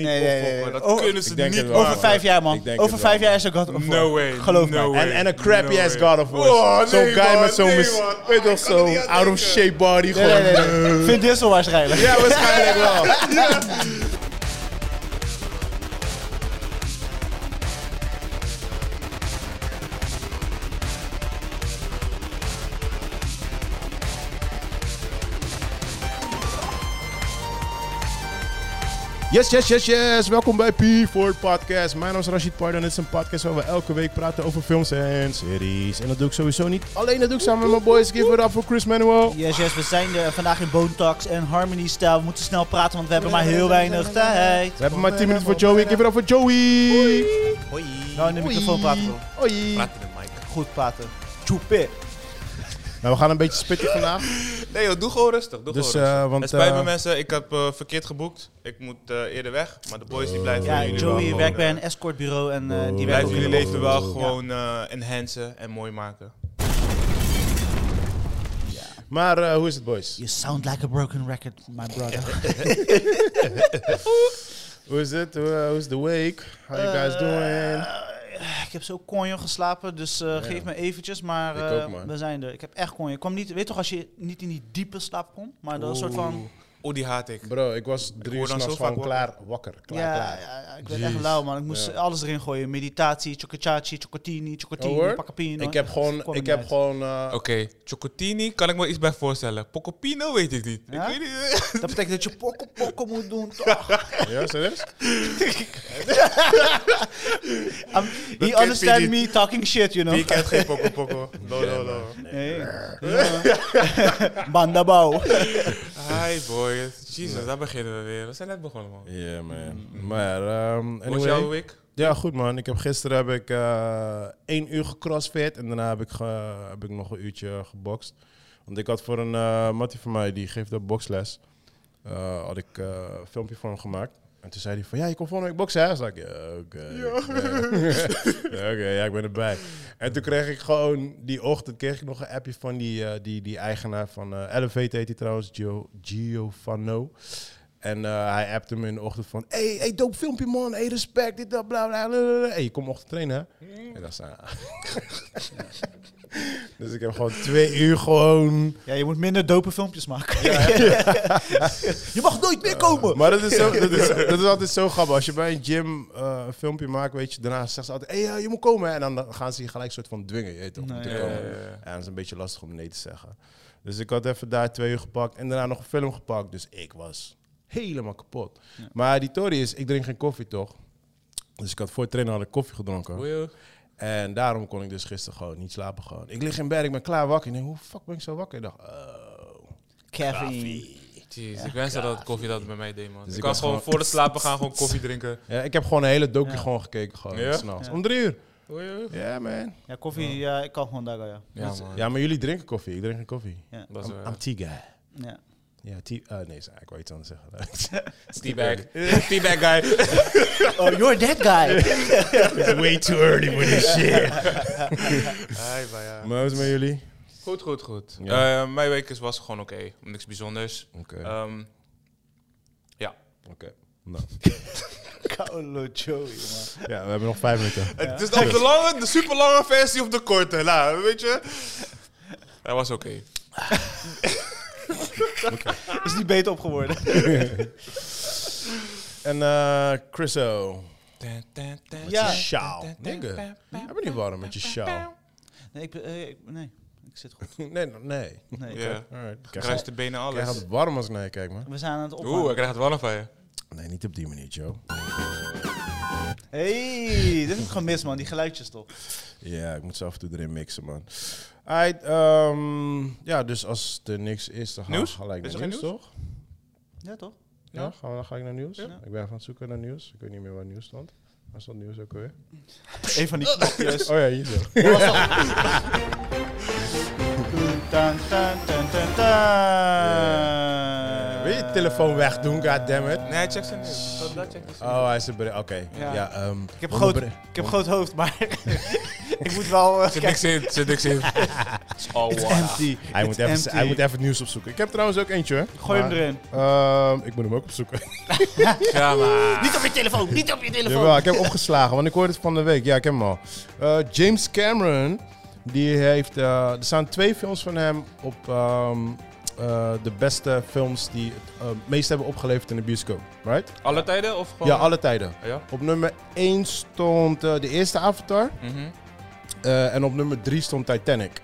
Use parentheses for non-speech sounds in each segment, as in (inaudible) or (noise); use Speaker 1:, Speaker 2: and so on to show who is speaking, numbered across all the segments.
Speaker 1: niet
Speaker 2: Nee, nee, nee,
Speaker 1: opvolgen.
Speaker 2: nee.
Speaker 1: Dat
Speaker 2: Oh,
Speaker 1: kunnen ze
Speaker 3: ik denk
Speaker 1: niet
Speaker 3: het wel.
Speaker 1: maken.
Speaker 2: Over vijf jaar,
Speaker 3: Ik
Speaker 2: man.
Speaker 3: denk
Speaker 2: Over
Speaker 3: het
Speaker 2: vijf
Speaker 3: wel.
Speaker 2: jaar is er God of War.
Speaker 1: No way.
Speaker 2: Geloof
Speaker 1: no
Speaker 2: me.
Speaker 1: way.
Speaker 3: En en een crappy
Speaker 1: No
Speaker 3: ass
Speaker 1: way.
Speaker 3: God of War.
Speaker 1: Oh,
Speaker 3: zo'n
Speaker 1: nee,
Speaker 3: guy
Speaker 1: man,
Speaker 3: met zo'n
Speaker 1: nee,
Speaker 3: mis-
Speaker 1: man.
Speaker 3: weet toch,
Speaker 1: kan er niet
Speaker 3: zo'n
Speaker 1: aan
Speaker 3: out of
Speaker 1: denken.
Speaker 3: shape body
Speaker 2: Nee,
Speaker 3: gewoon.
Speaker 2: nee, nee, nee. Vin Diesel waarschijnlijk.
Speaker 3: Ja, waarschijnlijk wel. Yes, yes, yes, yes. Welkom bij P4 Podcast. Mijn naam is Rashid Pardon. Dit is een podcast waar we elke week praten over films en series. En dat doe ik sowieso niet. Alleen dat doe ik samen met mijn boys. Give it up voor Chris Manuel.
Speaker 2: (laughs) Yes, yes, we zijn er vandaag in Bone Talks en Harmony Style. We moeten snel praten, want we hebben maar heel weinig tijd.
Speaker 3: We hebben maar 10 minuten voor Joey. Give it up voor Joey.
Speaker 1: Hoi.
Speaker 2: Nou, in de microfoon praten, bro.
Speaker 3: Hoi.
Speaker 1: Praat in de mic.
Speaker 2: Goed praten. Choupé.
Speaker 3: Nou, we gaan een beetje spitten vandaag.
Speaker 1: Nee joh, doe gewoon rustig. Doe
Speaker 3: Dus,
Speaker 1: gewoon rustig.
Speaker 3: eh, want,
Speaker 1: het spijt
Speaker 3: eh,
Speaker 1: me mensen, ik heb eh, verkeerd geboekt. Ik moet eh, eerder weg, maar de boys die blijven
Speaker 2: Ja,
Speaker 1: jullie wel
Speaker 2: Joey
Speaker 1: gewoon,
Speaker 2: werkt bij
Speaker 1: eh,
Speaker 2: een escortbureau en eh, die werkt
Speaker 1: Blijven
Speaker 2: ook
Speaker 1: jullie
Speaker 2: in de
Speaker 1: leven wel gewoon eh, enhancen en mooi maken.
Speaker 3: Maar eh, hoe is het, boys?
Speaker 2: You sound like a broken record, my brother.
Speaker 3: Hoe is het? Hoe eh, hoe is de week? How you guys doing?
Speaker 2: Eh, ik heb zo konjo geslapen, dus eh, geef me eventjes, maar
Speaker 3: Ik ook,
Speaker 2: eh,
Speaker 3: man.
Speaker 2: we zijn er. Ik heb echt konjo. Ik kwam niet, weet toch, als je niet in die diepe slaap komt, maar dat is een soort van...
Speaker 1: Oh, die haat ik.
Speaker 3: Bro, ik was drie
Speaker 1: hoor
Speaker 3: uur
Speaker 1: dan
Speaker 3: s'nachts
Speaker 1: zo vaak
Speaker 3: gewoon klaar wakker. Klaar,
Speaker 2: ja,
Speaker 3: klaar.
Speaker 2: ja, ja, ik werd echt lauw, man. Ik moest alles erin gooien. Meditatie, chocochachi, chocotini,
Speaker 3: Oh,
Speaker 2: chocotini,
Speaker 3: hoor.
Speaker 2: pakapino.
Speaker 3: Ik heb gewoon,
Speaker 2: Kom
Speaker 3: ik
Speaker 2: niet
Speaker 3: heb
Speaker 2: uit.
Speaker 3: gewoon, eh,
Speaker 1: (laughs) Oké, Chocotini kan ik me iets bij voorstellen. Pocopino weet ik niet.
Speaker 2: Ja?
Speaker 1: Ik weet niet.
Speaker 2: Dat betekent dat je pokken pokken moet
Speaker 3: (laughs)
Speaker 2: doen. toch?
Speaker 3: ja, serieus?
Speaker 2: Um, he
Speaker 1: kent
Speaker 2: understand
Speaker 1: wie
Speaker 2: me talking shit, you know.
Speaker 1: Ik kent geen Poco Poco. No, no, no.
Speaker 2: Nee.
Speaker 3: (laughs)
Speaker 2: Bandabouw.
Speaker 1: Hi boys. Jesus, daar beginnen we weer. We zijn net begonnen man.
Speaker 3: Ja, man. Maar, ehm
Speaker 1: Hoe was
Speaker 3: anyway.
Speaker 1: jouw week?
Speaker 3: Ja, goed man. Ik heb, gisteren heb ik eh één uur gecrossfit en daarna heb ik, ge- heb ik nog een uurtje gebokst. Want ik had voor een eh mattie van mij, die geeft dat boksles, eh, had ik eh, een filmpje voor hem gemaakt. En toen zei hij van, ja, je komt volgende week boksen hè? Dus ik, ja, oké. oké. (laughs) Ja, oké, ja, ik ben erbij. En toen kreeg ik gewoon, die ochtend kreeg ik nog een appje van die, eh, die, die eigenaar van eh Elevate, heet hij trouwens, Gio, Giovanno. En eh, hij appte me in de ochtend van... Hey, hey, dope filmpje, man. Hey, respect. Dit, dat, bla, bla, bla, bla. Hey, je komt ochtend trainen, hè? En dat zei hij. (laughs) Dus ik heb gewoon twee uur gewoon...
Speaker 2: Ja, je moet minder dope filmpjes maken. (laughs) je mag nooit meer komen.
Speaker 3: Maar dat is, zo, dat, is, dat is altijd zo grappig. Als je bij een gym eh, een filmpje maakt, weet je... Daarna zegt ze altijd... Hey, eh, je moet komen, hè? En dan gaan ze je gelijk soort van dwingen, je weet toch? om
Speaker 2: Nee.
Speaker 3: te
Speaker 1: Ja,
Speaker 3: komen.
Speaker 1: ja, ja.
Speaker 3: En dat is een beetje lastig om nee te zeggen. Dus ik had even daar twee uur gepakt en daarna nog een film gepakt. Dus ik was helemaal kapot. Maar die Tory is, ik drink geen koffie toch? Dus ik had voor het trainen had ik koffie gedronken.
Speaker 1: Hoe
Speaker 3: En daarom kon ik dus gisteren gewoon niet slapen. Gewoon. Ik lig in bed, ik ben klaar wakker. Ik denk, hoe fuck ben ik zo wakker? Ik dacht, oh.
Speaker 2: Kevin.
Speaker 1: Jeez, ik wens dat dat koffie dat bij mij deed man.
Speaker 3: Dus
Speaker 1: ik
Speaker 3: ik
Speaker 1: kan
Speaker 3: was
Speaker 1: gewoon
Speaker 3: gewoon-
Speaker 1: voor het slapen gaan gewoon koffie drinken.
Speaker 3: Ja, ik heb gewoon een hele docu gewoon gekeken. Gewoon,
Speaker 1: Ja?
Speaker 3: s'nachts. Om drie uur.
Speaker 1: Oei, oei.
Speaker 3: Ja, man.
Speaker 2: Ja, koffie, ja, ik kan gewoon daar, ja.
Speaker 1: Ja
Speaker 3: Dus-
Speaker 1: man.
Speaker 3: ja, maar jullie drinken koffie. Ik drink geen koffie.
Speaker 1: Dat is
Speaker 3: I'm,
Speaker 1: wel.
Speaker 3: I'm tea guy.
Speaker 2: ja.
Speaker 3: Ja, tea... eh, nee, sorry, ik wou iets anders zeggen. (laughs)
Speaker 1: (laughs) Teabag. Teabag guy.
Speaker 2: Oh, you're that (laughs) guy.
Speaker 3: It's way too early for
Speaker 1: (laughs)
Speaker 3: this shit.
Speaker 1: Hi, bye, ja.
Speaker 3: Maar hoe is het met jullie?
Speaker 1: Goed, goed, goed.
Speaker 3: Ja.
Speaker 1: Eh, mijn week is, was gewoon oké. Niks bijzonders.
Speaker 3: Oké.
Speaker 1: Ehm, ja.
Speaker 3: Oké. Nou.
Speaker 2: Kaulo Joey, man.
Speaker 3: Ja, we hebben nog vijf
Speaker 1: (laughs)
Speaker 3: minuten.
Speaker 1: Het is de, lange, de super lange versie of de korte. Nou, weet je. Hij was oké.
Speaker 2: Is niet beter op geworden.
Speaker 3: En eh Chriso.
Speaker 2: Ja.
Speaker 3: Sjaal. Nigga. Ik ben niet warm met je
Speaker 2: (laughs)
Speaker 3: sjaal.
Speaker 1: (laughs)
Speaker 2: Nee, ik, ben- eh, ik- nee, ik zit goed.
Speaker 3: Nee, nee.
Speaker 2: Nee, ik-
Speaker 1: Ja.
Speaker 3: Alright. Ik
Speaker 1: Kruis de benen
Speaker 3: krijg
Speaker 1: alles.
Speaker 3: het warm als ik naar je kijk, man.
Speaker 2: We zijn aan het opwarmen.
Speaker 1: Oeh, ik krijg het warm van je.
Speaker 3: Nee, niet op die manier, Joe.
Speaker 2: Hey, dit heb ik gemist, man. Die geluidjes toch?
Speaker 3: Ja, ik moet ze af en toe erin mixen, man. Alright, ehm, ja, dus als er niks is, dan gaan
Speaker 1: Nieuws?
Speaker 3: we gelijk
Speaker 1: Is
Speaker 3: naar
Speaker 1: er
Speaker 3: nieuws,
Speaker 1: geen
Speaker 3: toch?
Speaker 2: Ja, toch?
Speaker 3: Ja,
Speaker 1: Ja.
Speaker 3: gaan we dan gelijk naar nieuws?
Speaker 2: Ja.
Speaker 3: Ik ben even aan het zoeken naar nieuws. Ik weet niet meer waar nieuws stond. Waar stond nieuws ook alweer?
Speaker 2: Een van die knopjes.
Speaker 3: Oh ja, hier (laughs) zo.
Speaker 2: Tan, tan, tan, tan, tan.
Speaker 3: Weet je, telefoon wegdoen, goddammit.
Speaker 1: Nee, check ze niet. Dat, dat check ze niet.
Speaker 3: Oh, hij is een bericht. Oké.
Speaker 2: Ja.
Speaker 3: Ja. ehm,
Speaker 2: Ik heb,
Speaker 3: honderd
Speaker 2: groot,
Speaker 3: bericht-
Speaker 2: ik heb groot hoofd, maar (laughs) ik moet wel... eh,
Speaker 1: Zit niks in, zit niks (laughs) in. Oh,
Speaker 2: It's
Speaker 1: wow.
Speaker 2: empty.
Speaker 3: Hij
Speaker 2: It's
Speaker 3: moet, even,
Speaker 2: empty.
Speaker 3: hij moet even het nieuws opzoeken. Ik heb trouwens ook eentje. hoor.
Speaker 2: Gooi hem
Speaker 3: Maar,
Speaker 2: erin.
Speaker 3: ehm, ik moet hem ook opzoeken.
Speaker 1: Ja, maar.
Speaker 2: Niet op je telefoon, niet op je telefoon.
Speaker 3: Jawel, ik heb hem opgeslagen, want ik hoorde het van de week. Ja, ik heb hem al. Eh, James Cameron, die heeft... eh, er staan twee films van hem op ehm, eh, de beste films die het eh, meest hebben opgeleverd in de bioscoop. Right?
Speaker 1: Alle tijden of gewoon?
Speaker 3: Ja, alle tijden.
Speaker 1: Oh. Ja.
Speaker 3: Op nummer 1 stond eh, de eerste Avatar.
Speaker 1: Mhm.
Speaker 3: eh, en op nummer 3 stond Titanic.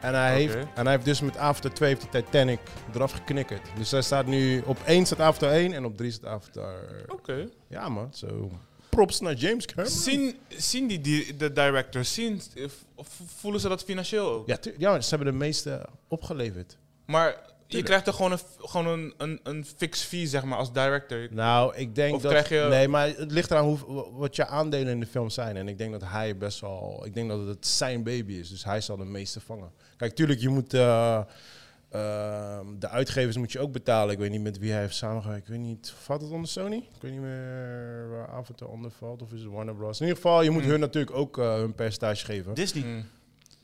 Speaker 3: En hij,
Speaker 1: Oké.
Speaker 3: heeft, en hij heeft dus met Avatar 2 heeft de Titanic eraf geknikkerd. Dus hij staat nu... Op 1 staat Avatar 1 en op 3 staat Avatar...
Speaker 1: Oké.
Speaker 3: Ja man, zo... Props naar James Cameron.
Speaker 1: Zien, zien die, di- de directors, zien, of voelen ze dat financieel ook?
Speaker 3: Ja, tu- ja, ze hebben de meeste opgeleverd.
Speaker 1: Maar je krijgt er gewoon een, f- gewoon een, een, een fix fee, zeg maar, als director.
Speaker 3: Nou, ik denk
Speaker 1: Of
Speaker 3: dat...
Speaker 1: krijg je-
Speaker 3: Nee, maar het ligt eraan hoe, wa- wat je aandelen in de film zijn. En ik denk dat hij best wel... Ik denk dat het zijn baby is, dus hij zal de meeste vangen. Kijk, tuurlijk, je moet... eh, ehm, de uitgevers moet je ook betalen. Ik weet niet met wie hij heeft samengewerkt. Ik weet niet, valt het onder Sony? Ik weet niet meer waar Avatar onder valt. Of is het Warner Bros. In ieder geval, je moet
Speaker 1: Hmm.
Speaker 3: hun natuurlijk ook eh, hun percentage geven.
Speaker 2: Disney.
Speaker 1: Mm.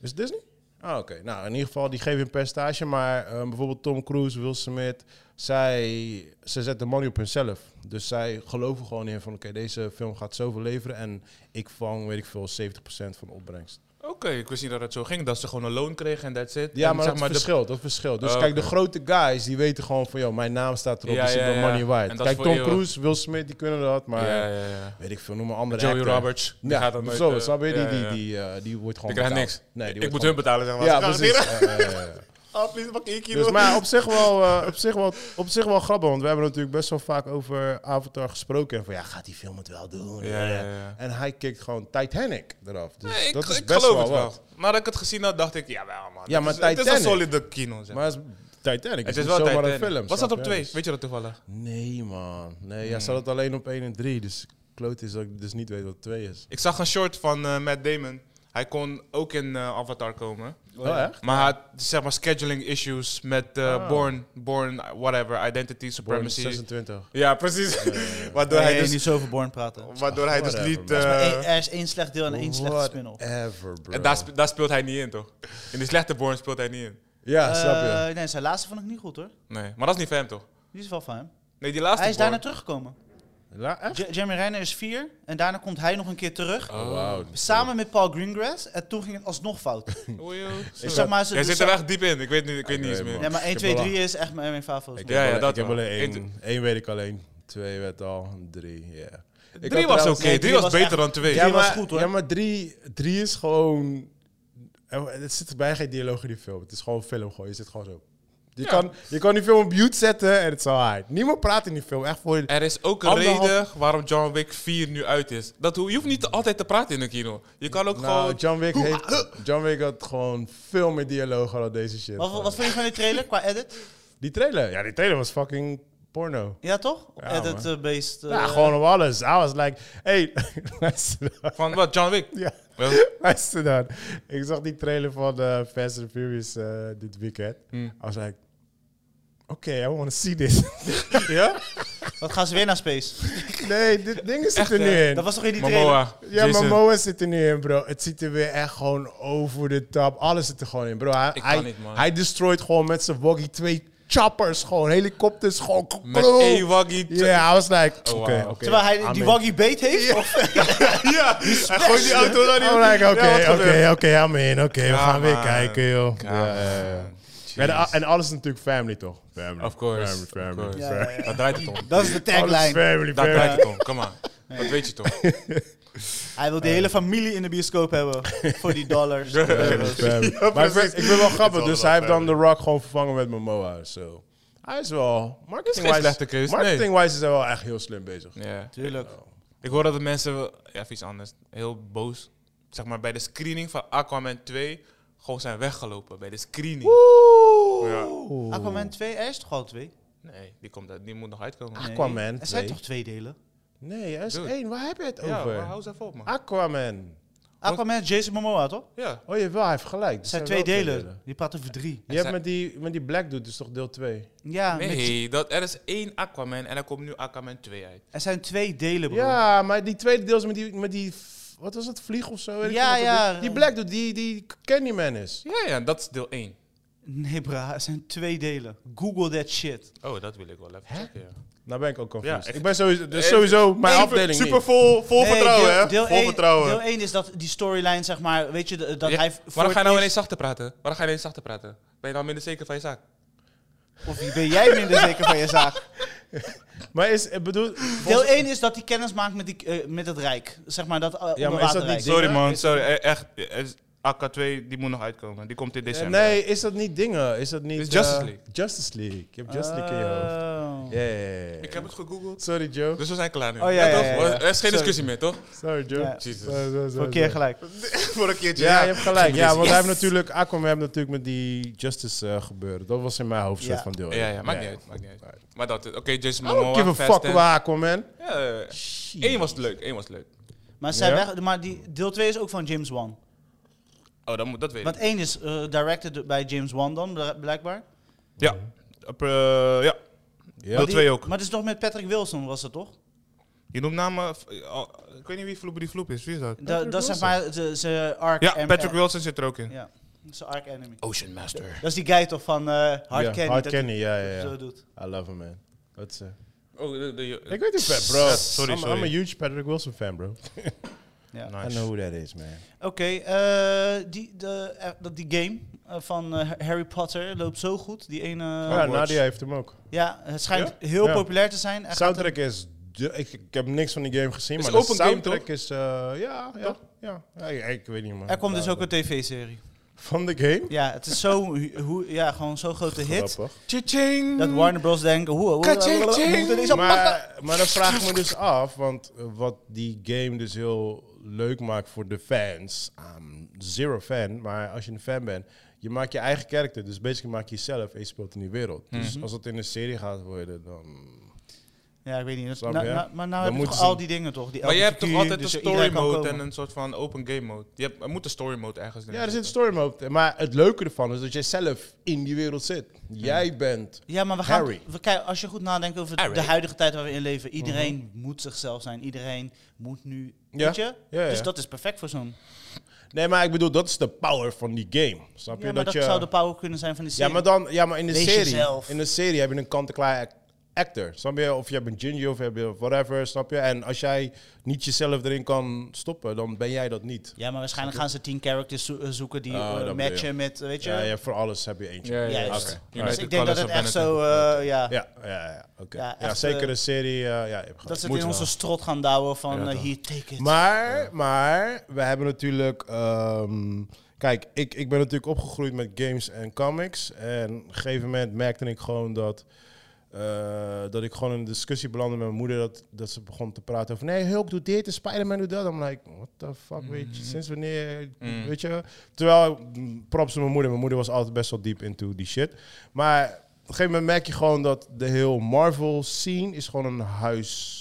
Speaker 3: Is het Disney? Ah, oké. Nou, in ieder geval, die geven een percentage. Maar eh, bijvoorbeeld Tom Cruise, Will Smith, zij, zij zetten money op hunzelf. Dus zij geloven gewoon in van, oké, deze film gaat zoveel leveren. En ik vang, weet ik veel, 70% van de opbrengst.
Speaker 1: Oké, ik wist niet dat het zo ging. Dat ze gewoon een loon kregen en that's it.
Speaker 3: Ja,
Speaker 1: En
Speaker 3: maar
Speaker 1: zeg
Speaker 3: dat
Speaker 1: de-
Speaker 3: verschilt, dat verschilt. Dus
Speaker 1: Oh,
Speaker 3: kijk,
Speaker 1: oké.
Speaker 3: de grote guys, die weten gewoon van, joh, mijn naam staat erop,
Speaker 1: Ja,
Speaker 3: dus ik
Speaker 1: ja,
Speaker 3: ben
Speaker 1: ja.
Speaker 3: money
Speaker 1: En
Speaker 3: waard.
Speaker 1: dat is
Speaker 3: Kijk,
Speaker 1: voor
Speaker 3: Tom
Speaker 1: eeuwig.
Speaker 3: Cruise, Will Smith, die kunnen dat, maar...
Speaker 1: Ja, ja, ja.
Speaker 3: Weet ik veel, noem maar andere
Speaker 1: Joey
Speaker 3: actor.
Speaker 1: Roberts. Die
Speaker 3: Ja,
Speaker 1: gaat dan nooit,
Speaker 3: zo,
Speaker 1: eh,
Speaker 3: snap je? Die,
Speaker 1: ja, ja,
Speaker 3: die,
Speaker 1: ja.
Speaker 3: die, eh, die wordt gewoon
Speaker 1: Ik krijg
Speaker 3: betaald.
Speaker 1: niks.
Speaker 3: Nee, die
Speaker 1: ik
Speaker 3: wordt
Speaker 1: moet
Speaker 3: gewoon-
Speaker 1: hun betalen, zeg maar.
Speaker 3: Ja,
Speaker 1: Ze gaan
Speaker 3: precies.
Speaker 1: leren.
Speaker 3: Ja, ja, ja, ja.
Speaker 1: Oh, please, pak ik
Speaker 3: Dus, maar op
Speaker 1: (laughs)
Speaker 3: zich, wel, eh, op, zich wel, op zich wel grappig, want we hebben natuurlijk best wel vaak over Avatar gesproken. En van ja, gaat die film het wel doen?
Speaker 1: Ja, ja, ja.
Speaker 3: En hij kikt gewoon Titanic eraf. Dus
Speaker 1: Nee, ik,
Speaker 3: dat is
Speaker 1: ik
Speaker 3: best
Speaker 1: geloof
Speaker 3: wel
Speaker 1: het wel.
Speaker 3: wat.
Speaker 1: Nadat ik het gezien had, dacht ik, jawel man.
Speaker 3: Ja,
Speaker 1: Het
Speaker 3: maar
Speaker 1: is- Het is een
Speaker 3: Titanic.
Speaker 1: solide kino, zeg.
Speaker 3: Maar het is Titanic
Speaker 1: het
Speaker 3: het
Speaker 1: is
Speaker 3: is
Speaker 1: wel
Speaker 3: niet zomaar
Speaker 1: Titanic.
Speaker 3: een film.
Speaker 1: Wat
Speaker 3: snap
Speaker 1: staat op
Speaker 3: je?
Speaker 1: twee?
Speaker 3: Dus-
Speaker 1: Weet je dat toevallig?
Speaker 3: Nee, man. Nee, jij zat het alleen op 1 en 3. Dus kloot is dat ik dus niet weet wat 2 is.
Speaker 1: Ik zag een short van eh, Matt Damon. Hij kon ook in eh, Avatar komen.
Speaker 3: Oh, echt?
Speaker 1: Maar hij had, zeg maar, scheduling issues met eh,
Speaker 3: Ah.
Speaker 1: Born, Born, eh, whatever, Identity,
Speaker 3: Born
Speaker 1: Supremacy.
Speaker 3: 26.
Speaker 1: Ja, precies. (laughs) waardoor
Speaker 2: Nee,
Speaker 1: hij dus,
Speaker 2: niet zo over Born praten.
Speaker 3: Eh.
Speaker 2: Er
Speaker 1: waardoor hij dus
Speaker 3: whatever,
Speaker 1: liet...
Speaker 3: man.
Speaker 2: is, maar één-
Speaker 1: eh
Speaker 2: er is één slecht deel en één slechte spin-off.
Speaker 3: Whatever, bro.
Speaker 1: en daar, sp- daar speelt hij niet in, toch? In die slechte Born speelt hij niet in.
Speaker 3: Ja, snap je.
Speaker 2: Eh, nee, zijn laatste vond ik niet goed hoor.
Speaker 1: Nee, maar dat is niet van hem, toch?
Speaker 2: Die is wel van hem.
Speaker 1: Nee, die laatste
Speaker 2: Hij is
Speaker 1: Born-
Speaker 2: daarna teruggekomen.
Speaker 3: La- echt?
Speaker 2: Ja- Jeremy Renner is vier en daarna komt hij nog een keer terug.
Speaker 3: Oh, wauw.
Speaker 2: Samen met Paul Greengrass. En toen ging het alsnog
Speaker 3: (laughs)
Speaker 2: fout.
Speaker 1: Oei, joh.
Speaker 2: Dus zeg maar, ze-
Speaker 1: Jij
Speaker 2: ze-
Speaker 1: zit er echt diep in. Ik weet niet, ik weet niet eens
Speaker 3: weet
Speaker 1: meer.
Speaker 3: het,
Speaker 2: Nee, maar 1,
Speaker 3: Ik
Speaker 2: 2,
Speaker 3: heb
Speaker 2: 3 is echt mijn, mijn favoriet.
Speaker 3: Ik
Speaker 1: Ja,
Speaker 3: heb
Speaker 1: ja,
Speaker 3: wel-
Speaker 1: dat
Speaker 3: Ik heb
Speaker 1: wel.
Speaker 3: wel één.
Speaker 1: Eén-
Speaker 3: Eén weet ik alleen. Twee werd al. Drie, ja. Ik had
Speaker 1: Drie was
Speaker 3: trouwens-
Speaker 1: oké,
Speaker 2: nee,
Speaker 1: drie
Speaker 2: drie
Speaker 1: was
Speaker 2: was
Speaker 1: beter
Speaker 2: echt-
Speaker 1: dan twee.
Speaker 2: Ja, maar-
Speaker 1: Ja,
Speaker 2: was
Speaker 1: maar...
Speaker 2: goed, hoor.
Speaker 3: Ja, maar drie, drie is gewoon... er- Het zit bijna geen dialoog in die film. Het is gewoon film gewoon. Je zit gewoon zo... Je,
Speaker 1: Ja.
Speaker 3: kan, je kan die film op mute zetten en het zal hard. Niemand praat in die film. Echt voor...
Speaker 1: Er is ook een
Speaker 3: Anderhalf-
Speaker 1: reden waarom John Wick 4 nu uit is. Dat, ho- je hoeft niet te- altijd te praten in een kino. Je kan ook
Speaker 3: Nou,
Speaker 1: gewoon...
Speaker 3: John Wick, heeft, John Wick had gewoon veel meer dialoog dan deze shit.
Speaker 2: Wat, wat vond je van die trailer qua edit?
Speaker 3: Die trailer. Ja, die trailer was fucking porno.
Speaker 2: Ja toch? Op
Speaker 3: Ja,
Speaker 2: edit eh, based. eh,
Speaker 3: ja, gewoon op alles. I was like... Hey, (laughs) luister dan.
Speaker 1: Van wat, John Wick?
Speaker 3: Ja.
Speaker 1: Wel,
Speaker 3: (laughs) Luister dan. Ik zag die trailer van eh Fast and Furious eh, dit weekend.
Speaker 1: Hmm.
Speaker 3: I was like, oké, I want to see this. (laughs) ja?
Speaker 2: Wat gaan ze weer naar
Speaker 3: (laughs)
Speaker 2: space?
Speaker 3: Nee, dit ding zit
Speaker 1: Echt,
Speaker 3: er nu
Speaker 1: hè?
Speaker 3: in.
Speaker 2: Dat was toch in die trailer?
Speaker 1: Momoa.
Speaker 3: ja, maar
Speaker 1: Jason.
Speaker 3: Moa zit er nu in, bro. Het ziet er weer echt gewoon over de top. Alles zit er gewoon in, bro. Hij,
Speaker 1: Ik kan
Speaker 3: hij,
Speaker 1: niet, man.
Speaker 3: hij destroyt gewoon met zijn woggy twee choppers, gewoon helikopters, gewoon...
Speaker 1: Met één waggy.
Speaker 3: Oh. Ja, I was like, oké,
Speaker 1: Oh,
Speaker 3: oké.
Speaker 1: wauw.
Speaker 2: Terwijl hij
Speaker 3: I'm
Speaker 2: die
Speaker 3: in.
Speaker 2: waggy bait heeft? Of-
Speaker 1: (laughs) Ja, hij gooit die auto naar die...
Speaker 3: I'm like,
Speaker 1: Ja, wat
Speaker 3: oké,
Speaker 1: gebeurt?
Speaker 3: oké, oké, I'm in. Oké, we
Speaker 1: Ja,
Speaker 3: gaan weer
Speaker 1: man.
Speaker 3: kijken, joh.
Speaker 1: Ja,
Speaker 3: Ja, ja, ja.
Speaker 1: man.
Speaker 3: Ja, de- en alles is natuurlijk family, toch? Family.
Speaker 1: Of course.
Speaker 3: Family,
Speaker 1: of
Speaker 3: family.
Speaker 1: course.
Speaker 2: Ja, ja, ja.
Speaker 1: Daar draait het om.
Speaker 2: Dat is de
Speaker 3: Alles is
Speaker 2: tagline.
Speaker 3: family,
Speaker 1: Daar draait
Speaker 3: family.
Speaker 1: het om. Kom aan. Dat weet je
Speaker 3: (laughs)
Speaker 1: toch?
Speaker 2: Hij wil de hele familie in de bioscoop hebben. Voor die
Speaker 1: (laughs)
Speaker 2: dollars. euro's.
Speaker 3: Family. maar ik vind, ik vind wel grappig,
Speaker 1: is
Speaker 3: dus
Speaker 1: allemaal
Speaker 3: hij heeft dan The Rock gewoon vervangen met Momoa. So. Hij is wel...
Speaker 1: Geen
Speaker 3: Marketing-wise
Speaker 1: slechte keus, nee.
Speaker 3: marketing is hij wel echt heel slim bezig.
Speaker 1: Ja.
Speaker 2: Tuurlijk.
Speaker 1: Ik hoor dat de mensen, wel- ja, even iets anders, heel boos, zeg maar bij de screening van Aquaman 2, gewoon zijn weggelopen bij de screening.
Speaker 3: Oeh.
Speaker 2: Aquaman 2, er is toch al twee?
Speaker 1: Nee, die, komt, uit- die moet nog uitkomen.
Speaker 2: Nee.
Speaker 3: Aquaman
Speaker 2: Er zijn
Speaker 3: 2.
Speaker 2: toch twee delen?
Speaker 3: Nee, hij is
Speaker 1: Dude.
Speaker 3: één. Waar heb je het
Speaker 1: Ja, maar
Speaker 3: over? Ah.
Speaker 1: hou eens even op, man.
Speaker 3: Aquaman.
Speaker 2: Aquaman, Jason Momoa, toch?
Speaker 1: Ja.
Speaker 3: Oh, je wel, hij heeft gelijk. Er
Speaker 2: Het zijn twee
Speaker 3: wel
Speaker 2: delen. Die praat over drie.
Speaker 3: Je hebt met die, met die Black Dude, dus toch deel 2?
Speaker 2: Ja, met-
Speaker 1: Nee, dat, er is één Aquaman en er komt nu Aquaman 2 uit.
Speaker 2: er zijn twee delen, bro.
Speaker 3: Ja, maar die tweede deel is met die, met die v- wat was het, vlieg of zo? weet ik
Speaker 2: Ja,
Speaker 3: veel wat dat
Speaker 2: ja.
Speaker 3: is. Die Black Dude, die, die Candyman is.
Speaker 1: Ja, ja, dat is deel 1.
Speaker 2: Nee, bra, er zijn twee delen. Google that shit.
Speaker 1: Oh, dat wil ik wel even checken, ja.
Speaker 3: Nou ben ik ook confused.
Speaker 1: Ja, echt.
Speaker 3: ik ben sowieso, dus sowieso mijn afdeling
Speaker 4: Super
Speaker 3: niet.
Speaker 4: vol, vol
Speaker 2: Nee,
Speaker 4: vertrouwen, hè? vol
Speaker 2: één-
Speaker 4: vertrouwen.
Speaker 2: Deel 1 is dat die storyline, zeg maar, weet je, de- dat
Speaker 1: Ja,
Speaker 2: hij... voor
Speaker 1: Waarom
Speaker 2: het
Speaker 1: ga je nou ineens
Speaker 2: eerst-
Speaker 1: zachter praten? Waarom ga je ineens zachter praten? Ben je nou minder zeker van je zaak?
Speaker 2: Of ben jij minder zeker van je zaak?
Speaker 3: (laughs) Maar is, ik bedoel...
Speaker 2: Deel 1 is dat hij kennis maakt met, die, eh, met het Rijk. Zeg maar, dat eh, onderwaterrijk.
Speaker 3: niet-
Speaker 1: Sorry
Speaker 3: Dingen?
Speaker 1: man, sorry. e- Echt, eh, AK2 die moet nog uitkomen. Die komt in december.
Speaker 3: Nee, is dat niet dingen? Is dat niet...
Speaker 1: Is Justice
Speaker 3: eh,
Speaker 1: League. Ah.
Speaker 3: Justice League. Je hebt Justice League in je hoofd.
Speaker 2: Oh.
Speaker 3: Ja, ja, ja, ja.
Speaker 1: Ik heb het gegoogeld.
Speaker 3: Sorry, Joe.
Speaker 1: Dus we zijn klaar nu.
Speaker 2: Oh, ja, ja,
Speaker 1: toch?
Speaker 2: ja, ja.
Speaker 1: Er is geen discussie meer, (laughs) toch?
Speaker 3: Sorry, Joe.
Speaker 2: Ja.
Speaker 1: Jezus.
Speaker 3: Sorry, sorry,
Speaker 2: Voor
Speaker 3: sorry,
Speaker 2: een keer gelijk.
Speaker 4: voor een keertje.
Speaker 3: Ja, je hebt gelijk. Ja, want
Speaker 2: Yes.
Speaker 3: hij heeft natuurlijk, Aquaman heeft natuurlijk met die Justice eh gebeuren. Dat was in mijn hoofd soort
Speaker 2: Ja.
Speaker 3: van deel.
Speaker 1: Ja,
Speaker 3: één.
Speaker 1: ja, maakt niet uit. Maakt niet uit. Maar dat, oké, Jason
Speaker 3: I don't
Speaker 1: Momoa,
Speaker 3: give a
Speaker 1: Fast
Speaker 3: fuck
Speaker 1: Ten.
Speaker 3: about Aquaman.
Speaker 1: Ja, ja, ja. Eén was leuk, één was leuk.
Speaker 2: Maar, zij
Speaker 3: Ja?
Speaker 2: weg, maar die, deel 2 is ook van James Wan.
Speaker 1: Oh, dat, moet, dat weet
Speaker 2: Want
Speaker 1: ik.
Speaker 2: één is eh, directed bij James Wan dan, bl- blijkbaar.
Speaker 1: Ja. Op, eh, ja. Deel
Speaker 2: Maar die-
Speaker 1: 2 ook.
Speaker 2: Maar het is toch met Patrick Wilson, was het toch?
Speaker 1: Je noemt namen... v- eh, al- ik weet niet wie Vloep die Vloep is. Wie is dat?
Speaker 2: Da- dat is zeg maar ze- ze arc
Speaker 1: Ja,
Speaker 2: en-
Speaker 1: Patrick Wilson zit er ook in.
Speaker 2: Ja, zijn arc enemy.
Speaker 1: Ocean Master.
Speaker 2: Dat is die guy toch van eh Hard
Speaker 3: Ja,
Speaker 2: Candy.
Speaker 3: Hard
Speaker 2: dat
Speaker 3: Candy, ja, ja,
Speaker 2: hij
Speaker 3: ja.
Speaker 2: Zo doet.
Speaker 3: I love him, man. Wat ze.
Speaker 1: Oh, de, de,
Speaker 3: Ik weet niet, vet, bro.
Speaker 1: sorry,
Speaker 3: I'm,
Speaker 1: sorry.
Speaker 3: I'm a huge Patrick Wilson fan, bro.
Speaker 2: Ja.
Speaker 1: Nice.
Speaker 3: I know who that is, man.
Speaker 2: Oké, eh, die, de, eh, dat die game eh, van eh, Harry Potter loopt zo goed. Die ene,
Speaker 3: ja,
Speaker 2: ja,
Speaker 3: Nadia heeft hem ook.
Speaker 2: het schijnt heel
Speaker 3: Ja.
Speaker 2: populair te zijn. Hij gaat
Speaker 3: Soundtrack is... de- ik, ik heb niks van die game gezien,
Speaker 1: Is
Speaker 3: maar
Speaker 1: open
Speaker 3: de
Speaker 1: game,
Speaker 3: soundtrack is... eh, ja, ja, ja. Ja, Ik, ik weet niet, man.
Speaker 2: er- er komt dus ook een tv-serie.
Speaker 3: Van de game?
Speaker 2: Ja, het is zo, hu- hoe, ja, gewoon zo'n grote hit.
Speaker 3: Grappig.
Speaker 1: Cha-ching!
Speaker 2: Dat Warner Bros. denken, hoe, hoe, hoe, hoe, hoe, hoe, moeten we deze oppakken?
Speaker 3: Maar, maar dan vraag ik me dus af, want eh, wat die game dus heel leuk maakt voor de fans. I'm zero fan, maar als je een fan bent, je maakt je eigen karakter. Dus basically maak je jezelf en je speelt in die wereld.
Speaker 1: Mhm.
Speaker 3: Dus als dat in een serie gaat worden, dan...
Speaker 2: Ja, ik weet niet.
Speaker 3: Snap
Speaker 2: Nou-
Speaker 3: je?
Speaker 2: nou- maar nou
Speaker 3: Dan
Speaker 2: heb je
Speaker 3: moeten
Speaker 2: toch
Speaker 3: ze-
Speaker 2: al die dingen toch? Die
Speaker 1: Maar je
Speaker 2: elke
Speaker 1: hebt toch
Speaker 2: figuur,
Speaker 1: altijd
Speaker 2: dus
Speaker 1: een
Speaker 2: iedereen
Speaker 1: story
Speaker 2: kan
Speaker 1: mode
Speaker 2: komen.
Speaker 1: en een soort van open game mode. Je hebt, er moet een story mode ergens in
Speaker 3: Ja, er zit
Speaker 1: zitten.
Speaker 3: een story mode. Maar het leuke ervan is dat jij zelf in die wereld zit. Jij bent...
Speaker 2: Ja, maar we gaan.
Speaker 3: Harry. Mhm.
Speaker 2: We kijken, als je goed nadenkt over
Speaker 1: Harry.
Speaker 2: de huidige tijd waar we in leven, iedereen moet zichzelf zijn. Iedereen moet nu.
Speaker 3: Ja.
Speaker 2: Weet je?
Speaker 3: Ja, ja.
Speaker 2: Dus dat is perfect voor zo'n.
Speaker 3: Nee, maar ik bedoel, dat is de power van die game. Snap je?
Speaker 2: Ja, maar dat,
Speaker 3: je...
Speaker 2: zou de power kunnen zijn van die
Speaker 3: Ja,
Speaker 2: serie.
Speaker 3: maar, dan, ja, maar in de
Speaker 2: Wees
Speaker 3: serie.
Speaker 2: jezelf.
Speaker 3: In de serie heb je een kant-en-klaar ac- actor. Snap je? Of je hebt een ginger of je hebt een whatever. Snap je? En als jij niet jezelf erin kan stoppen, dan ben jij dat niet.
Speaker 2: Ja, maar waarschijnlijk gaan ze tien characters zo- eh, zoeken die
Speaker 3: Oh,
Speaker 2: eh,
Speaker 3: dat bedoel je.
Speaker 2: matchen met. eh, Weet je?
Speaker 3: Ja, ja, voor alles heb je eentje. Ja,
Speaker 1: ja, ja.
Speaker 2: Juist.
Speaker 1: oké.
Speaker 2: Dus
Speaker 1: United
Speaker 2: ik denk dat
Speaker 1: Colors
Speaker 2: het
Speaker 1: of
Speaker 2: echt
Speaker 1: Benetton.
Speaker 2: zo. eh, ja.
Speaker 3: ja, ja. ja, oké.
Speaker 2: Ja,
Speaker 3: ja,
Speaker 2: echt,
Speaker 3: zeker
Speaker 2: eh,
Speaker 3: een serie. eh, ja, je hebt gelijk.
Speaker 2: Dat ze het
Speaker 3: Moet
Speaker 2: in
Speaker 3: wel.
Speaker 2: onze strot gaan douwen van
Speaker 3: Ja,
Speaker 2: eh,
Speaker 3: toch.
Speaker 2: hier, take it.
Speaker 3: Maar, maar, we hebben natuurlijk. ehm, kijk, ik, ik ben natuurlijk opgegroeid met games en comics. En op een gegeven moment merkte ik gewoon dat. eh, dat ik gewoon in een discussie belandde met mijn moeder. Dat, dat ze begon te praten over. Nee, Hulk doet dit en Spider-Man doet dat. I'm like, what the fuck, weet je. Sinds wanneer.
Speaker 1: Mm.
Speaker 3: Weet je. Terwijl, mm, props aan mijn moeder. Mijn moeder was altijd best wel diep into die shit. Maar op een gegeven moment merk je gewoon dat de heel Marvel scene is gewoon een huis.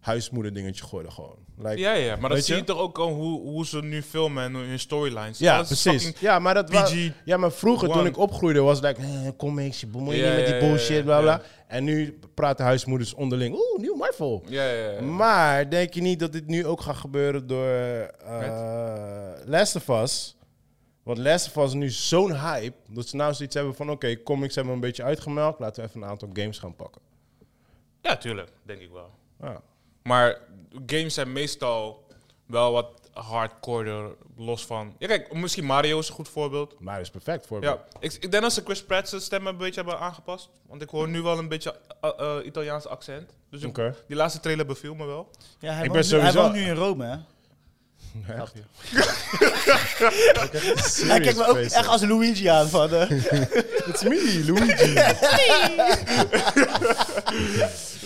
Speaker 3: Huismoeder dingetje geworden gewoon. Like,
Speaker 1: Ja, ja, maar
Speaker 3: Weet
Speaker 1: dat zie
Speaker 3: je?
Speaker 1: je toch ook al hoe, hoe ze nu filmen en hun storylines.
Speaker 3: Ja,
Speaker 1: Alles is
Speaker 3: precies.
Speaker 1: fucking
Speaker 3: Ja, maar, dat wa-
Speaker 1: PG.
Speaker 3: ja, maar vroeger, toen
Speaker 1: One.
Speaker 3: ik opgroeide, was het like, eh, comics, je bemoei je
Speaker 1: Ja,
Speaker 3: niet met
Speaker 1: ja,
Speaker 3: die
Speaker 1: ja, ja,
Speaker 3: bullshit, bla bla. En nu praten huismoeders onderling, oeh, nieuw Marvel.
Speaker 1: Ja, ja, ja.
Speaker 3: Maar denk je niet dat dit nu ook gaat gebeuren door eh Last of Us? Want Last of Us is nu zo'n hype, dat ze nou zoiets hebben van, oké, comics hebben we een beetje uitgemelkt, laten we even een aantal games gaan pakken.
Speaker 1: ja, tuurlijk. Denk ik wel.
Speaker 3: Ja.
Speaker 1: Maar games zijn meestal wel wat hardcore los van... Ja, kijk, misschien Mario is een goed voorbeeld.
Speaker 3: Maar dat is perfect voor me.
Speaker 1: Ja, ik, ik denk dat ze Chris Pratt zijn stem een beetje hebben aangepast. Want ik hoor nu wel een beetje eh, eh, Italiaans accent. Dus ik-
Speaker 3: Oké.
Speaker 1: die laatste trailer beviel me wel.
Speaker 2: ja, hij
Speaker 3: ik
Speaker 2: woont
Speaker 3: ben
Speaker 2: nu-
Speaker 3: sowieso-
Speaker 2: Hij woont nu in Rome, hè?
Speaker 3: Echt? (laughs)
Speaker 2: Hij kijkt me ook
Speaker 3: Serious
Speaker 2: echt als Luigi aan van. eh,
Speaker 1: (laughs)
Speaker 3: It's me, Luigi.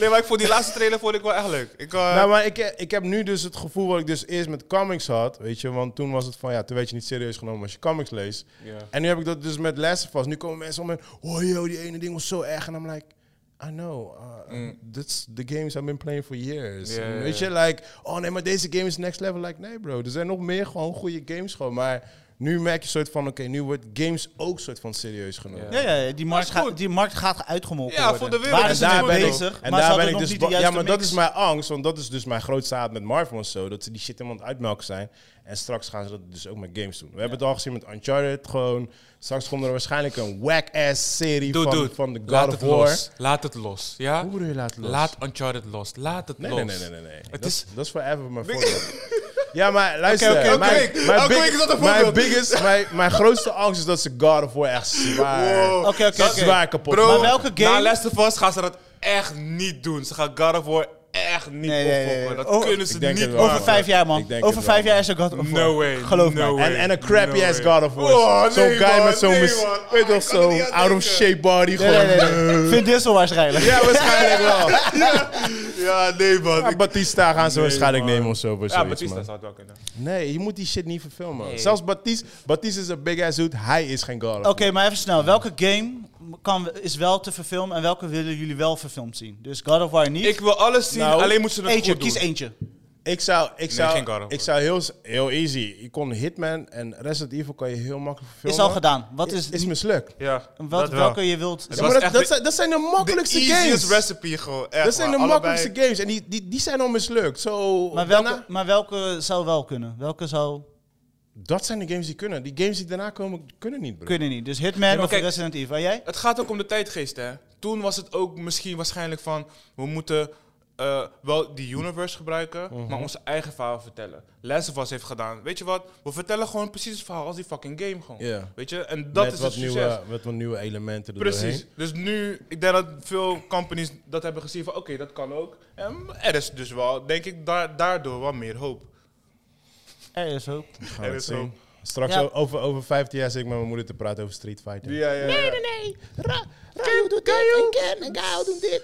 Speaker 1: Nee, maar ik vond die laatste trailer vond ik wel echt leuk. Ik, eh,
Speaker 3: Nou, maar ik, ik heb nu dus het gevoel wat ik dus eerst met comics had, weet je. Want toen was het van, ja, toen werd je niet serieus genomen als je comics leest.
Speaker 1: Ja.
Speaker 3: En nu heb ik dat dus met lessen vast. Nu komen mensen om en, oh joh, die ene ding was zo erg. En dan ben ik, I know, uh,
Speaker 1: Mm.
Speaker 3: that's the games I've been playing for years.
Speaker 1: Ja,
Speaker 3: En
Speaker 1: ja, ja.
Speaker 3: Weet je, like, oh nee, maar deze game is next level. Like, nee bro, er zijn nog meer gewoon goede games gewoon. Maar nu merk je soort van, oké, nu wordt games ook soort van serieus genomen.
Speaker 1: Ja.
Speaker 2: Ja, ja, die markt,
Speaker 1: Dat is
Speaker 2: gaat
Speaker 1: goed.
Speaker 2: die markt gaat uitgemolken
Speaker 1: Ja, voor
Speaker 2: worden.
Speaker 1: de wereld
Speaker 2: Waar
Speaker 1: is
Speaker 2: is
Speaker 1: het
Speaker 2: daar
Speaker 1: goed.
Speaker 2: bezig? maar ze
Speaker 3: En daar ben
Speaker 2: hadden
Speaker 3: ik
Speaker 2: nog
Speaker 3: dus
Speaker 2: niet
Speaker 3: ba-
Speaker 2: de
Speaker 3: Ja,
Speaker 2: juiste
Speaker 3: maar dat
Speaker 2: mix.
Speaker 3: is mijn angst, want dat is dus mijn grootste haat met Marvel en zo. Dat ze die shit helemaal aan het uitmelken zijn. En straks gaan ze dat dus ook met games doen. We hebben het al gezien met Uncharted. Gewoon, straks komt er waarschijnlijk een whack-ass serie
Speaker 1: Doe,
Speaker 3: van,
Speaker 1: doe.
Speaker 3: van de God
Speaker 1: Laat
Speaker 3: of
Speaker 1: het
Speaker 3: War.
Speaker 1: los. Laat het los. Ja?
Speaker 3: Hoe bedoel je laat los?
Speaker 1: Laat Uncharted los. Laat het
Speaker 3: nee,
Speaker 1: los.
Speaker 3: nee, nee, nee, nee, nee. Dat,
Speaker 1: is-
Speaker 3: is, dat is forever
Speaker 1: (laughs)
Speaker 3: mijn voorbeeld. Ja, maar luister.
Speaker 1: Oké, oké,
Speaker 3: mijn-
Speaker 1: oké.
Speaker 3: mijn
Speaker 1: Elke
Speaker 3: big-
Speaker 1: week is dat een
Speaker 3: Mijn
Speaker 1: voorbeeld.
Speaker 3: biggest, mijn, mijn grootste angst is dat ze God of War echt zwaar,
Speaker 1: Wow.
Speaker 2: Oké, oké, oké.
Speaker 3: zwaar kapot
Speaker 1: Bro,
Speaker 2: Maar
Speaker 3: maken.
Speaker 2: welke game-
Speaker 1: Na Last of Us gaan ze dat echt niet doen. Ze gaan God of War echt niet
Speaker 2: Nee, nee, nee,
Speaker 1: opvolgen.
Speaker 2: nee.
Speaker 1: Dat
Speaker 2: Oh,
Speaker 1: kunnen ze
Speaker 3: ik denk
Speaker 1: niet
Speaker 3: het wel.
Speaker 1: maken.
Speaker 2: Over vijf jaar,
Speaker 3: Ik
Speaker 2: man.
Speaker 3: denk
Speaker 2: Over
Speaker 3: het wel,
Speaker 2: vijf jaar is er God of War.
Speaker 1: No way.
Speaker 2: Geloof
Speaker 1: no
Speaker 2: me.
Speaker 1: way.
Speaker 3: En, en een crappy
Speaker 1: no
Speaker 3: ass
Speaker 1: way.
Speaker 3: God of War.
Speaker 1: Oh,
Speaker 3: zo'n
Speaker 1: nee,
Speaker 3: guy
Speaker 1: man,
Speaker 3: met zo'n
Speaker 1: nee,
Speaker 3: mis-
Speaker 1: man.
Speaker 3: weet
Speaker 1: Oh,
Speaker 3: toch
Speaker 1: ik kan er
Speaker 3: zo'n
Speaker 1: niet aan
Speaker 3: out of
Speaker 1: denken.
Speaker 3: shape body
Speaker 2: Nee,
Speaker 3: gewoon.
Speaker 2: nee, nee, nee. Vin Diesel waarschijnlijk.
Speaker 3: Ja, waarschijnlijk
Speaker 2: (laughs)
Speaker 3: wel.
Speaker 1: Ja, nee, man.
Speaker 3: Maar Batista Ah, gaan ze
Speaker 1: Nee,
Speaker 3: waarschijnlijk
Speaker 1: man.
Speaker 3: nemen of zo. voor
Speaker 1: ja,
Speaker 3: zoiets,
Speaker 1: Batista
Speaker 3: man.
Speaker 1: zou het wel kunnen.
Speaker 3: Nee, je moet die shit niet verfilmen. man.
Speaker 1: Nee. Oh.
Speaker 3: Zelfs Batista, Batista is een big ass dude. Hij is geen God of
Speaker 2: Oké, maar even snel. Welke game kan, is wel te verfilmen en welke willen jullie wel verfilmd zien? Dus God of War niet.
Speaker 1: Ik wil alles zien,
Speaker 3: Nou,
Speaker 1: alleen moeten ze het
Speaker 2: eentje,
Speaker 1: goed doen.
Speaker 2: kies eentje.
Speaker 3: Ik zou, ik zou,
Speaker 1: geen God of War.
Speaker 3: ik zou heel, s- heel easy. Je kon Hitman en Resident Evil kan je heel makkelijk verfilmen.
Speaker 2: Is al gedaan. Wat is,
Speaker 3: Is mislukt.
Speaker 1: Ja,
Speaker 2: wel-
Speaker 1: dat wel.
Speaker 2: welke je wilt
Speaker 1: Het
Speaker 3: Ja,
Speaker 2: zien?
Speaker 1: was
Speaker 3: maar dat,
Speaker 1: echt
Speaker 3: dat
Speaker 1: de-
Speaker 3: zijn, dat zijn de makkelijkste
Speaker 1: de easiest
Speaker 3: games.
Speaker 1: recipe gewoon. Echt,
Speaker 3: dat zijn de
Speaker 1: man.
Speaker 3: makkelijkste
Speaker 1: Allebei-
Speaker 3: games. En die, die, die zijn al mislukt. Zo.
Speaker 2: Maar welke,
Speaker 3: daarna-
Speaker 2: maar welke zou wel kunnen? Welke zou
Speaker 3: dat zijn de games die kunnen. Die games die daarna komen, kunnen niet. Bro.
Speaker 2: kunnen niet? Dus Hitman
Speaker 1: maar
Speaker 2: of
Speaker 1: kijk-
Speaker 2: Resident Evil. En jij?
Speaker 1: Het gaat ook om de tijdgeest, hè. Toen was het ook misschien waarschijnlijk van... We moeten eh, wel die universe gebruiken, maar onze eigen verhaal vertellen. Last of Us heeft gedaan. Weet je wat? We vertellen gewoon precies het verhaal als die fucking game gewoon.
Speaker 3: Ja.
Speaker 1: Weet je? En dat
Speaker 3: met
Speaker 1: is
Speaker 3: wat
Speaker 1: het succes.
Speaker 3: nieuwe, met wat nieuwe elementen er
Speaker 1: Precies.
Speaker 3: doorheen.
Speaker 1: Dus nu, ik denk dat veel companies dat hebben gezien van... Oké, dat kan ook. En er is dus wel, denk ik, daar, daardoor wel meer hoop.
Speaker 2: Er is hoop.
Speaker 3: We gaan
Speaker 1: Er
Speaker 3: het
Speaker 1: is
Speaker 3: zien.
Speaker 1: hoop.
Speaker 3: Straks
Speaker 2: Ja.
Speaker 3: o- over, over 15 jaar zit ik met mijn moeder te praten over Street Fighter.
Speaker 1: Nee, nee,
Speaker 3: Ryu doet dit, en Ken, en Gao doet dit.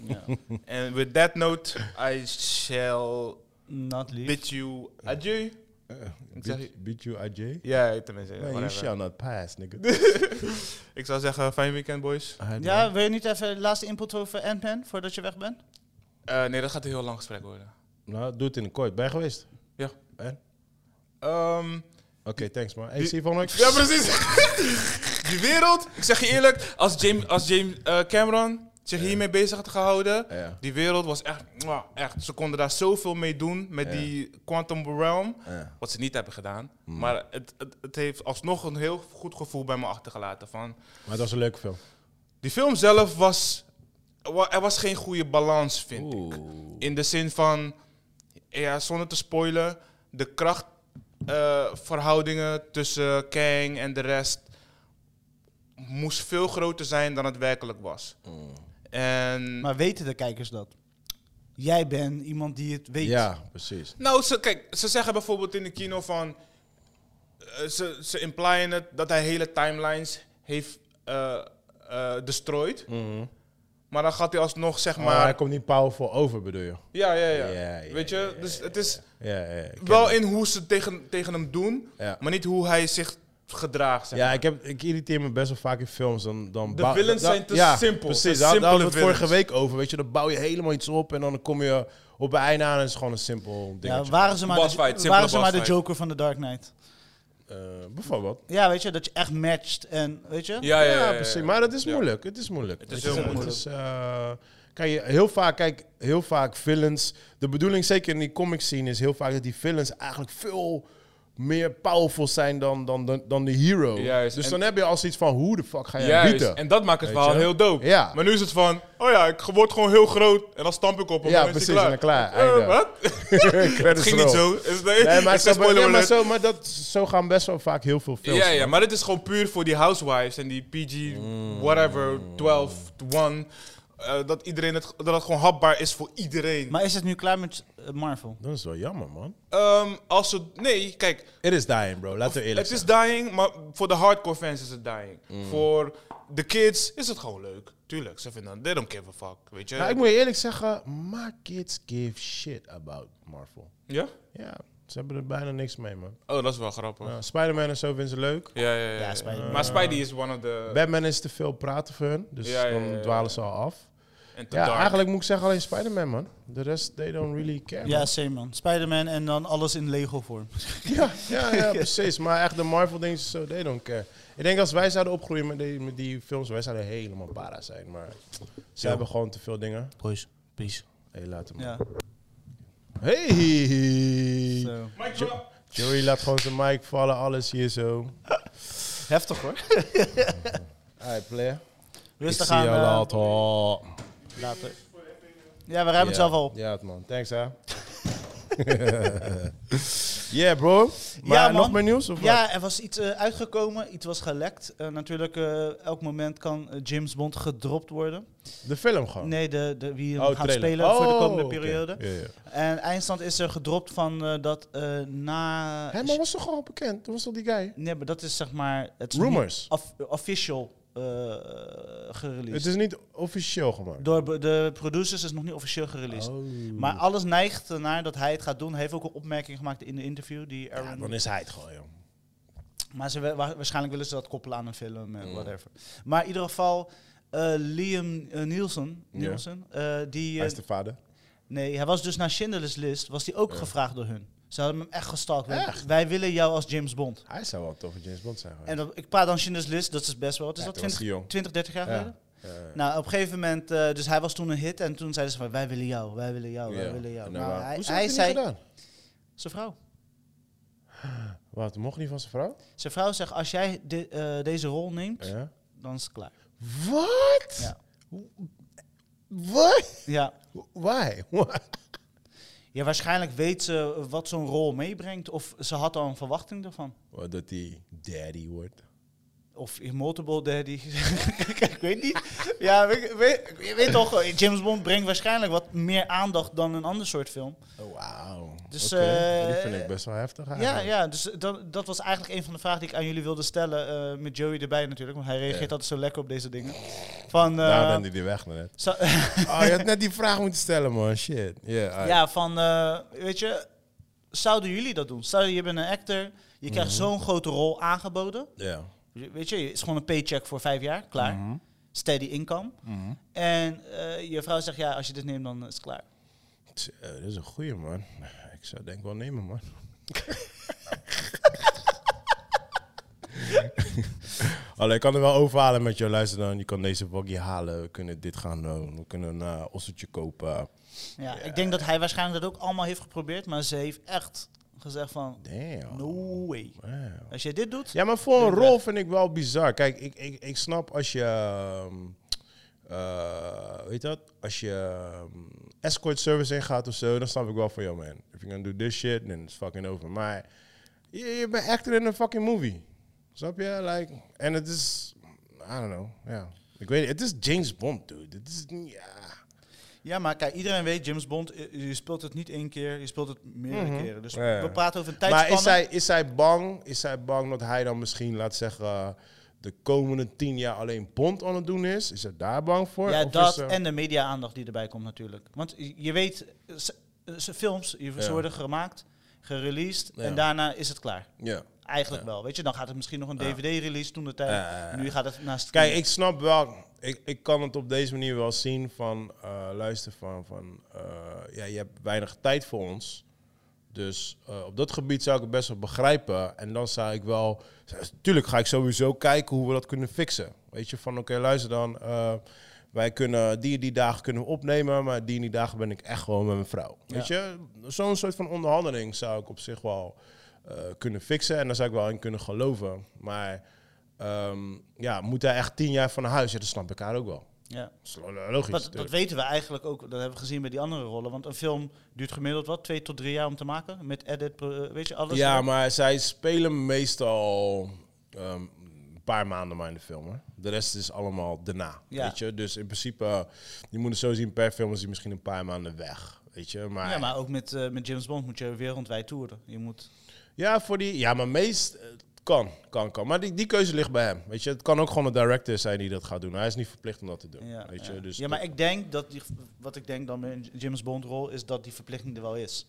Speaker 1: nee. And with that note, I shall
Speaker 2: Not leave.
Speaker 1: bid you adieu. Eh, zeg je-
Speaker 3: Beat, beat you, AJ?
Speaker 1: Ja, tenminste.
Speaker 3: Man, you
Speaker 1: whatever.
Speaker 3: shall not pass, (laughs) nigga.
Speaker 1: Ik zou zeggen, fijn weekend, boys.
Speaker 2: Ja, wil je niet even de laatste input over Ant-Man voordat je weg bent?
Speaker 1: Eh, nee, dat gaat een heel lang gesprek worden.
Speaker 3: Nou, doe het in de kort. Ben je geweest?
Speaker 1: Ja.
Speaker 3: En?
Speaker 1: Ehm,
Speaker 3: Oké, thanks man. Hey, Stefan, ik...
Speaker 1: ja, precies. (laughs) Die wereld, ik zeg je eerlijk, als James, als James eh, Cameron zich hiermee bezig had gehouden,
Speaker 3: Ja.
Speaker 1: die wereld was echt, mwah, echt, ze konden daar zoveel mee doen met
Speaker 3: Ja.
Speaker 1: die Quantum Realm,
Speaker 3: Ja.
Speaker 1: wat ze niet hebben gedaan.
Speaker 3: Mm.
Speaker 1: Maar het, het, het heeft alsnog een heel goed gevoel bij me achtergelaten van,
Speaker 3: Maar het was een leuke film.
Speaker 1: Die film zelf was. wa- Er was geen goede balans, vind ik. In de zin van. Ja, zonder te spoilen. De krachtverhoudingen tussen Kang en de rest. moest veel groter zijn dan het werkelijk was. En.
Speaker 2: Maar weten de kijkers dat? Jij bent iemand die het weet.
Speaker 3: Ja, precies.
Speaker 1: Nou, ze, kijk, ze zeggen bijvoorbeeld in de kino van. eh, ze, ze implyen het dat hij hele timelines heeft eh eh, destroyed.
Speaker 3: Hm.
Speaker 1: Maar dan gaat hij alsnog, zeg
Speaker 3: Mm-hmm. Maar
Speaker 1: maar.
Speaker 3: hij komt niet powerful over, bedoel je?
Speaker 1: Ja, ja, ja.
Speaker 3: Oh, Ja, ja,
Speaker 1: Weet je, dus het is
Speaker 3: Ja, ja. ik ken
Speaker 1: wel
Speaker 3: het.
Speaker 1: in hoe ze tegen, tegen hem doen,
Speaker 3: Ja.
Speaker 1: maar niet hoe hij zich gedraagt. zeg
Speaker 3: Ja,
Speaker 1: maar.
Speaker 3: ik, heb, ik irriteer me best wel vaak in films. Dan, dan
Speaker 1: De
Speaker 3: bouw-
Speaker 1: villains
Speaker 3: dan-
Speaker 1: zijn te
Speaker 3: ja,
Speaker 1: simpel. Zijn
Speaker 3: Precies, daar daar hadden we het
Speaker 1: simpele
Speaker 3: vorige week over. Weet je, dan bouw je helemaal iets op en dan kom je op het einde aan en het is gewoon een simpel
Speaker 2: Ja,
Speaker 3: dingetje.
Speaker 2: waren ze maar,
Speaker 1: Boss
Speaker 2: de,
Speaker 1: fight, simpele
Speaker 2: waren ze
Speaker 1: boss
Speaker 2: maar de
Speaker 1: fight.
Speaker 2: Joker van The Dark Knight.
Speaker 3: Eh, bijvoorbeeld.
Speaker 2: Ja, weet je, dat je echt matcht en weet je?
Speaker 1: Ja, ja, ja, ja,
Speaker 3: precies.
Speaker 1: ja.
Speaker 3: Maar het is
Speaker 1: Ja.
Speaker 3: moeilijk. Het is moeilijk.
Speaker 1: Het is
Speaker 3: Weet je,
Speaker 1: heel moeilijk.
Speaker 3: is, eh, kijk, je- heel vaak, kijk, heel vaak villains. De bedoeling, zeker in die comic scene, is heel vaak dat die villains eigenlijk veel meer powerful zijn dan, dan, dan, dan de hero.
Speaker 1: Juist,
Speaker 3: Dus
Speaker 1: en-
Speaker 3: dan heb je al zoiets van, hoe de fuck ga je hem
Speaker 1: Juist.
Speaker 3: bieten?
Speaker 1: En dat maakt het
Speaker 3: Weet
Speaker 1: verhaal
Speaker 3: je?
Speaker 1: heel dope.
Speaker 3: Ja.
Speaker 1: Maar nu is het van, oh ja, ik word gewoon heel groot en dan stamp ik op hem
Speaker 3: Ja,
Speaker 1: en dan is hij
Speaker 3: precies, en dan klaar,
Speaker 1: Eh,
Speaker 3: einde.
Speaker 1: wat? Het
Speaker 3: (laughs) Credits
Speaker 1: ging niet
Speaker 3: roll.
Speaker 1: zo. Is,
Speaker 3: Nee,
Speaker 1: nee, (laughs)
Speaker 3: maar,
Speaker 1: is
Speaker 3: zo,
Speaker 1: geen spoiler
Speaker 3: nee, maar,
Speaker 1: alert.
Speaker 3: zo, maar dat, zo gaan best wel vaak heel veel films.
Speaker 1: Ja, ja, maar dit is gewoon puur voor die housewives en die PG,
Speaker 3: Mm.
Speaker 1: whatever, 12, 1. eh, dat, iedereen het, dat het gewoon hapbaar is voor iedereen.
Speaker 2: Maar is het nu klaar met eh, Marvel?
Speaker 3: Dat is wel jammer, man.
Speaker 1: Ehm, als ze, nee, kijk,
Speaker 3: It is dying, bro. Laten we eerlijk
Speaker 1: Het
Speaker 3: zijn.
Speaker 1: is dying, maar voor de hardcore fans is het dying. Voor de kids is het gewoon leuk. Tuurlijk, ze vinden they don't give a fuck, weet je.
Speaker 3: Nou, ik moet je eerlijk zeggen, my kids give shit about Marvel.
Speaker 1: Ja?
Speaker 3: Ja, ze hebben er bijna niks mee, man.
Speaker 1: Oh, dat is wel grappig. Ja,
Speaker 3: Ja, Spider-Man en zo vinden ze leuk.
Speaker 1: ja, ja. ja,
Speaker 2: Ja, Spidey.
Speaker 1: Maar Spidey is one of the...
Speaker 3: Batman is te veel praten voor hun, dus
Speaker 1: Ja, ja, ja,
Speaker 3: dan
Speaker 1: ja,
Speaker 3: dwalen ze al af.
Speaker 1: en te
Speaker 3: Ja,
Speaker 1: dark.
Speaker 3: eigenlijk moet ik zeggen alleen Spider-Man, man. De rest, they don't really care.
Speaker 2: Ja,
Speaker 3: man.
Speaker 2: same man. Spider-Man en dan alles in Lego vorm.
Speaker 3: Ja,
Speaker 2: (laughs)
Speaker 3: ja, ja, precies. Maar echt de Marvel-dingen, zo, they don't care. Ik denk als wij zouden opgroeien met die, met die films, wij zouden helemaal para zijn. Maar ze
Speaker 2: Ja.
Speaker 3: hebben gewoon te veel dingen.
Speaker 2: Boys, peace.
Speaker 3: Hé, laat hem.
Speaker 2: Ja.
Speaker 3: Hey!
Speaker 2: Zo.
Speaker 1: Mic
Speaker 3: Jo-
Speaker 1: drop.
Speaker 3: Joey laat gewoon zijn mic vallen, alles hier zo.
Speaker 2: Heftig hoor.
Speaker 3: Hi, player.
Speaker 2: Rustig
Speaker 3: Ik zie
Speaker 2: aan.
Speaker 3: jou
Speaker 2: eh,
Speaker 3: later.
Speaker 2: later. Ja, we ruimen het zelf al op.
Speaker 3: Ja, het man. Thanks,
Speaker 2: (laughs)
Speaker 3: hè. (laughs) yeah, bro. Maar
Speaker 2: Ja, man.
Speaker 3: nog meer nieuws? Of wat?
Speaker 2: Ja, er was iets eh, uitgekomen, iets was gelekt. Eh, natuurlijk, eh, elk moment kan eh, James Bond gedropt worden.
Speaker 3: De film gewoon.
Speaker 2: Nee, de, de, wie hem
Speaker 3: Oh,
Speaker 2: gaat
Speaker 3: trailer.
Speaker 2: spelen voor de
Speaker 3: Oh,
Speaker 2: komende
Speaker 3: oké.
Speaker 2: periode.
Speaker 3: Ja, ja.
Speaker 2: En eindstand is er gedropt van eh, dat eh, na...
Speaker 3: Hé, maar was toch gewoon bekend? Toen was toch die guy?
Speaker 2: Nee, maar dat is zeg maar... Het is
Speaker 3: Rumors.
Speaker 2: niet of- official eh gereleased.
Speaker 3: Het is niet officieel gemaakt.
Speaker 2: Door be- de producers is nog niet officieel gereleased.
Speaker 3: Oh.
Speaker 2: Maar alles neigt ernaar dat hij het gaat doen. Hij heeft ook een opmerking gemaakt in de interview. Die Aaron
Speaker 3: dan is hij het gewoon, joh.
Speaker 2: Maar ze, wa- waarschijnlijk willen ze dat koppelen aan een film
Speaker 3: Mm.
Speaker 2: en whatever. Maar in ieder geval, eh, Liam eh, Nielsen,
Speaker 3: Ja.
Speaker 2: Nielsen eh, die, eh,
Speaker 3: Hij is de vader.
Speaker 2: nee, hij was dus naar Schindler's List, was die ook gevraagd door hun. Ze hadden hem echt gestalkt. Wij-
Speaker 3: Echt?
Speaker 2: Wij willen jou als James Bond.
Speaker 3: Hij zou wel tof in James Bond zijn.
Speaker 2: En dat, ik praat dan Schindler's List, dat is best wel, wat is
Speaker 3: Ja,
Speaker 2: dat,
Speaker 3: toen was
Speaker 2: 20,
Speaker 3: hij jong.
Speaker 2: 20, 30 jaar
Speaker 3: Ja.
Speaker 2: geleden?
Speaker 3: Eh,
Speaker 2: Nou, op een gegeven moment, eh, dus hij was toen een hit en toen zeiden ze van, wij willen jou, wij willen jou, wij willen jou. Nou, hij,
Speaker 3: eh, Hoezo
Speaker 2: hij
Speaker 3: heeft hij
Speaker 2: zei,
Speaker 3: niet gedaan?
Speaker 2: zijn vrouw.
Speaker 3: Wat, mocht niet van zijn vrouw?
Speaker 2: Zijn vrouw zegt, als jij de- eh, deze rol neemt,
Speaker 3: Ja.
Speaker 2: dan is het klaar.
Speaker 3: Wat?
Speaker 2: Ja.
Speaker 3: Wat?
Speaker 2: Ja.
Speaker 3: Why? (laughs)
Speaker 2: Ja, waarschijnlijk weet ze wat zo'n rol meebrengt. Of ze had al een verwachting ervan.
Speaker 3: Wat dat hij daddy wordt.
Speaker 2: Of Immortable Daddy. (laughs) ik weet niet. Ja, weet, weet, je weet toch, eh, James Bond brengt waarschijnlijk wat meer aandacht dan een ander soort film.
Speaker 3: Oh, wauw.
Speaker 2: Dus,
Speaker 3: Oké,
Speaker 2: eh,
Speaker 3: die vind ik best wel heftig
Speaker 2: Ja,
Speaker 3: eigenlijk.
Speaker 2: ja dus dat, dat was eigenlijk een van de vragen die ik aan jullie wilde stellen. eh, met Joey erbij natuurlijk, want hij reageert altijd zo lekker op deze dingen. Van, eh,
Speaker 3: Daar ben hij Nou, die weg net.
Speaker 2: zo- (laughs)
Speaker 3: Oh, je had net die vraag moeten stellen, man. Shit. Yeah, alright.
Speaker 2: ja, van, eh, weet je, zouden jullie dat doen? Stel, je bent een actor, je krijgt zo'n grote rol aangeboden.
Speaker 3: Ja.
Speaker 2: Je- Weet je, het is gewoon een paycheck voor vijf jaar, klaar.
Speaker 3: Mhm.
Speaker 2: Steady income. En eh, je vrouw zegt, ja, als je dit neemt, dan is het klaar.
Speaker 3: Tj, eh, dat is een goeie, man. Ik zou denk wel nemen, man. Allee, ik kan er wel overhalen met jou. Luister dan, je kan deze buggy halen. We kunnen dit gaan doen. We kunnen een eh, osseltje kopen.
Speaker 2: Ja, Ik denk dat hij waarschijnlijk dat ook allemaal heeft geprobeerd, maar ze heeft echt gezegd van,
Speaker 3: Damn.
Speaker 2: no way.
Speaker 3: Wow.
Speaker 2: Als je dit doet,
Speaker 3: Ja, maar voor een rol vind ik wel bizar. Kijk, ik, ik, ik snap als je... ehm, eh, weet je dat? Als je ehm, escort service ingaat of zo, dan snap ik wel van, yo man, if you're gonna do this shit, then it's fucking over. Maar je, je bent actor in een fucking movie. Snap je? Like, en het is, I don't know, ja. Ik weet het, het is James Bond, dude. Het is, niet- ja.
Speaker 2: ja, maar kijk, iedereen weet, James Bond, eh, je speelt het niet één keer, je speelt het meerdere keren. Dus
Speaker 3: Ja.
Speaker 2: we praten over een
Speaker 3: Maar is
Speaker 2: tijdspanne.
Speaker 3: zij, is zij bang? Is zij bang dat hij dan misschien, laat zeggen, eh, de komende tien jaar alleen Bond aan het doen is? Is ze daar bang voor?
Speaker 2: Ja,
Speaker 3: Of is
Speaker 2: dat
Speaker 3: ze-
Speaker 2: en de media-aandacht die erbij komt natuurlijk. Want je- je weet, eh, ze- eh, ze- films, je- ze
Speaker 3: Ja.
Speaker 2: worden gemaakt, gereleased
Speaker 3: Ja.
Speaker 2: en daarna is het klaar.
Speaker 3: Ja.
Speaker 2: Eigenlijk wel. Weet je, dan gaat het misschien nog een DVD-release toen de tijd.
Speaker 3: Ja, ja, ja.
Speaker 2: Nu gaat het naast.
Speaker 3: Kijk, ik snap wel. Ik, ik kan het op deze manier wel zien van eh, luister van, van eh, ja, je hebt weinig tijd voor ons. Dus eh, op dat gebied zou ik het best wel begrijpen. En dan zou ik wel. Tuurlijk ga ik sowieso kijken hoe we dat kunnen fixen. Weet je, van oké, luister dan. eh, wij kunnen die en die dagen kunnen we opnemen, maar die en die dagen ben ik echt gewoon met mijn vrouw. Weet je, zo'n soort van onderhandeling zou ik op zich wel eh, kunnen fixen. En daar zou ik wel in kunnen geloven. Maar ehm, ja, moet hij echt tien jaar van huis? Ja, dat snap ik haar ook wel.
Speaker 2: ja.
Speaker 3: Dat is lo- logisch.
Speaker 2: dat, dat
Speaker 3: natuurlijk.
Speaker 2: weten we eigenlijk ook. Dat hebben we gezien bij die andere rollen. Want een film duurt gemiddeld wat? Twee tot drie jaar om te maken. Met edit, pro- eh, weet je alles.
Speaker 3: Ja,
Speaker 2: erop.
Speaker 3: maar zij spelen meestal ehm, een paar maanden maar in de film. Hè? De rest is allemaal daarna.
Speaker 2: Ja.
Speaker 3: Weet je? Dus in principe, eh, je moet het zo zien, per film is hij misschien een paar maanden weg. Weet je? Maar,
Speaker 2: ja, maar ook met, eh, met James Bond moet je wereldwijd toeren. Je moet.
Speaker 3: Ja, voor die, ja maar meest eh, kan, kan, kan. Maar die, die keuze ligt bij hem. Weet je? Het kan ook gewoon een director zijn die dat gaat doen. Hij is niet verplicht om dat te doen.
Speaker 2: Ja,
Speaker 3: weet je?
Speaker 2: ja.
Speaker 3: Dus
Speaker 2: ja maar
Speaker 3: dat-
Speaker 2: ik denk dat die, wat ik denk dan met een James Bond rol is dat die verplichting er wel is.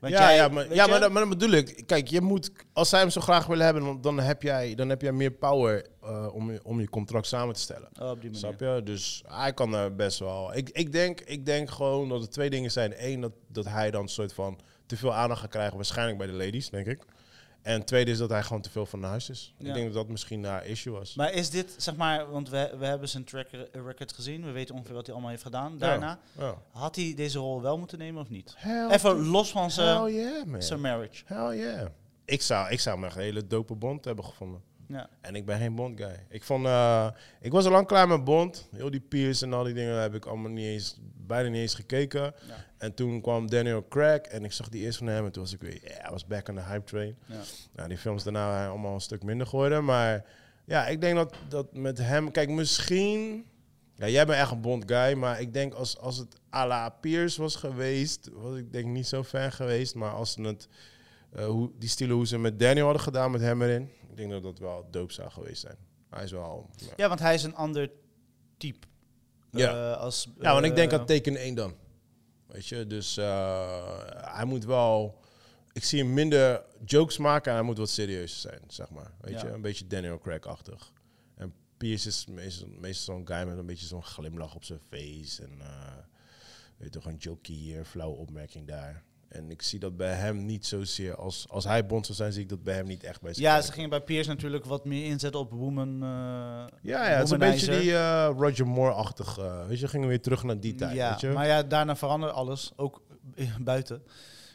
Speaker 2: Want
Speaker 3: ja,
Speaker 2: jij-
Speaker 3: ja, maar,
Speaker 2: weet
Speaker 3: ja
Speaker 2: je?
Speaker 3: maar, dat, maar dat bedoel ik. Kijk, je moet, als zij hem zo graag willen hebben, dan, dan, heb, jij, dan heb jij meer power eh, om, je- om je contract samen te stellen.
Speaker 2: Oh, op die manier.
Speaker 3: Snap je? Dus hij kan daar best wel. Ik, ik, denk, ik denk gewoon dat er twee dingen zijn. Eén, dat, dat hij dan een soort van te veel aandacht gaat krijgen, waarschijnlijk bij de ladies, denk ik. En tweede is dat hij gewoon te veel van huis is.
Speaker 2: Ja.
Speaker 3: Ik denk dat dat misschien een issue was.
Speaker 2: Maar is dit, zeg maar, want we, we hebben zijn track record gezien. We weten ongeveer wat hij allemaal heeft gedaan daarna.
Speaker 3: Ja.
Speaker 2: Had hij deze rol wel moeten nemen of niet?
Speaker 3: Hell,
Speaker 2: Even los van
Speaker 3: hell
Speaker 2: zijn
Speaker 3: yeah, man.
Speaker 2: zijn marriage.
Speaker 3: Hell yeah. Ik zou, ik zou hem echt een hele dope bond hebben gevonden.
Speaker 2: Ja.
Speaker 3: En ik ben geen Bond guy. Ik, vond, eh, ik was al lang klaar met Bond. Heel die Pierce en al die dingen heb ik allemaal niet eens, bijna niet eens gekeken.
Speaker 2: Ja.
Speaker 3: En toen kwam Daniel Craig en ik zag die eerst van hem. En toen was ik weer, ja, I was back on the hype train.
Speaker 2: Ja.
Speaker 3: Nou, die films daarna waren allemaal een stuk minder geworden. Maar ja, ik denk dat, dat met hem, kijk, misschien. Ja, jij bent echt een Bond guy, maar ik denk als, als het à la Pierce was geweest, was ik denk niet zo fan geweest. Maar als ze het, eh, hoe, die stijl hoe ze met Daniel hadden gedaan, met hem erin, ik denk dat dat wel dope zou geweest zijn. Hij is wel... Ja,
Speaker 2: ja, want hij is een ander type.
Speaker 3: Ja.
Speaker 2: Eh, als,
Speaker 3: ja want ik denk
Speaker 2: eh,
Speaker 3: aan teken 1 dan. Weet je, dus eh, hij moet wel... Ik zie hem minder jokes maken en hij moet wat serieuzer zijn, zeg maar. Weet
Speaker 2: Ja.
Speaker 3: je, een beetje Daniel Craig-achtig. En Pierce is meestal, meestal zo'n guy met een beetje zo'n glimlach op zijn face. En eh, weet je, toch een jokey hier, flauwe opmerking daar. En ik zie dat bij hem niet zozeer als... Als hij Bond zou zijn, zie ik dat bij hem niet echt bij zijn
Speaker 2: Ja,
Speaker 3: karakter.
Speaker 2: ze gingen bij Piers natuurlijk wat meer inzetten op woman. eh,
Speaker 3: Ja, ja, het is een beetje
Speaker 2: womanizer.
Speaker 3: die eh, Roger Moore-achtig. eh, weet je, gingen we weer terug naar die tijd,
Speaker 2: ja,
Speaker 3: weet je.
Speaker 2: maar ja, daarna veranderde alles, ook (laughs) buiten.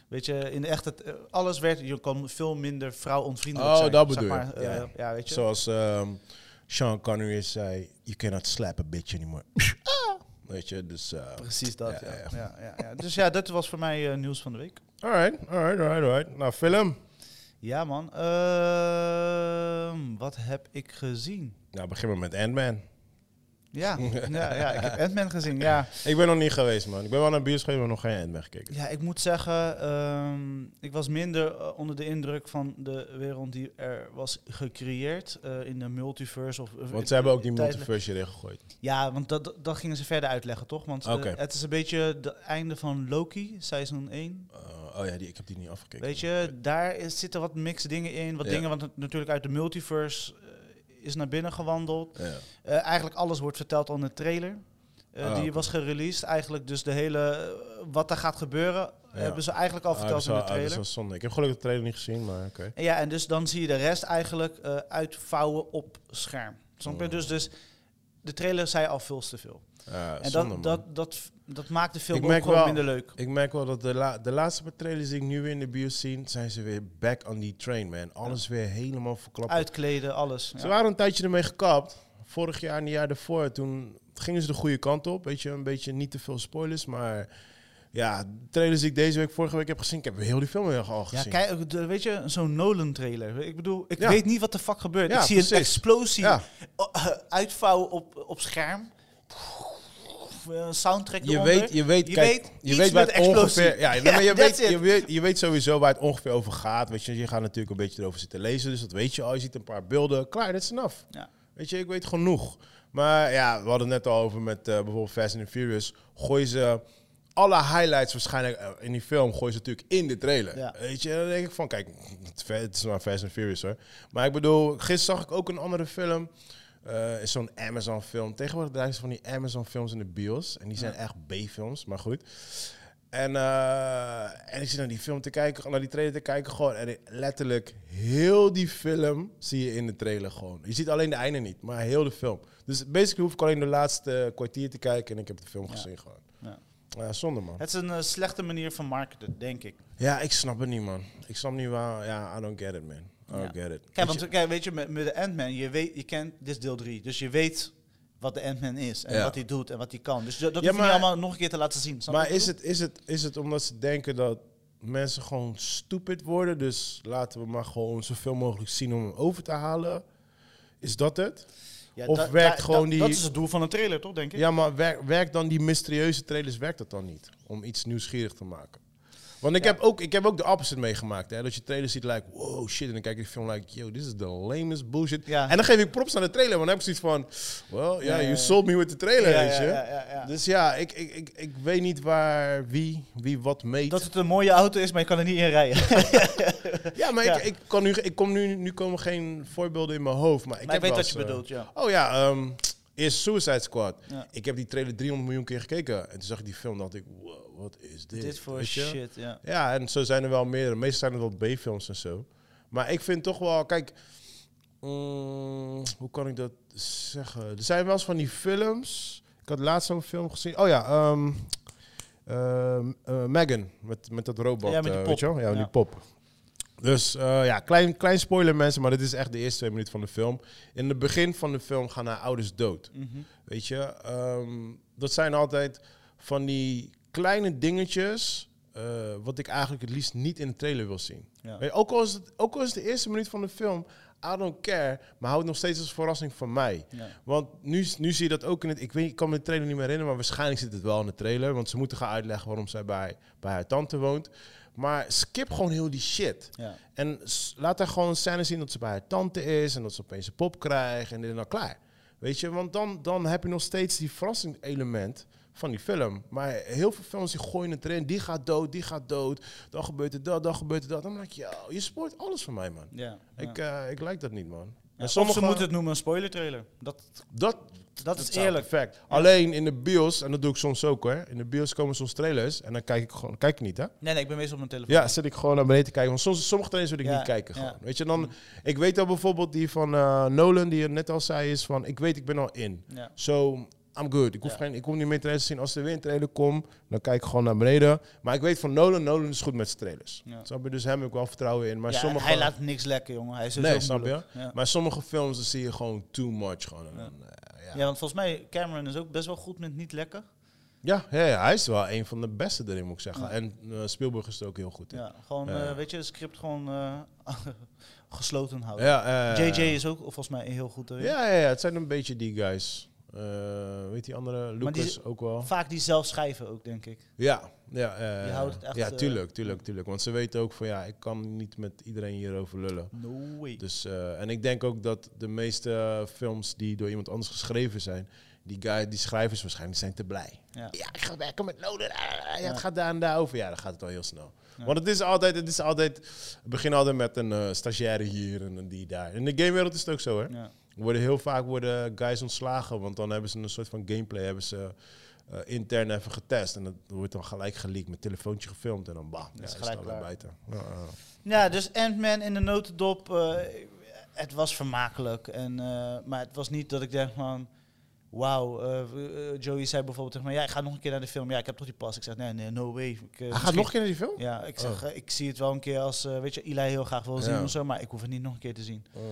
Speaker 2: Weet je, in de echte, t- eh, alles werd, je kon veel minder vrouwonvriendelijk
Speaker 3: Oh,
Speaker 2: zijn.
Speaker 3: dat
Speaker 2: zeg
Speaker 3: bedoel je.
Speaker 2: maar, eh,
Speaker 3: Ja.
Speaker 2: ja. weet je.
Speaker 3: Zoals ehm, Sean Connery zei, you cannot slap a bitch anymore. Ah. Weet je, dus... eh,
Speaker 2: Precies dat,
Speaker 3: Ja,
Speaker 2: ja.
Speaker 3: ja,
Speaker 2: Ja, ja. ja. Dus ja, dat was voor mij eh, nieuws van de week.
Speaker 3: alright, alright, alright, alright. Nou, film.
Speaker 2: Ja, man. Ehm, wat heb ik gezien?
Speaker 3: Nou, begin maar met Ant-Man. (laughs)
Speaker 2: Ja, ja, ja ik heb Ant-Man gezien, ja.
Speaker 3: Ik ben nog niet geweest, man. Ik ben wel naar bios geweest, maar nog geen Ant-Man gekeken.
Speaker 2: Ja, ik moet zeggen, ehm, ik was minder eh, onder de indruk van de wereld die er was gecreëerd eh, in de multiverse. Of,
Speaker 3: Want ze hebben ook die
Speaker 2: tijdelijk-
Speaker 3: multiverse erin gegooid.
Speaker 2: Ja, want dat, dat gingen ze verder uitleggen, toch? Want eh,
Speaker 3: Oké.
Speaker 2: het is een beetje het einde van Loki, seizoen 1.
Speaker 3: Eh, oh ja, die, ik heb die niet afgekeken.
Speaker 2: Weet je, daar is, zitten wat mixed dingen in. Wat
Speaker 3: Ja.
Speaker 2: dingen, want het natuurlijk uit de multiverse eh, is naar binnen gewandeld.
Speaker 3: Ja.
Speaker 2: Eh, eigenlijk alles wordt verteld al in de trailer. Eh,
Speaker 3: Ah,
Speaker 2: die
Speaker 3: oké.
Speaker 2: was gereleased. Eigenlijk dus de hele... eh, wat er gaat gebeuren,
Speaker 3: Ja.
Speaker 2: hebben ze eigenlijk al
Speaker 3: Ah, dat
Speaker 2: verteld
Speaker 3: is
Speaker 2: in
Speaker 3: wel-
Speaker 2: de
Speaker 3: ah, dat is
Speaker 2: trailer.
Speaker 3: wel zonde. Ik heb gelukkig de trailer niet gezien, maar oké.
Speaker 2: En Ja, en dus dan zie je de rest eigenlijk eh, uitvouwen op scherm. Snap je?
Speaker 3: Oh.
Speaker 2: Dus, dus de trailer zei al veel te veel.
Speaker 3: Ja,
Speaker 2: en
Speaker 3: Eh, zonde, man.
Speaker 2: dat, dat, dat, dat maakt de
Speaker 3: Ik
Speaker 2: film ook
Speaker 3: merk
Speaker 2: gewoon
Speaker 3: wel-
Speaker 2: minder leuk.
Speaker 3: Ik merk wel dat de, la- de laatste paar trailers die ik nu weer in de bios zie, zijn ze weer back on die train, man. Alles weer helemaal verklapt.
Speaker 2: Uitkleden, alles.
Speaker 3: Ze
Speaker 2: Ja.
Speaker 3: waren een tijdje ermee gekapt. Vorig jaar en die jaar daarvoor. Toen gingen ze de goede kant op. Weet je, een beetje niet te veel spoilers. Maar ja, de trailers die ik deze week, vorige week heb gezien. Ik heb heel die film weer al
Speaker 2: Ja,
Speaker 3: gezien.
Speaker 2: kijk, de- weet je, zo'n Nolan-trailer. Ik bedoel, ik
Speaker 3: Ja.
Speaker 2: weet niet wat de fuck gebeurt.
Speaker 3: Ja,
Speaker 2: ik zie
Speaker 3: precies.
Speaker 2: een explosie
Speaker 3: Ja,
Speaker 2: uitvouwen op, op scherm. eh, Een soundtrack
Speaker 3: je
Speaker 2: eronder.
Speaker 3: weet, je weet,
Speaker 2: Je
Speaker 3: kijk,
Speaker 2: weet
Speaker 3: je
Speaker 2: iets
Speaker 3: weet waar
Speaker 2: met
Speaker 3: het
Speaker 2: explosie.
Speaker 3: ongeveer, ja,
Speaker 2: Ja,
Speaker 3: maar je,
Speaker 2: that's
Speaker 3: weet,
Speaker 2: it.
Speaker 3: je, weet, je weet sowieso waar het ongeveer over gaat. Weet je, je gaat natuurlijk een beetje erover zitten lezen, dus dat weet je al. Je ziet een paar beelden, klaar, that's enough.
Speaker 2: Ja.
Speaker 3: Weet je, ik weet genoeg. Maar ja, we hadden het net al over met eh, bijvoorbeeld Fast and the Furious. Gooi ze alle highlights waarschijnlijk eh, in die film, gooi ze natuurlijk in de trailer.
Speaker 2: Ja.
Speaker 3: Weet je, en dan denk ik van, kijk, het ver- het is maar Fast and Furious hoor. Maar ik bedoel, gisteren zag ik ook een andere film. eh, is zo'n Amazon film. Tegenwoordig draaien ze van die Amazon films in de bios. En die zijn echt B-films, maar goed. En, eh, en ik zit naar die film te kijken, naar die trailer te kijken gewoon. En letterlijk heel die film zie je in de trailer gewoon. Je ziet alleen de einde niet, maar heel de film. Dus basically hoef ik alleen de laatste kwartier te kijken en ik heb de film gezien gewoon.
Speaker 2: Ja.
Speaker 3: Ja, zonde man.
Speaker 2: Het is een eh, slechte manier van marketen, denk ik.
Speaker 3: Ja, ik snap het niet man. Ik snap niet waar, ja, I don't get it man. I don't get it.
Speaker 2: Kijk,
Speaker 3: Weet
Speaker 2: want
Speaker 3: je-
Speaker 2: kijk, weet je, met, met de Ant-Man, je, weet- je kent, dit is deel 3, dus je weet wat de Ant-Man is en
Speaker 3: Ja.
Speaker 2: wat hij doet en wat hij kan. Dus dat, dat
Speaker 3: Ja,
Speaker 2: hoef je
Speaker 3: maar-
Speaker 2: niet allemaal nog een keer te laten zien. snap je wat
Speaker 3: maar
Speaker 2: ik
Speaker 3: is het, is, het, is het omdat ze denken dat mensen gewoon stupid worden? Dus laten we maar gewoon zoveel mogelijk zien om hem over te halen? Is dat het?
Speaker 2: bedoel? Ja,
Speaker 3: of
Speaker 2: da-
Speaker 3: werkt
Speaker 2: da-
Speaker 3: gewoon
Speaker 2: da-
Speaker 3: die-
Speaker 2: Dat is het doel van een trailer, toch, denk ik?
Speaker 3: Ja, maar wer- werkt dan die mysterieuze trailers, werkt dat dan niet? Om iets nieuwsgierig te maken. Want ik, heb ook, ik heb ook de opposite meegemaakt. Hè? Dat je trailers ziet, like, wow, shit. En dan kijk ik de film, like, yo, this is the lamest bullshit.
Speaker 2: Ja.
Speaker 3: En dan geef ik props aan de trailer. Want dan heb ik zoiets van, well, yeah,
Speaker 2: Ja, ja, ja.
Speaker 3: you sold me with the trailer,
Speaker 2: Ja,
Speaker 3: weet
Speaker 2: ja,
Speaker 3: je.
Speaker 2: ja, ja, ja.
Speaker 3: Dus ja, ik, ik, ik, ik weet niet waar, wie, wie wat meet.
Speaker 2: Dat het een mooie auto is, maar je kan er niet in
Speaker 3: (laughs)
Speaker 2: rijden.
Speaker 3: ja,
Speaker 2: (laughs)
Speaker 3: maar
Speaker 2: ja.
Speaker 3: Ik, ik, kan nu, ik kom nu, nu komen geen voorbeelden in mijn hoofd. Maar ik,
Speaker 2: maar ik weet
Speaker 3: heb wel
Speaker 2: wat je
Speaker 3: eens, eh,
Speaker 2: bedoelt, ja.
Speaker 3: Oh ja, ehm eerst Suicide Squad.
Speaker 2: Ja.
Speaker 3: Ik heb die trailer 300 miljoen keer gekeken. En toen zag ik die film dacht ik, wow, wat is dit?
Speaker 2: Dit voor
Speaker 3: Weet je?
Speaker 2: shit, ja.
Speaker 3: Ja, en zo zijn er wel meerdere. Meestal zijn het wel B-films en zo. Maar ik vind toch wel, kijk, mm, hoe kan ik dat zeggen? Er zijn wel eens van die films. Ik had laatst zo'n film gezien. Oh ja, ehm eh, Megan met, met dat robot.
Speaker 2: Ja, met die
Speaker 3: eh,
Speaker 2: pop.
Speaker 3: weet je wel? Ja, met
Speaker 2: Ja.
Speaker 3: die pop. Dus eh, ja, klein, klein spoiler mensen, maar dit is echt de eerste twee minuten van de film. In het begin van de film gaan haar ouders dood.
Speaker 2: Mhm.
Speaker 3: Weet je, ehm, dat zijn altijd van die kleine dingetjes. eh, wat ik eigenlijk het liefst niet in de trailer wil zien.
Speaker 2: Ja.
Speaker 3: Weet je, ook, al is het, ook al is het de eerste minuut van de film, I don't care. Maar houdt nog steeds als verrassing van mij.
Speaker 2: Ja.
Speaker 3: Want nu, nu zie je dat ook in het. Ik, weet, ik kan me de trailer niet meer herinneren, maar waarschijnlijk zit het wel in de trailer. Want ze moeten gaan uitleggen waarom zij bij, bij haar tante woont. Maar skip gewoon heel die shit.
Speaker 2: Ja.
Speaker 3: En s- laat haar gewoon scènes zien dat ze bij haar tante is en dat ze opeens een pop krijgt en dit en dat klaar. Weet je, want dan, dan heb je nog steeds die verrassingselement van die film. Maar heel veel films die gooien het erin, die gaat dood, die gaat dood, dan gebeurt er dat, dan gebeurt er dat. Dan denk ik, yo, je spoort alles van mij, man.
Speaker 2: Ja,
Speaker 3: Ik, eh, ik like dat niet, man.
Speaker 2: Ja,
Speaker 3: En
Speaker 2: Sommigen
Speaker 3: sommige
Speaker 2: moeten het noemen een spoiler trailer. Dat,
Speaker 3: dat,
Speaker 2: dat is
Speaker 3: zou
Speaker 2: eerlijk.
Speaker 3: perfect. Alleen in de bios, en dat doe ik soms ook hoor, in de bios komen soms trailers en dan kijk ik gewoon, kijk ik niet hè.
Speaker 2: Nee, nee, ik ben meestal op mijn telefoon.
Speaker 3: Ja, zit ik gewoon naar beneden te kijken. Want soms, sommige trailers wil ik
Speaker 2: Ja,
Speaker 3: niet kijken.
Speaker 2: ja.
Speaker 3: Gewoon. Weet je, dan, ik weet al bijvoorbeeld die van eh, Nolan, die je net al zei, is van, ik weet, ik ben al in.
Speaker 2: Ja.
Speaker 3: So, I'm good. Ik hoef,
Speaker 2: Ja.
Speaker 3: geen, ik hoef niet meer trailers te zien. Als er weer een trailer komt, dan kijk ik gewoon naar beneden. Maar ik weet van Nolan, Nolan is goed met zijn trailers.
Speaker 2: Ja.
Speaker 3: Snap je? Dus hem heb ik wel vertrouwen in. Maar
Speaker 2: Ja, en
Speaker 3: sommige...
Speaker 2: Hij laat niks lekker, jongen. Hij is
Speaker 3: nee,
Speaker 2: sowieso
Speaker 3: snap je?
Speaker 2: moeilijk. Ja.
Speaker 3: Maar sommige films, dan zie je gewoon too much. Gewoon. En
Speaker 2: Ja.
Speaker 3: dan, eh,
Speaker 2: Ja.
Speaker 3: ja.
Speaker 2: want volgens mij Cameron is ook best wel goed met niet lekker.
Speaker 3: Ja, ja, ja, hij is wel een van de beste erin, moet ik zeggen.
Speaker 2: Ja.
Speaker 3: En eh, Spielberg is er ook heel goed in.
Speaker 2: Ja, gewoon,
Speaker 3: Ja.
Speaker 2: eh, weet je, het script gewoon eh, (laughs) gesloten houden.
Speaker 3: Ja, eh,
Speaker 2: JJ is ook volgens mij heel goed eh, erin.
Speaker 3: Ja, ja, ja, het zijn een beetje die guys. Eh, weet die andere?
Speaker 2: Maar die
Speaker 3: Lucas ook wel.
Speaker 2: Vaak die zelf schrijven ook, denk ik.
Speaker 3: Ja, ja, eh,
Speaker 2: Die houdt het echt,
Speaker 3: ja,
Speaker 2: eh,
Speaker 3: tuurlijk, tuurlijk, tuurlijk. Want ze weten ook van ja, ik kan niet met iedereen hierover lullen.
Speaker 2: No way.
Speaker 3: Dus, eh, en ik denk ook dat de meeste eh, films die door iemand anders geschreven zijn, die, guy, die schrijvers waarschijnlijk zijn te blij.
Speaker 2: Ja.
Speaker 3: Ja, ik ga werken met Nolan. ah, ah, ah, ja,
Speaker 2: Ja.
Speaker 3: Het gaat daar en daar over. Ja, dan gaat het al heel snel.
Speaker 2: Ja.
Speaker 3: Want het is altijd, het is altijd, we beginnen altijd met een eh, stagiaire hier en een die daar. In de gamewereld is het ook zo, hè?
Speaker 2: Ja.
Speaker 3: worden heel vaak worden guys ontslagen, want dan hebben ze een soort van gameplay hebben ze eh, intern even getest en dat wordt dan gelijk geleakt met telefoontje gefilmd en dan bam,
Speaker 2: Dat is
Speaker 3: ja,
Speaker 2: gelijk Eh,
Speaker 3: dan
Speaker 2: klaar.
Speaker 3: buiten. Ja, ja.
Speaker 2: Ja, dus Ant-Man in de notendop. eh, het was vermakelijk. En, eh, maar het was niet dat ik dacht van... Wauw, eh, eh, Joey zei bijvoorbeeld tegen mij... Ja, ik ga nog een keer naar de film. Ja, ik heb toch die pas. Ik zeg, nee, nee, no way. Ik, eh,
Speaker 3: Hij gaat
Speaker 2: misschien-
Speaker 3: nog een keer naar die film?
Speaker 2: Ja, ik zeg, eh, ik zie het wel een keer als... eh, weet je, Eli heel graag wil zien
Speaker 3: Ja.
Speaker 2: of zo. Maar ik hoef het niet nog een keer te zien.
Speaker 3: Oh.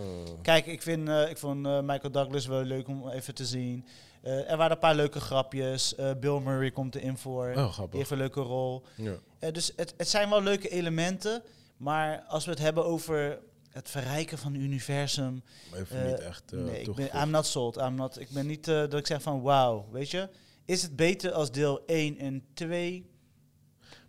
Speaker 2: Kijk, ik, vind, eh, ik vond eh, Michael Douglas wel leuk om even te zien. Eh, er waren een paar leuke grapjes. Eh, Bill Murray komt erin voor.
Speaker 3: Oh,
Speaker 2: Die
Speaker 3: grappig.
Speaker 2: heeft een leuke rol.
Speaker 3: Ja.
Speaker 2: Eh, dus het, het zijn wel leuke elementen, maar als we het hebben over het verrijken van het universum.
Speaker 3: Maar even
Speaker 2: eh,
Speaker 3: niet echt eh,
Speaker 2: nee, ik ben,
Speaker 3: toegevoegd.
Speaker 2: I'm not sold. I'm not, ik ben niet eh, dat ik zeg van wauw, weet je. Is het beter als deel 1 en 2?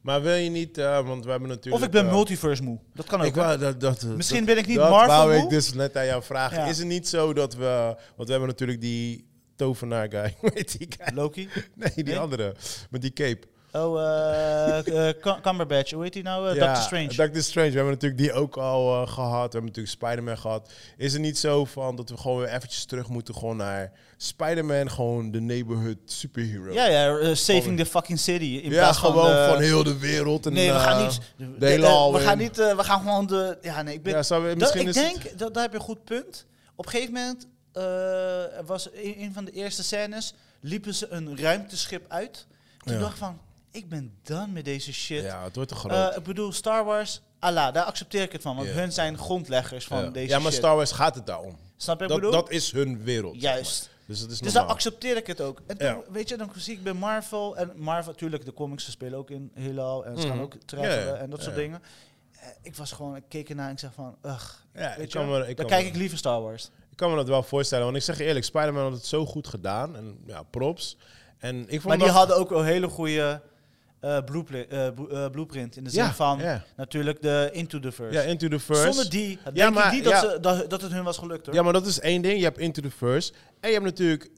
Speaker 3: Maar wil je niet, eh, want we hebben natuurlijk...
Speaker 2: Of ik ben
Speaker 3: eh,
Speaker 2: multiverse moe. Dat kan ook.
Speaker 3: Ik
Speaker 2: hè?
Speaker 3: wou, dat, dat,
Speaker 2: Misschien
Speaker 3: dat-
Speaker 2: ben ik niet
Speaker 3: dat wou
Speaker 2: Marvel
Speaker 3: ik
Speaker 2: moe.
Speaker 3: dus net aan jou vragen.
Speaker 2: Ja.
Speaker 3: Is het niet zo dat we... Want we hebben natuurlijk die tovenaar guy. (laughs) Weet die guy?
Speaker 2: Loki.
Speaker 3: Nee, die
Speaker 2: Nee?
Speaker 3: andere. Met die cape.
Speaker 2: Oh, eh eh, Cum- Cumberbatch. Hoe heet die nou? Eh, Doctor Strange.
Speaker 3: Doctor Strange. We hebben natuurlijk die ook al eh, gehad. We hebben natuurlijk Spider-Man gehad. Is het niet zo van dat we gewoon weer eventjes terug moeten gewoon naar Spider-Man, gewoon de neighborhood superhero?
Speaker 2: ja, ja. eh, saving the fucking city. In
Speaker 3: Ja,
Speaker 2: plaats
Speaker 3: gewoon van,
Speaker 2: eh,
Speaker 3: heel de wereld. En,
Speaker 2: Nee, we gaan
Speaker 3: eh,
Speaker 2: niet.
Speaker 3: de
Speaker 2: eh,
Speaker 3: hele
Speaker 2: eh, we
Speaker 3: alweer.
Speaker 2: gaan niet. eh, we gaan gewoon de. Ja, nee, ik ben.
Speaker 3: Ja, zou we,
Speaker 2: Dat-
Speaker 3: misschien
Speaker 2: ik
Speaker 3: is
Speaker 2: denk,
Speaker 3: het-
Speaker 2: dat, daar heb je een goed punt. Op een gegeven moment eh, er was in een van de eerste scènes, liepen ze een ruimteschip uit. Toen
Speaker 3: Ja.
Speaker 2: dacht ik van, ik ben done met deze shit.
Speaker 3: Ja, het wordt te groot.
Speaker 2: Eh, ik bedoel, Star Wars, Allah, daar accepteer ik het van. Want
Speaker 3: Ja.
Speaker 2: hun zijn grondleggers van
Speaker 3: ja.
Speaker 2: deze
Speaker 3: ja, maar
Speaker 2: shit.
Speaker 3: Star Wars gaat het daarom.
Speaker 2: Snap je wat ik bedoel?
Speaker 3: Dat, dat is hun wereld. zeg maar.
Speaker 2: Juist.
Speaker 3: Dus dat is
Speaker 2: Dus
Speaker 3: normaal.
Speaker 2: dan accepteer ik het ook. En toen,
Speaker 3: Ja.
Speaker 2: weet je, dan zie ik bij Marvel... En Marvel, natuurlijk, de comics ze spelen ook in heelal. En ze gaan
Speaker 3: Mhm.
Speaker 2: ook travelen
Speaker 3: Ja, ja.
Speaker 2: en dat soort
Speaker 3: Ja.
Speaker 2: dingen. Eh, ik was gewoon, ik keek ernaar en ik zeg van... Ugh,
Speaker 3: ja,
Speaker 2: weet
Speaker 3: ik
Speaker 2: je,
Speaker 3: kan me, ik
Speaker 2: dan
Speaker 3: kan
Speaker 2: kijk
Speaker 3: me-
Speaker 2: ik liever Star Wars.
Speaker 3: ik kan me dat wel voorstellen. Want ik zeg je eerlijk, Spider-Man had het zo goed gedaan. En ja, props. En ik vond
Speaker 2: Maar die
Speaker 3: dat-
Speaker 2: hadden ook een hele goede eh, blueprint, eh, bo- eh, blueprint. In de zin
Speaker 3: Ja,
Speaker 2: van
Speaker 3: ja.
Speaker 2: natuurlijk de Into the Verse.
Speaker 3: Ja, Into the First.
Speaker 2: Zonder die, denk
Speaker 3: Ja,
Speaker 2: ik
Speaker 3: maar-
Speaker 2: niet dat,
Speaker 3: ja.
Speaker 2: ze, dat, dat het hun was gelukt hoor.
Speaker 3: Ja, maar dat is één ding. Je hebt Into the First. En je hebt natuurlijk...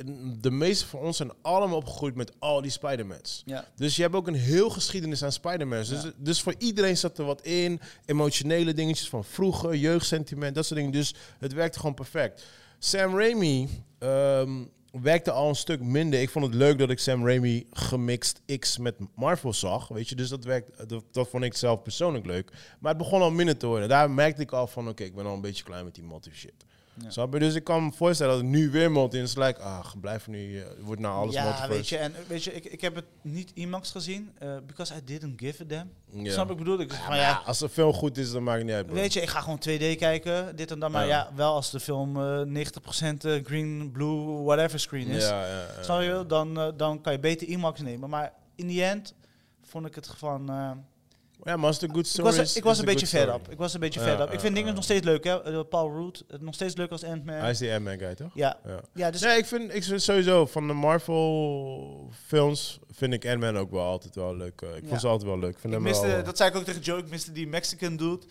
Speaker 3: De meeste van ons zijn allemaal opgegroeid met al die Spider-Mans.
Speaker 2: Ja.
Speaker 3: Dus je hebt ook een heel geschiedenis aan Spider-Man. Dus, dus voor iedereen zat er wat in. Emotionele dingetjes van vroeger, jeugdsentiment, dat soort dingen. Dus het werkte gewoon perfect. Sam Raimi ehm, werkte al een stuk minder. Ik vond het leuk dat ik Sam Raimi gemixt X met Marvel zag. Weet je, dus dat, werkt, dat, dat vond ik zelf persoonlijk leuk. Maar het begon al minder te worden. Daar merkte ik al van, oké, ik ben al een beetje klaar met die multi shit. Snap je? Dus ik kan me voorstellen dat het nu weer multi is. Like, ah, blijf nu, eh, wordt nou alles
Speaker 2: ja,
Speaker 3: multiverse.
Speaker 2: weet je, en eh, weet je, ik, ik heb het niet IMAX gezien, eh, because I didn't give a damn.
Speaker 3: Ja.
Speaker 2: Snap ik bedoel? Ik zeg van,
Speaker 3: Maar
Speaker 2: ja,
Speaker 3: ja, Ah, als de film goed is, dan maakt het niet uit. Bro.
Speaker 2: weet je, ik ga gewoon 2D kijken, dit en dat, maar ja, wel als de film eh 90% eh, green, blue, whatever screen is,
Speaker 3: Ja, ja, ja.
Speaker 2: snap je? wel? Dan, eh, dan kan je beter IMAX nemen, maar in the end vond ik het van... eh,
Speaker 3: ja, maar als het een good
Speaker 2: ik
Speaker 3: story
Speaker 2: was,
Speaker 3: is,
Speaker 2: er- ik was
Speaker 3: is
Speaker 2: een
Speaker 3: het
Speaker 2: beetje
Speaker 3: good
Speaker 2: verder
Speaker 3: story.
Speaker 2: op. Ik was een beetje
Speaker 3: Ja,
Speaker 2: verder op. Ik
Speaker 3: ja,
Speaker 2: vind dingen
Speaker 3: ja.
Speaker 2: nog steeds leuk, hè? Eh, Paul Root, eh, nog steeds leuk als Ant-Man.
Speaker 3: Hij is die Ant-Man guy, toch?
Speaker 2: Ja.
Speaker 3: Ja.
Speaker 2: ja, dus
Speaker 3: nee, ik vind, ik vind sowieso van de Marvel films vind ik Ant-Man ook wel altijd wel leuk. eh, ik
Speaker 2: Ja.
Speaker 3: vond ze altijd wel leuk. Ik vind
Speaker 2: Ik
Speaker 3: hem
Speaker 2: miste,
Speaker 3: wel, eh,
Speaker 2: dat zei ik ook tegen Joe, ik miste die Mexican dude.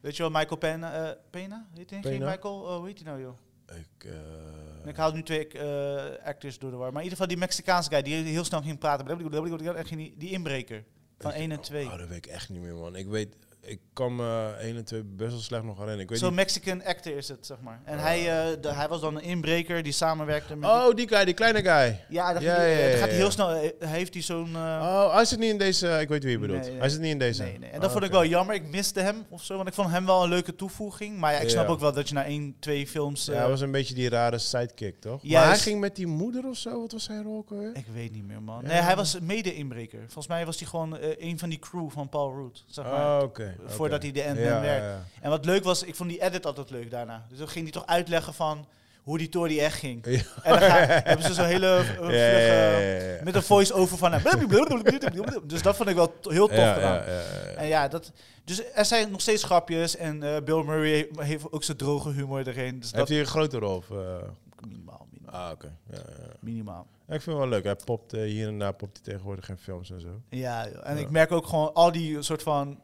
Speaker 2: Weet je wel, Michael Pena. eh, Pena? Heet hij geen
Speaker 3: Pena?
Speaker 2: Michael? Oh, hoe heet hij nou, joh?
Speaker 3: ik, eh,
Speaker 2: ik haal nu twee eh, actors door de war. Maar in ieder geval die Mexicaanse guy die heel snel ging praten. blablabla, En ging die, die inbreker van 1 en 2.
Speaker 3: Oh, dat weet ik echt niet meer, man. Ik weet, ik kan me 1 en 2 best wel slecht nog herinneren. Ik weet
Speaker 2: Zo'n
Speaker 3: niet.
Speaker 2: Mexican actor is het, zeg maar. En hij, eh, de- hij was dan een inbreker die samenwerkte met...
Speaker 3: Oh, die guy, die kleine guy.
Speaker 2: die- ja, dat
Speaker 3: ja,
Speaker 2: ging-
Speaker 3: ja,
Speaker 2: eh, dat
Speaker 3: ja,
Speaker 2: gaat hij
Speaker 3: ja.
Speaker 2: heel snel. eh, Heeft hij zo'n... eh,
Speaker 3: Oh, hij zit niet in deze. Ik weet wie je bedoelt.
Speaker 2: Nee, nee.
Speaker 3: Hij zit niet in deze.
Speaker 2: Nee, nee. En dat
Speaker 3: Ah,
Speaker 2: vond ik
Speaker 3: oké.
Speaker 2: wel jammer. Ik miste hem of zo. Want ik vond hem wel een leuke toevoeging. Maar ja, ik snap
Speaker 3: Ja.
Speaker 2: ook wel dat je na één, twee films...
Speaker 3: Ja,
Speaker 2: eh,
Speaker 3: hij was een beetje die rare sidekick, toch? Maar hij
Speaker 2: Juist.
Speaker 3: ging met die moeder of zo. Wat was zijn rol ook alweer?
Speaker 2: Ik weet niet meer, man.
Speaker 3: Ja.
Speaker 2: Nee, hij was mede-inbreker. Volgens mij was hij gewoon eh, een van die crew van Paul Root. Zeg maar.
Speaker 3: Ah, oké.
Speaker 2: Voordat hij de Ant-Man
Speaker 3: Ja,
Speaker 2: werkte.
Speaker 3: ja,
Speaker 2: En wat leuk was, ik vond die edit altijd leuk daarna. Dus dan ging hij toch uitleggen van hoe die tour die echt ging.
Speaker 3: Ja.
Speaker 2: En dan gaan- hebben ze zo'n
Speaker 3: (laughs)
Speaker 2: hele eh, vlugge...
Speaker 3: ja. Ja, ja, ja, ja.
Speaker 2: Met een voice-over van... hem. (laughs) dus dat vond ik wel t- heel tof
Speaker 3: Ja,
Speaker 2: gedaan.
Speaker 3: ja, ja, ja.
Speaker 2: En ja, dat, dus er zijn nog steeds grapjes. En eh, Bill Murray he- heeft ook zijn droge humor erin. Dus dat
Speaker 3: Heeft hij een grote rol? Of, eh?
Speaker 2: minimaal, minimaal,
Speaker 3: Ah, oké. Ja, ja, ja.
Speaker 2: minimaal.
Speaker 3: Ja, Ik vind het wel leuk. Hij popt eh, hier en daar popt hij tegenwoordig geen films en zo.
Speaker 2: Ja, joh. en
Speaker 3: Ja.
Speaker 2: ik merk ook gewoon al die soort van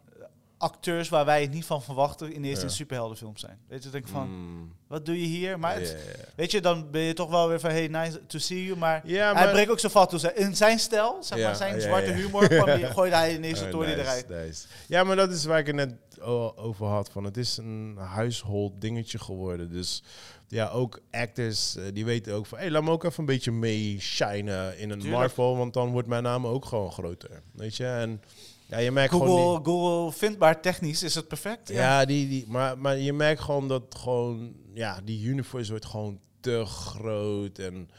Speaker 2: acteurs waar wij het niet van verwachten in eerste
Speaker 3: Ja.
Speaker 2: in superheldenfilms zijn. Weet je, dan denk ik van,
Speaker 3: Mm.
Speaker 2: wat doe je hier? Maar het,
Speaker 3: Ja, ja, ja.
Speaker 2: weet je, dan ben je toch wel weer van, hey, nice to see you. Maar,
Speaker 3: Ja, maar...
Speaker 2: hij breekt ook zo vat toe. In zijn stijl, zeg
Speaker 3: Ja,
Speaker 2: maar, zijn
Speaker 3: ja,
Speaker 2: zwarte
Speaker 3: ja.
Speaker 2: humor, kwam
Speaker 3: (laughs)
Speaker 2: die, gooide hij ineens de
Speaker 3: Oh,
Speaker 2: toren
Speaker 3: nice,
Speaker 2: eruit.
Speaker 3: nice. Ja, maar dat is waar ik het net o- over had. Van. Het is een huishold dingetje geworden. Dus ja, ook actors eh, die weten ook van... Hé, laat me ook even een beetje mee shinen in een
Speaker 2: Tuurlijk.
Speaker 3: Marvel. Want dan wordt mijn naam ook gewoon groter. Weet je? En ja, je merkt gewoon... die-
Speaker 2: Google, Google vindbaar technisch is het perfect.
Speaker 3: Ja, die, die, maar, maar je merkt gewoon dat gewoon, ja, die universe wordt gewoon te groot. En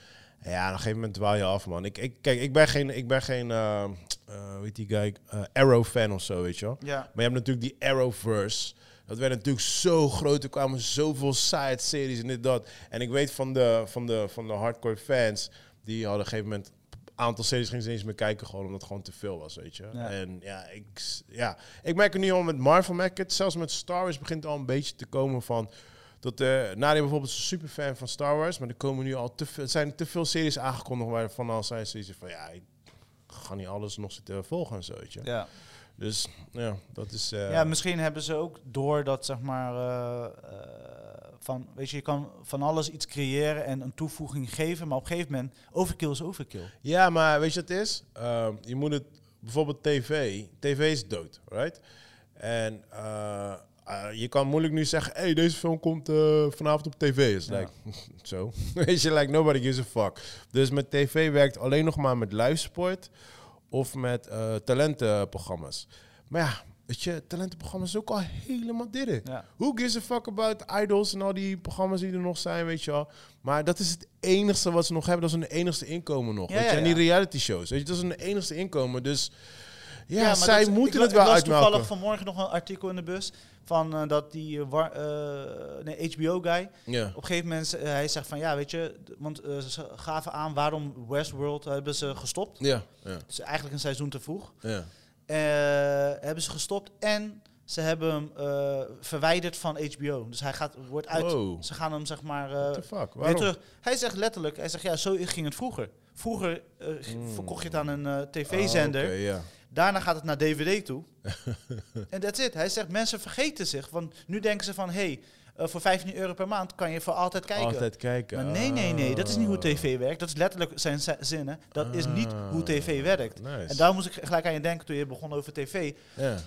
Speaker 3: ja, op een gegeven moment dwaal je af, man. Ik, ik, kijk, ik ben geen, ik ben geen eh, eh, hoe heet die guy, Eh, Arrow-fan of zo, weet je wel.
Speaker 2: Ja.
Speaker 3: Maar je hebt natuurlijk die Arrowverse. Dat werd natuurlijk zo groot. Er kwamen zoveel side-series en dit, dat. En ik weet van de, van de, van de hardcore fans... die hadden op een gegeven moment... een aantal series gingen ze niet eens meer kijken... gewoon omdat het gewoon te veel was, weet je.
Speaker 2: Ja.
Speaker 3: En ja ik, s- ja, ik merk het nu al met Marvel. Merk ik het, zelfs met Star Wars begint het al een beetje te komen van... Dat eh Nadia bijvoorbeeld is een superfan van Star Wars, maar er komen nu al te veel, er zijn te veel series aangekondigd waarvan al zijn series van ja, ik ga niet alles nog zitten volgen en zo. weet je.
Speaker 2: Ja.
Speaker 3: Dus ja, dat is. eh,
Speaker 2: Ja, misschien hebben ze ook door dat, zeg maar, eh, eh, van, weet je, je kan van alles iets creëren en een toevoeging geven, maar op een gegeven moment, overkill is overkill.
Speaker 3: Ja, maar weet je wat het is? Ehm, je moet het bijvoorbeeld tv. TV is dood, right? En eh, eh, je kan moeilijk nu zeggen: hey, deze film komt eh, vanavond op tv. Is
Speaker 2: Ja.
Speaker 3: like, (laughs) zo. Weet je, like nobody gives a fuck. Dus met tv werkt alleen nog maar met livesport of met eh, talentenprogramma's. Maar ja, weet je, talentenprogramma's is ook al helemaal dit.
Speaker 2: Ja.
Speaker 3: Who gives a fuck about idols en al die programma's die er nog zijn, weet je wel. Maar dat is het enigste wat ze nog hebben. Dat is hun enigste inkomen nog.
Speaker 2: Ja,
Speaker 3: weet je?
Speaker 2: ja,
Speaker 3: En
Speaker 2: ja.
Speaker 3: die reality shows. Weet je? Dat is hun enigste inkomen. Dus ja,
Speaker 2: maar
Speaker 3: zij
Speaker 2: dat-
Speaker 3: moeten
Speaker 2: ik,
Speaker 3: het wel
Speaker 2: Ik las toevallig
Speaker 3: uitmelken.
Speaker 2: vanmorgen nog een artikel in de bus van eh, dat die eh, war- eh, nee, HBO-guy,
Speaker 3: Ja.
Speaker 2: op een gegeven moment, eh, hij zegt van, ja, weet je, d- want eh, ze gaven aan waarom Westworld hebben ze gestopt.
Speaker 3: Ja, ja,
Speaker 2: Dus eigenlijk een seizoen te vroeg.
Speaker 3: ja.
Speaker 2: Eh, hebben ze gestopt en Ze hebben hem eh, verwijderd van HBO. Dus hij gaat, wordt uit.
Speaker 3: Wow.
Speaker 2: Ze gaan hem zeg maar eh,
Speaker 3: What the fuck?
Speaker 2: weer
Speaker 3: Waarom?
Speaker 2: terug. Hij zegt letterlijk, hij zegt ja, zo ging het vroeger. Vroeger eh, g-
Speaker 3: Mm.
Speaker 2: verkocht je het aan een eh,
Speaker 3: Ah,
Speaker 2: tv-zender.
Speaker 3: oké, ja.
Speaker 2: Daarna gaat het naar DVD
Speaker 3: (laughs)
Speaker 2: toe. En that's it. Hij zegt, mensen vergeten zich. Want nu denken ze van, hé, hey, eh, voor 15 euro per maand kan je voor altijd kijken.
Speaker 3: Altijd kijken.
Speaker 2: Maar nee, nee, nee. Dat is niet hoe
Speaker 3: Ah.
Speaker 2: tv werkt. Dat is letterlijk zijn zi- zinnen. Dat is niet hoe tv werkt.
Speaker 3: Nice.
Speaker 2: En daar moest ik gelijk aan je denken toen je begon over tv.
Speaker 3: Ja.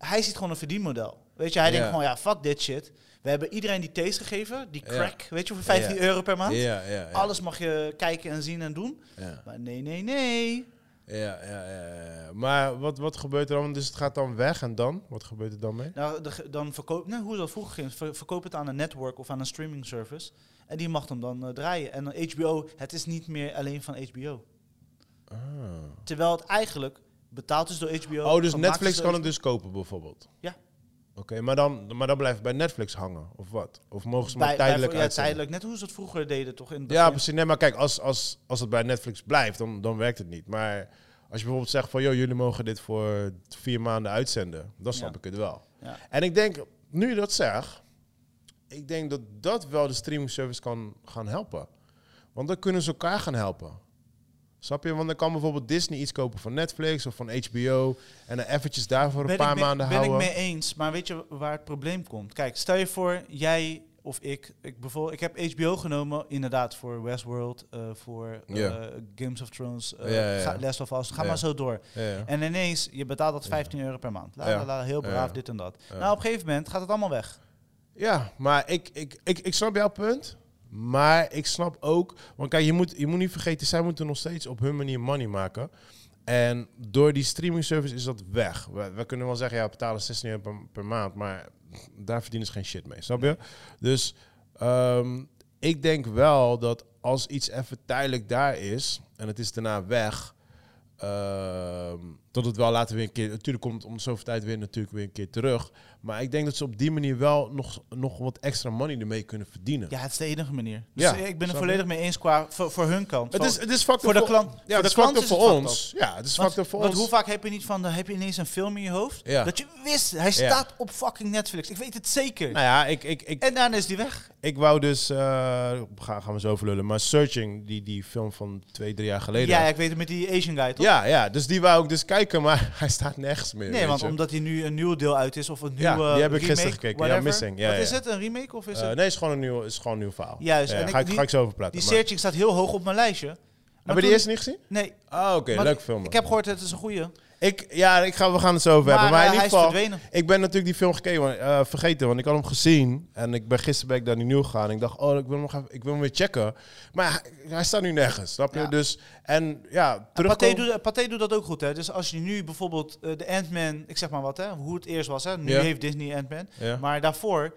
Speaker 2: Hij ziet gewoon een verdienmodel. Weet je, hij
Speaker 3: Ja.
Speaker 2: denkt gewoon, ja, fuck dit shit. We hebben iedereen die thees gegeven, die
Speaker 3: Ja.
Speaker 2: crack, weet je, voor 15
Speaker 3: Ja.
Speaker 2: euro per
Speaker 3: Ja,
Speaker 2: maand.
Speaker 3: ja, ja.
Speaker 2: Alles mag je kijken en zien en doen.
Speaker 3: Ja,
Speaker 2: Maar nee, nee, nee.
Speaker 3: ja, ja. ja, ja. Maar wat, wat gebeurt er dan? Dus het gaat dan weg en dan? Wat gebeurt er dan mee?
Speaker 2: Nou, de, ge- dan verkoop, nee, hoe dat vroeger ging, ver- verkoop het aan een network of aan een streaming service. En die mag hem dan eh, draaien. En dan HBO, het is niet meer alleen van HBO.
Speaker 3: Ah.
Speaker 2: Terwijl het eigenlijk betaald is door HBO.
Speaker 3: Oh, dus
Speaker 2: gemaakt is
Speaker 3: Netflix
Speaker 2: door
Speaker 3: kan het dus kopen bijvoorbeeld?
Speaker 2: Ja.
Speaker 3: Oké, maar, dan, maar dan blijft het bij Netflix hangen, of wat? Of mogen ze maar
Speaker 2: Bij- bij-
Speaker 3: tijdelijk
Speaker 2: ja,
Speaker 3: uitzenden?
Speaker 2: tijdelijk. Net hoe ze het vroeger deden, toch? In het
Speaker 3: Ja,
Speaker 2: begin.
Speaker 3: precies. Nee, maar kijk, als, als, als het bij Netflix blijft, dan, dan werkt het niet. Maar als je bijvoorbeeld zegt van, joh, jullie mogen dit voor vier maanden uitzenden, dan snap
Speaker 2: Ja.
Speaker 3: ik het wel.
Speaker 2: Ja.
Speaker 3: En ik denk, nu je dat zeg, ik denk dat dat wel de streaming service kan gaan helpen. Want dan kunnen ze elkaar gaan helpen. Snap je? Want dan kan bijvoorbeeld Disney iets kopen van Netflix of van HBO. En dan eventjes daarvoor
Speaker 2: Ben
Speaker 3: een
Speaker 2: ik
Speaker 3: paar
Speaker 2: mee-
Speaker 3: maanden
Speaker 2: ben
Speaker 3: houden.
Speaker 2: ik mee eens, maar weet je waar het probleem komt? Kijk, stel je voor, jij of ik, ik, bevoor, ik heb HBO genomen, inderdaad, voor Westworld, eh, voor eh,
Speaker 3: Ja.
Speaker 2: Games of Thrones, eh,
Speaker 3: Ja, ja, ja.
Speaker 2: ga- Last of Us, ga
Speaker 3: Ja.
Speaker 2: maar zo door.
Speaker 3: Ja, ja.
Speaker 2: En ineens, je betaalt dat 15 euro per maand. La,
Speaker 3: Ja.
Speaker 2: la, la, heel
Speaker 3: Ja.
Speaker 2: braaf, dit en dat.
Speaker 3: Ja.
Speaker 2: Nou, op een gegeven moment gaat het allemaal weg.
Speaker 3: Ja, maar ik, ik, ik, ik snap jouw punt. Maar ik snap ook. Want kijk, je moet, je moet niet vergeten, zij moeten nog steeds op hun manier money maken. En door die streaming service is dat weg. We, we kunnen wel zeggen, ja, we betalen 16 euro per, per maand. Maar daar verdienen ze geen shit mee, snap je? Dus ehm, ik denk wel dat als iets even tijdelijk daar is en het is daarna weg. ehm, dat het wel later weer een keer. Natuurlijk komt het om zoveel tijd weer natuurlijk weer een keer terug. Maar ik denk dat ze op die manier wel nog, nog wat extra money ermee kunnen verdienen.
Speaker 2: Ja, het is de enige manier. Dus
Speaker 3: Ja,
Speaker 2: eh, ik ben
Speaker 3: snap
Speaker 2: er
Speaker 3: je?
Speaker 2: volledig mee eens qua, voor, voor hun kant.
Speaker 3: Het
Speaker 2: Van-
Speaker 3: is, het is factor
Speaker 2: voor de klant-
Speaker 3: Ja,
Speaker 2: voor
Speaker 3: het
Speaker 2: de
Speaker 3: is
Speaker 2: klant
Speaker 3: factor
Speaker 2: is
Speaker 3: voor
Speaker 2: het factor.
Speaker 3: ons. Ja, het is
Speaker 2: Want,
Speaker 3: factor voor
Speaker 2: want
Speaker 3: ons.
Speaker 2: hoe vaak heb je niet van, dan heb je ineens een film in je hoofd?
Speaker 3: Ja.
Speaker 2: Dat je wist, hij staat op fucking Netflix. Ik weet het zeker.
Speaker 3: Nou ja, ik, ik, ik,
Speaker 2: En daarna is die weg.
Speaker 3: ik wou dus. eh, ga, gaan we zo verlullen. Maar Searching, die, die film van twee, drie jaar geleden.
Speaker 2: Ja, ik weet het met die Asian guy, toch?
Speaker 3: Ja, ja, dus die wou ik dus kijken, maar (laughs) hij staat nergens meer.
Speaker 2: Nee,
Speaker 3: weet
Speaker 2: want
Speaker 3: je.
Speaker 2: omdat hij nu een nieuw deel uit is of een nieuwe
Speaker 3: Ja, die heb ik
Speaker 2: remake,
Speaker 3: gisteren gekeken. Ja,
Speaker 2: whatever.
Speaker 3: Missing. Ja,
Speaker 2: Wat
Speaker 3: ja.
Speaker 2: is het? Een remake of is
Speaker 3: Eh,
Speaker 2: het?
Speaker 3: nee, is gewoon een nieuw, is gewoon een nieuw verhaal.
Speaker 2: Juist,
Speaker 3: Ja,
Speaker 2: en ik-
Speaker 3: ga, ik,
Speaker 2: die-
Speaker 3: ga ik zo over praten.
Speaker 2: Die
Speaker 3: maar-
Speaker 2: searching staat heel hoog op mijn lijstje. Maar
Speaker 3: Heb je
Speaker 2: toen-
Speaker 3: die eerst niet gezien?
Speaker 2: Nee,
Speaker 3: Ah, oké,
Speaker 2: maar
Speaker 3: leuk film.
Speaker 2: ik heb gehoord dat het een goeie.
Speaker 3: ik, ja, ik ga, we gaan het zo over hebben. Maar
Speaker 2: eh,
Speaker 3: in ieder
Speaker 2: hij is
Speaker 3: geval,
Speaker 2: verdwenen.
Speaker 3: ik ben natuurlijk die film gekeken, want, eh, vergeten, want ik had hem gezien. En ik ben gisteren ben ik daar niet nieuw gegaan. En ik dacht, oh, ik wil hem, nog even, ik wil hem weer checken. Maar hij, hij staat nu nergens, snap je?
Speaker 2: Ja.
Speaker 3: Dus, en ja,
Speaker 2: Pathé
Speaker 3: terugkomen...
Speaker 2: doet, Pathé doet dat ook goed, hè. Dus als je nu bijvoorbeeld eh, de Ant-Man, ik zeg maar wat, hè, hoe het eerst was, hè. Nu
Speaker 3: Ja.
Speaker 2: heeft Disney Ant-Man.
Speaker 3: Ja.
Speaker 2: Maar daarvoor,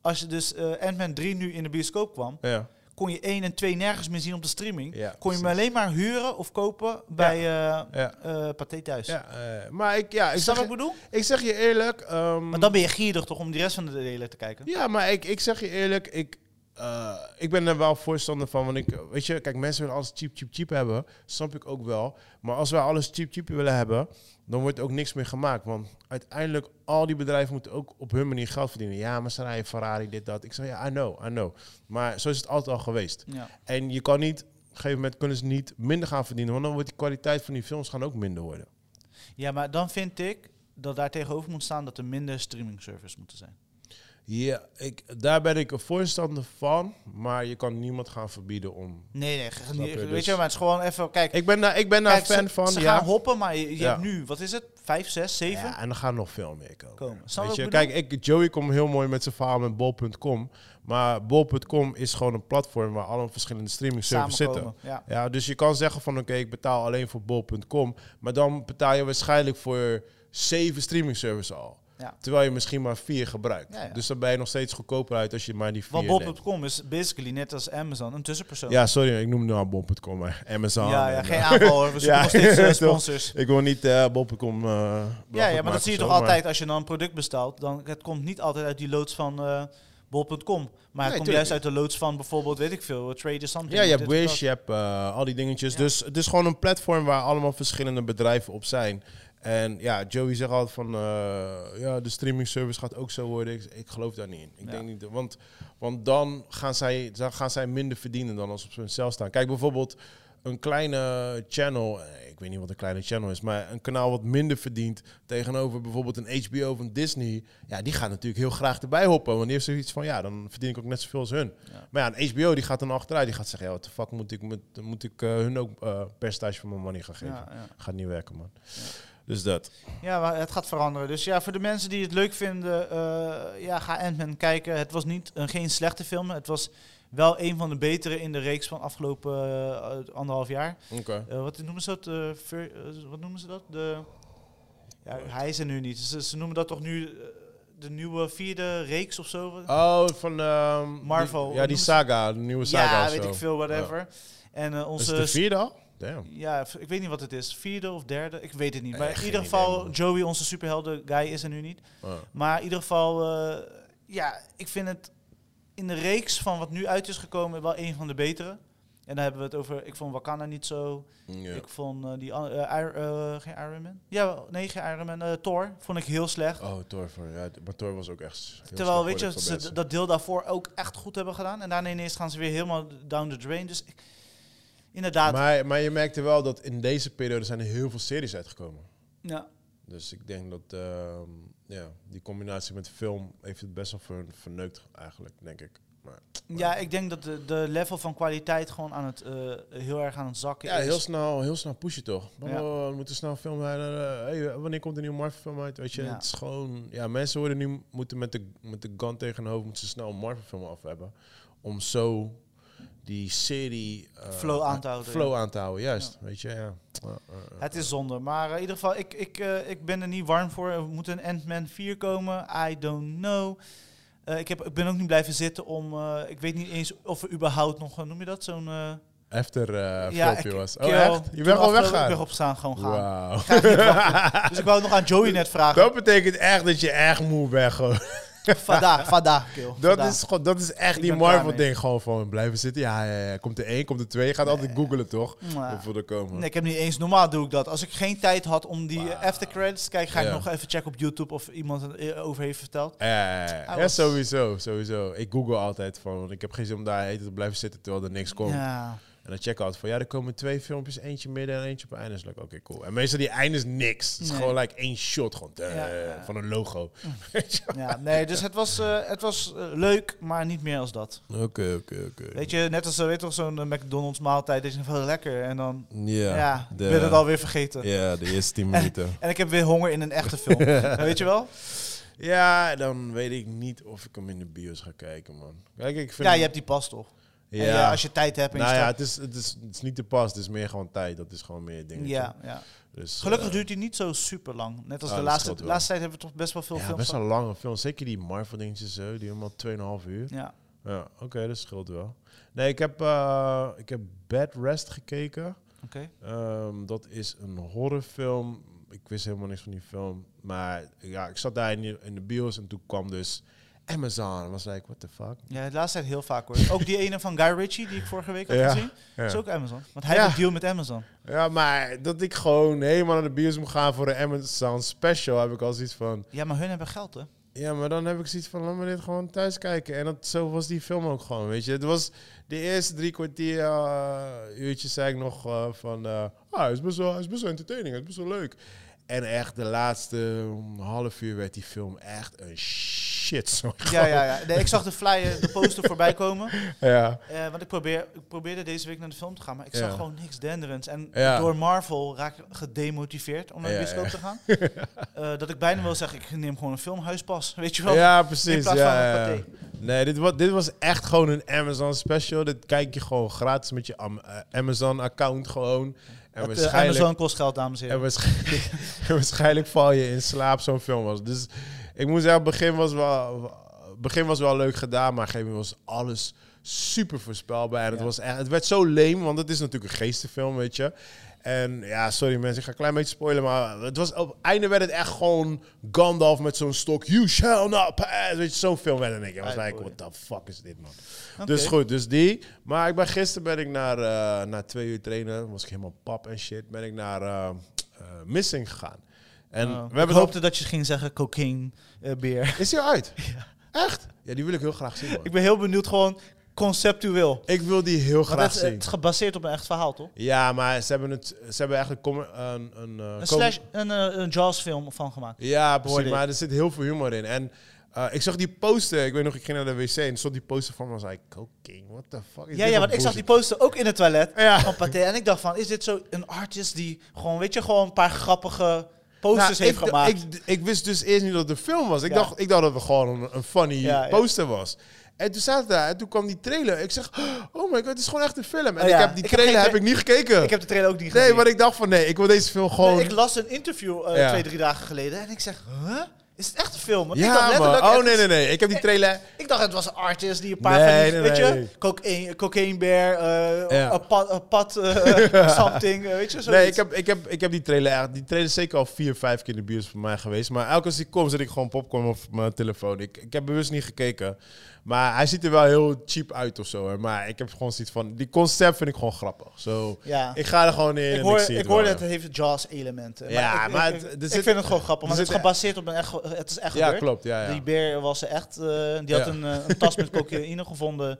Speaker 2: als je dus eh Ant-Man 3 nu in de bioscoop kwam,
Speaker 3: ja.
Speaker 2: kon je 1 en 2 nergens meer zien op de streaming.
Speaker 3: Ja,
Speaker 2: kon je hem alleen maar huren of kopen bij eh
Speaker 3: Ja.
Speaker 2: eh, Pathé thuis.
Speaker 3: Ja, eh, maar ik, ja, ik,
Speaker 2: Snap wat
Speaker 3: zeg,
Speaker 2: ik
Speaker 3: je-
Speaker 2: bedoel?
Speaker 3: ik zeg je eerlijk... ehm,
Speaker 2: Maar dan ben je gierig toch om de rest van de delen te kijken?
Speaker 3: Ja, maar ik, ik zeg je eerlijk, ik, eh, ik ben er wel voorstander van. Want ik, weet je, kijk, mensen willen alles cheap, cheap, cheap hebben. Snap ik ook wel. Maar als wij alles cheap, cheap willen hebben, dan wordt ook niks meer gemaakt. Want uiteindelijk, al die bedrijven moeten ook op hun manier geld verdienen. Ja, maar ze rijden Ferrari, dit, dat. Ik zeg, ja, I know, I know. Maar zo is het altijd al geweest.
Speaker 2: Ja.
Speaker 3: En je kan niet, op een gegeven moment kunnen ze niet minder gaan verdienen. Want dan wordt die kwaliteit van die films gaan ook minder worden.
Speaker 2: ja, maar dan vind ik dat daar tegenover moet staan dat er minder streaming services moeten zijn.
Speaker 3: Ja, ik, daar ben ik een voorstander van. Maar je kan niemand gaan verbieden om
Speaker 2: Nee, nee, ga-
Speaker 3: Snap je,
Speaker 2: weet
Speaker 3: dus-
Speaker 2: je, maar het is gewoon even, kijk,
Speaker 3: Ik ben daar, ik ben daar
Speaker 2: Kijk,
Speaker 3: fan
Speaker 2: ze,
Speaker 3: van.
Speaker 2: Ze
Speaker 3: ja.
Speaker 2: gaan hoppen, maar je, je
Speaker 3: Ja.
Speaker 2: hebt nu, wat is het? Vijf, zes, zeven?
Speaker 3: ja, en er gaan nog veel meer komen.
Speaker 2: Komen. Snap
Speaker 3: Weet
Speaker 2: wat ik
Speaker 3: je?
Speaker 2: bedoel?
Speaker 3: Kijk, ik, Joey komt heel mooi met zijn verhaal met bol.com. Maar bol.com is gewoon een platform waar alle verschillende streaming services zitten.
Speaker 2: Samenkomen, ja.
Speaker 3: Ja, dus je kan zeggen van oké, ik betaal alleen voor bol.com. Maar dan betaal je waarschijnlijk voor zeven streaming services al.
Speaker 2: Ja.
Speaker 3: Terwijl je misschien maar vier gebruikt.
Speaker 2: Ja, ja.
Speaker 3: Dus dan ben je nog steeds goedkoper uit als je maar die vier
Speaker 2: Want
Speaker 3: neemt.
Speaker 2: Bob.com is basically net als Amazon, een tussenpersoon.
Speaker 3: Ja, sorry, ik noem nu al bol.com, maar Amazon.
Speaker 2: ja, ja,
Speaker 3: en,
Speaker 2: geen
Speaker 3: eh,
Speaker 2: aanval hoor, we zoeken
Speaker 3: (laughs) Ja,
Speaker 2: nog steeds eh,
Speaker 3: toch.
Speaker 2: sponsors.
Speaker 3: Ik wil niet eh bol.com...
Speaker 2: Ja,
Speaker 3: eh, belachelijk
Speaker 2: ja, maar
Speaker 3: maken
Speaker 2: dat zie je
Speaker 3: of
Speaker 2: toch
Speaker 3: zo, maar-
Speaker 2: altijd als je dan een product bestelt. Dan, het komt niet altijd uit die loods van eh, Bol.com. Maar het komt
Speaker 3: tuurlijk
Speaker 2: juist
Speaker 3: niet.
Speaker 2: uit de loods van bijvoorbeeld, weet ik veel, eh, Traders Something.
Speaker 3: Ja, je
Speaker 2: dit
Speaker 3: hebt
Speaker 2: of dat.
Speaker 3: Wish, je hebt eh, al die dingetjes. Dus het is gewoon een platform waar allemaal verschillende bedrijven op zijn. En ja, Joey zegt altijd van, eh, ja, de streaming service gaat ook zo worden. Ik, ik geloof daar niet in. Ik
Speaker 2: Ja.
Speaker 3: denk niet, want, want dan, gaan zij, dan gaan zij minder verdienen dan als ze op zichzelf staan. Kijk, bijvoorbeeld een kleine channel, eh, ik weet niet wat een kleine channel is, maar een kanaal wat minder verdient tegenover bijvoorbeeld een HBO of een Disney. Ja, die gaat natuurlijk heel graag erbij hoppen, want die heeft zoiets van, ja, dan verdien ik ook net zoveel als hun.
Speaker 2: Ja.
Speaker 3: Maar ja, een HBO die gaat dan achteruit, die gaat zeggen, ja, wat de fuck moet ik, moet, moet ik eh, hun ook eh percentage van mijn money gaan geven.
Speaker 2: Ja, ja.
Speaker 3: Gaat niet werken, man. Dus dat.
Speaker 2: Ja, maar het gaat veranderen. Dus ja, voor de mensen die het leuk vinden, eh, ja, ga Ant-Man kijken. Het was niet, een geen slechte film. Het was wel een van de betere in de reeks van afgelopen eh, anderhalf jaar.
Speaker 3: Oké.
Speaker 2: Eh, wat noemen ze dat? Eh, ver- eh, wat noemen ze dat? De, ja, hij is er nu niet. Ze, ze noemen dat toch nu eh, de nieuwe vierde reeks of zo?
Speaker 3: Oh, van ehm,
Speaker 2: Marvel,
Speaker 3: die-
Speaker 2: hoe
Speaker 3: ja,
Speaker 2: noemen
Speaker 3: die
Speaker 2: ze-
Speaker 3: saga, de nieuwe saga.
Speaker 2: ja,
Speaker 3: of
Speaker 2: weet
Speaker 3: zo.
Speaker 2: ik veel, whatever. En eh,
Speaker 3: Is
Speaker 2: onze
Speaker 3: het de vierde al? Damn.
Speaker 2: Ja, v- ik weet niet wat het is. Vierde of derde? Ik weet het niet.
Speaker 3: Eh,
Speaker 2: Maar in
Speaker 3: geen
Speaker 2: ieder
Speaker 3: idee,
Speaker 2: geval,
Speaker 3: man.
Speaker 2: Joey, onze superhelden guy, is er nu niet.
Speaker 3: Ah.
Speaker 2: Maar in ieder geval, eh, ja, ik vind het in de reeks van wat nu uit is gekomen wel een van de betere. En dan hebben we het over, ik vond Wakanda niet zo.
Speaker 3: Ja.
Speaker 2: Ik vond eh, die, an- eh, Ir- eh, geen Iron Man? Ja, nee, geen Iron Man. eh, Thor vond ik heel slecht.
Speaker 3: Oh, Thor. Voor, ja, d- maar Thor was ook echt... heel
Speaker 2: Terwijl,
Speaker 3: slecht
Speaker 2: weet je,
Speaker 3: voor
Speaker 2: ze
Speaker 3: de
Speaker 2: d- dat deel daarvoor ook echt goed hebben gedaan. En daarna ineens gaan ze weer helemaal down the drain. Dus ik- inderdaad,
Speaker 3: Maar, maar je merkte wel dat in deze periode zijn er heel veel series uitgekomen.
Speaker 2: ja,
Speaker 3: Dus ik denk dat ehm, ja, die combinatie met film heeft het best wel ver- verneukt eigenlijk, denk ik. Maar,
Speaker 2: Ja, ik denk dat de, de level van kwaliteit gewoon aan het, eh, heel erg aan het zakken
Speaker 3: ja,
Speaker 2: is.
Speaker 3: heel snel, heel snel pushen toch.
Speaker 2: dus- Ja.
Speaker 3: Oh, we moeten snel filmen. eh, hey, wanneer komt een nieuwe Marvel film uit? Weet je,
Speaker 2: Ja.
Speaker 3: het is gewoon... Ja, mensen worden nu moeten met de, met de gun tegen hun hoofd... moeten ze snel een Marvel film af hebben. Om zo die serie... eh,
Speaker 2: Flow aan te houden,
Speaker 3: Flow aan te houden, juist. Weet je, ja. Ja, ja, ja.
Speaker 2: Het is zonde. Maar eh, in ieder geval, ik, ik, eh, ik ben er niet warm voor. Er moet een Ant-Man 4 komen. I don't know. Eh, ik, heb, ik ben ook niet blijven zitten om... eh, ik weet niet eens of er überhaupt nog... eh, Noem je dat? Zo'n... eh,
Speaker 3: After eh,
Speaker 2: ja,
Speaker 3: filmpje
Speaker 2: ik-
Speaker 3: was.
Speaker 2: kill.
Speaker 3: Oh, echt? Oh, Je
Speaker 2: Toen
Speaker 3: bent gewoon
Speaker 2: afgelopen- Ik ben
Speaker 3: weggaan?
Speaker 2: opstaan gewoon gaan.
Speaker 3: Wauw.
Speaker 2: Ik ga niet wachten. dus ik wou nog aan Joey net vragen.
Speaker 3: Dat betekent echt dat je echt moe bent, gewoon.
Speaker 2: Vandaag, vandaag, kill.
Speaker 3: Dat
Speaker 2: Vandaag.
Speaker 3: is, gewoon- dat is echt
Speaker 2: Ik
Speaker 3: die
Speaker 2: ben klaar
Speaker 3: Marvel-ding. Gewoon van blijven zitten. Ja, ja, ja. komt er één, komt er twee. Je gaat altijd googelen, toch?
Speaker 2: Maar-
Speaker 3: Hoeveel er komen.
Speaker 2: Nee, ik heb niet eens. Normaal doe ik dat. Als ik geen tijd had om die eh, after credits te kijken, ga ik
Speaker 3: Ja.
Speaker 2: nog even checken op YouTube of iemand het eh, over heeft verteld.
Speaker 3: Ja, ja, ja.
Speaker 2: Hij
Speaker 3: ja,
Speaker 2: was-
Speaker 3: sowieso, sowieso. Ik google altijd van, want ik heb geen zin om daar eten te blijven zitten terwijl er niks komt.
Speaker 2: Ja.
Speaker 3: En dan check ik altijd van, ja, er komen twee filmpjes, eentje midden en eentje op het einde. Is like, oké, cool. En meestal die einde is niks. Het is
Speaker 2: Nee.
Speaker 3: gewoon like één shot gewoon, eh,
Speaker 2: Ja, ja.
Speaker 3: van een logo.
Speaker 2: ja, nee, dus het was, eh, het was eh, leuk, maar niet meer als dat.
Speaker 3: Oké, oké, oké.
Speaker 2: Weet je, net als eh, weet je toch, zo'n eh, McDonald's maaltijd, dat je van lekker en dan, ja, ik
Speaker 3: de-
Speaker 2: ben het alweer vergeten.
Speaker 3: Ja, de eerste tien
Speaker 2: (laughs) En ik heb weer honger in een echte film.
Speaker 3: (laughs)
Speaker 2: Maar weet je wel?
Speaker 3: ja, dan weet ik niet of ik hem in de bios ga kijken, man. Kijk, ik vind...
Speaker 2: Ja, je hebt die pas toch? En
Speaker 3: Ja.
Speaker 2: je- als je tijd hebt en je
Speaker 3: Nou ja,
Speaker 2: staat-
Speaker 3: het is, het, is, het is niet te pas. Het is meer gewoon tijd. Dat is gewoon meer dingen.
Speaker 2: ja, ja.
Speaker 3: Dus,
Speaker 2: Gelukkig
Speaker 3: eh,
Speaker 2: duurt die niet zo super lang. Net als
Speaker 3: Ah,
Speaker 2: de
Speaker 3: dat
Speaker 2: laatste,
Speaker 3: scheelt
Speaker 2: de
Speaker 3: wel.
Speaker 2: laatste tijd hebben we toch best wel veel
Speaker 3: ja,
Speaker 2: films.
Speaker 3: best
Speaker 2: van-
Speaker 3: wel lange film. Zeker die Marvel dingetjes zo, die helemaal 2,5 uur.
Speaker 2: Ja.
Speaker 3: Ja, oké, dat scheelt wel. Nee, ik heb, eh, ik heb Bad Rest gekeken.
Speaker 2: Oké.
Speaker 3: Ehm, dat is een horrorfilm. Ik wist helemaal niks van die film. Maar ja, ik zat daar in, die- in de bios en toen kwam dus Amazon. En was ik, what the fuck?
Speaker 2: Ja, de laatste tijd heel vaak hoor. Ook die ene van Guy Ritchie die ik vorige week had
Speaker 3: Ja,
Speaker 2: gezien, is
Speaker 3: Ja.
Speaker 2: ook Amazon. Want hij
Speaker 3: Ja.
Speaker 2: heeft een deal met Amazon.
Speaker 3: ja, maar dat ik gewoon helemaal naar de bios moet gaan voor een Amazon special, heb ik al zoiets van...
Speaker 2: Ja, maar hun hebben geld hè.
Speaker 3: Ja, maar dan heb ik zoiets van, laat me dit gewoon thuis kijken. En dat, zo was die film ook gewoon, weet je. Het was de eerste drie kwartier eh, uurtjes zei ik nog eh, van... eh, ah, het is, best wel, het is best wel entertaining, het is best wel leuk. En echt de laatste mm, half uur werd die film echt een shit. Zo.
Speaker 2: Ja, ja, ja. Nee, ik zag de flyer, de poster voorbij komen.
Speaker 3: (laughs) ja.
Speaker 2: Eh, want ik, probeer, ik probeerde deze week naar de film te gaan, maar ik
Speaker 3: Ja.
Speaker 2: zag gewoon niks denderends. En
Speaker 3: Ja.
Speaker 2: door Marvel raak ik gedemotiveerd om naar de
Speaker 3: Ja,
Speaker 2: bioscoop
Speaker 3: ja.
Speaker 2: te
Speaker 3: (laughs)
Speaker 2: gaan. Eh, dat ik bijna wil zeggen, ik neem gewoon een filmhuispas, weet je wel.
Speaker 3: ja, precies.
Speaker 2: plaats van een
Speaker 3: Ja, ja.
Speaker 2: paté.
Speaker 3: Nee, dit was, dit was echt gewoon een Amazon special. Dit kijk je gewoon gratis met je am- eh, Amazon-account gewoon. En
Speaker 2: Dat, eh,
Speaker 3: waarschijnlijk...
Speaker 2: Amazon kost geld, dames en
Speaker 3: En
Speaker 2: heren.
Speaker 3: waarschijnlijk, (laughs) en waarschijnlijk val je in slaap zo'n film was. Dus ik moet zeggen, het begin was wel, begin was wel leuk gedaan, maar op een gegeven moment was alles super voorspelbaar. En het,
Speaker 2: Ja.
Speaker 3: was echt, het werd zo leem, want het is natuurlijk een geestenfilm, weet je. En ja, sorry mensen, ik ga een klein beetje spoilen, maar het was, op het einde werd het echt gewoon Gandalf met zo'n stok. You shall not pass. Weet je, zo'n film werd het. En ik was
Speaker 2: Ai,
Speaker 3: like,
Speaker 2: boy.
Speaker 3: what the fuck is dit, man?
Speaker 2: Oké.
Speaker 3: Dus goed, dus die. Maar ik ben, gisteren ben ik naar, eh, na twee uur trainen, was ik helemaal pap en shit, ben ik naar eh, eh, Missing gegaan. En
Speaker 2: Oh.
Speaker 3: we
Speaker 2: ik
Speaker 3: hebben
Speaker 2: hoopte dat je ging zeggen cocaine, eh, beer. (laughs)
Speaker 3: nog- Is die al uit? Echt? Ja, die wil ik heel graag zien. man.
Speaker 2: Ik
Speaker 3: Ik,
Speaker 2: ben heel benieuwd, gewoon conceptueel. Want
Speaker 3: wil die heel
Speaker 2: het-
Speaker 3: graag
Speaker 2: het,
Speaker 3: zien.
Speaker 2: is eh, gebaseerd op een echt verhaal, toch?
Speaker 3: Ja, maar ze hebben, het, ze hebben eigenlijk com- een... Een, eh, com-
Speaker 2: Een, slash, een, eh, een Jaws-film van gemaakt.
Speaker 3: Ja, precies.
Speaker 2: Hoorde ik.
Speaker 3: Maar er zit heel veel humor in. En eh, ik zag die poster. Ik weet nog, ik ging naar de wc en er stond die poster van me. En zei ik, cocaine, what the fuck
Speaker 2: Ja,
Speaker 3: is dit
Speaker 2: ja,
Speaker 3: voor
Speaker 2: want ik zag die
Speaker 3: bullshit?"
Speaker 2: poster ook in het toilet
Speaker 3: Ja.
Speaker 2: van Pathé. En ik dacht van, is dit zo een artist die gewoon, weet je, gewoon een paar grappige posters
Speaker 3: Nou,
Speaker 2: heeft
Speaker 3: ik, d-
Speaker 2: gemaakt?
Speaker 3: Ik, d- ik wist dus eerst niet dat het een film was. Ik,
Speaker 2: Ja.
Speaker 3: dacht, ik dacht dat het gewoon een, een funny
Speaker 2: Ja, ja.
Speaker 3: poster was. En toen zaten we daar en toen kwam die trailer. Ik zeg, (gasps) oh my god, het is gewoon echt een film. En
Speaker 2: Oh ja,
Speaker 3: ik heb die
Speaker 2: ik heb
Speaker 3: trailer
Speaker 2: geen-
Speaker 3: heb, ik niet gekeken.
Speaker 2: Ik heb de trailer ook niet gezien.
Speaker 3: nee, maar ik dacht van nee, ik wil deze film gewoon...
Speaker 2: Nee, ik las een interview eh,
Speaker 3: Ja.
Speaker 2: twee, drie dagen geleden en ik zeg, huh? Is het echt een film? Want ik dacht
Speaker 3: ja, man.
Speaker 2: letterlijk,
Speaker 3: Oh
Speaker 2: het
Speaker 3: nee,
Speaker 2: is-
Speaker 3: nee, nee. Ik heb die trailer...
Speaker 2: Ik dacht het was een artist die een paar
Speaker 3: Nee,
Speaker 2: van die,
Speaker 3: nee,
Speaker 2: weet
Speaker 3: nee.
Speaker 2: je, cocaine, cocaine bear, eh,
Speaker 3: Ja.
Speaker 2: een pad, een pad
Speaker 3: (laughs)
Speaker 2: eh, something, eh, weet je, zo.
Speaker 3: Nee, ik heb, ik, heb, ik heb die trailer echt... Die trailer is zeker al vier, vijf keer in de bios voor mij geweest. Maar elke keer als die komt, zet ik gewoon popcorn op mijn telefoon. Ik, ik heb bewust niet gekeken. Maar hij ziet er wel heel cheap uit of zo. Hè. Maar ik heb gewoon zoiets van... Die concept vind ik gewoon grappig. Zo...
Speaker 2: Ja.
Speaker 3: Ik ga er gewoon in.
Speaker 2: Ik
Speaker 3: en
Speaker 2: hoor,
Speaker 3: ik zie
Speaker 2: ik
Speaker 3: het
Speaker 2: hoor
Speaker 3: wel.
Speaker 2: dat het heeft Jaws-elementen.
Speaker 3: Ja,
Speaker 2: ik,
Speaker 3: maar
Speaker 2: ik, ik,
Speaker 3: het- er
Speaker 2: ik
Speaker 3: zit-
Speaker 2: vind het gewoon grappig.
Speaker 3: er
Speaker 2: Want het is
Speaker 3: zit-
Speaker 2: gebaseerd op een echt... ge- Het is echt
Speaker 3: Ja,
Speaker 2: gebeurd.
Speaker 3: klopt. Ja, ja.
Speaker 2: Die beer was echt... eh, die had
Speaker 3: Ja.
Speaker 2: een, eh, een tas met cocaïne gevonden.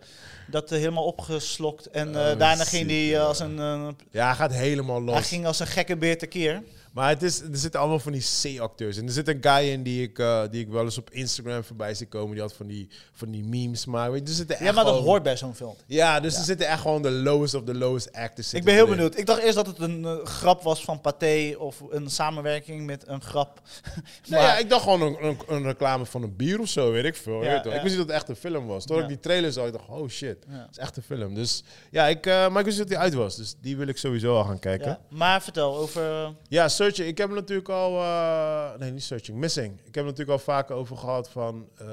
Speaker 2: Dat eh, helemaal opgeslokt. En eh,
Speaker 3: Oh,
Speaker 2: daarna
Speaker 3: ziek,
Speaker 2: ging die
Speaker 3: ja.
Speaker 2: eh, als een... eh,
Speaker 3: ja, hij gaat helemaal
Speaker 2: hij
Speaker 3: los.
Speaker 2: ging als een gekke beer tekeer.
Speaker 3: Maar het is, er zitten allemaal van die C-acteurs. En er zit een guy in die ik, eh, die ik wel eens op Instagram voorbij zie komen. Die had van die, van die memes. Maar weet je, er zitten echt
Speaker 2: Ja, maar dat
Speaker 3: gewoon-
Speaker 2: hoort bij zo'n film.
Speaker 3: Ja, dus er zitten echt gewoon de lowest of the lowest actors.
Speaker 2: Ik
Speaker 3: zitten
Speaker 2: ben heel
Speaker 3: erin.
Speaker 2: benieuwd. Ik dacht eerst dat het een eh, grap was van Pathé of een samenwerking met een grap. (laughs)
Speaker 3: Nou ja, ik dacht gewoon een, een, een reclame van een bier of zo, weet ik veel.
Speaker 2: Ja,
Speaker 3: weet je wel.
Speaker 2: ja.
Speaker 3: Ik wist niet dat het echt een film was. Toen
Speaker 2: Ja.
Speaker 3: ik die trailer zag, ik dacht oh shit,
Speaker 2: Ja.
Speaker 3: het is echt een film. Dus ja, ik, eh, maar ik wist niet dat die uit was. Dus die wil ik sowieso al gaan kijken.
Speaker 2: Ja, maar vertel over... eh,
Speaker 3: Ja, searching. Ik heb hem natuurlijk al. eh, nee, niet searching. Missing. Ik heb hem natuurlijk al vaker over gehad van. eh,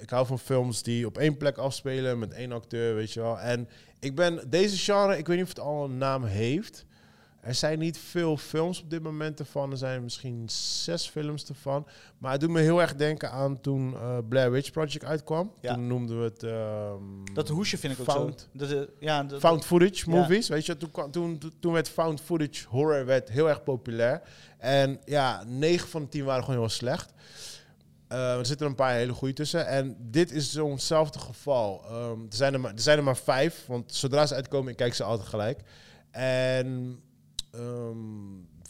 Speaker 3: ik hou van films die op één plek afspelen met één acteur, weet je wel. En ik ben deze genre. Ik weet niet of het al een naam heeft. Er zijn niet veel films op dit moment ervan. Er zijn misschien zes films ervan. Maar het doet me heel erg denken aan toen eh, Blair Witch Project uitkwam.
Speaker 2: Ja.
Speaker 3: Toen noemden we het. ehm,
Speaker 2: dat hoesje vind ik ook
Speaker 3: Found.
Speaker 2: zo. Dat, eh, ja, dat-
Speaker 3: found footage
Speaker 2: Ja.
Speaker 3: movies. Weet je, toen, kwam- toen, toen werd found footage horror werd heel erg populair. En ja, 9 van de 10 waren gewoon heel slecht. Eh, er zitten er een paar hele goede tussen. En dit is zo'nzelfde geval. Ehm, er, zijn er, maar, er zijn er maar vijf. Want zodra ze uitkomen, ik kijk ze altijd gelijk. En ehm,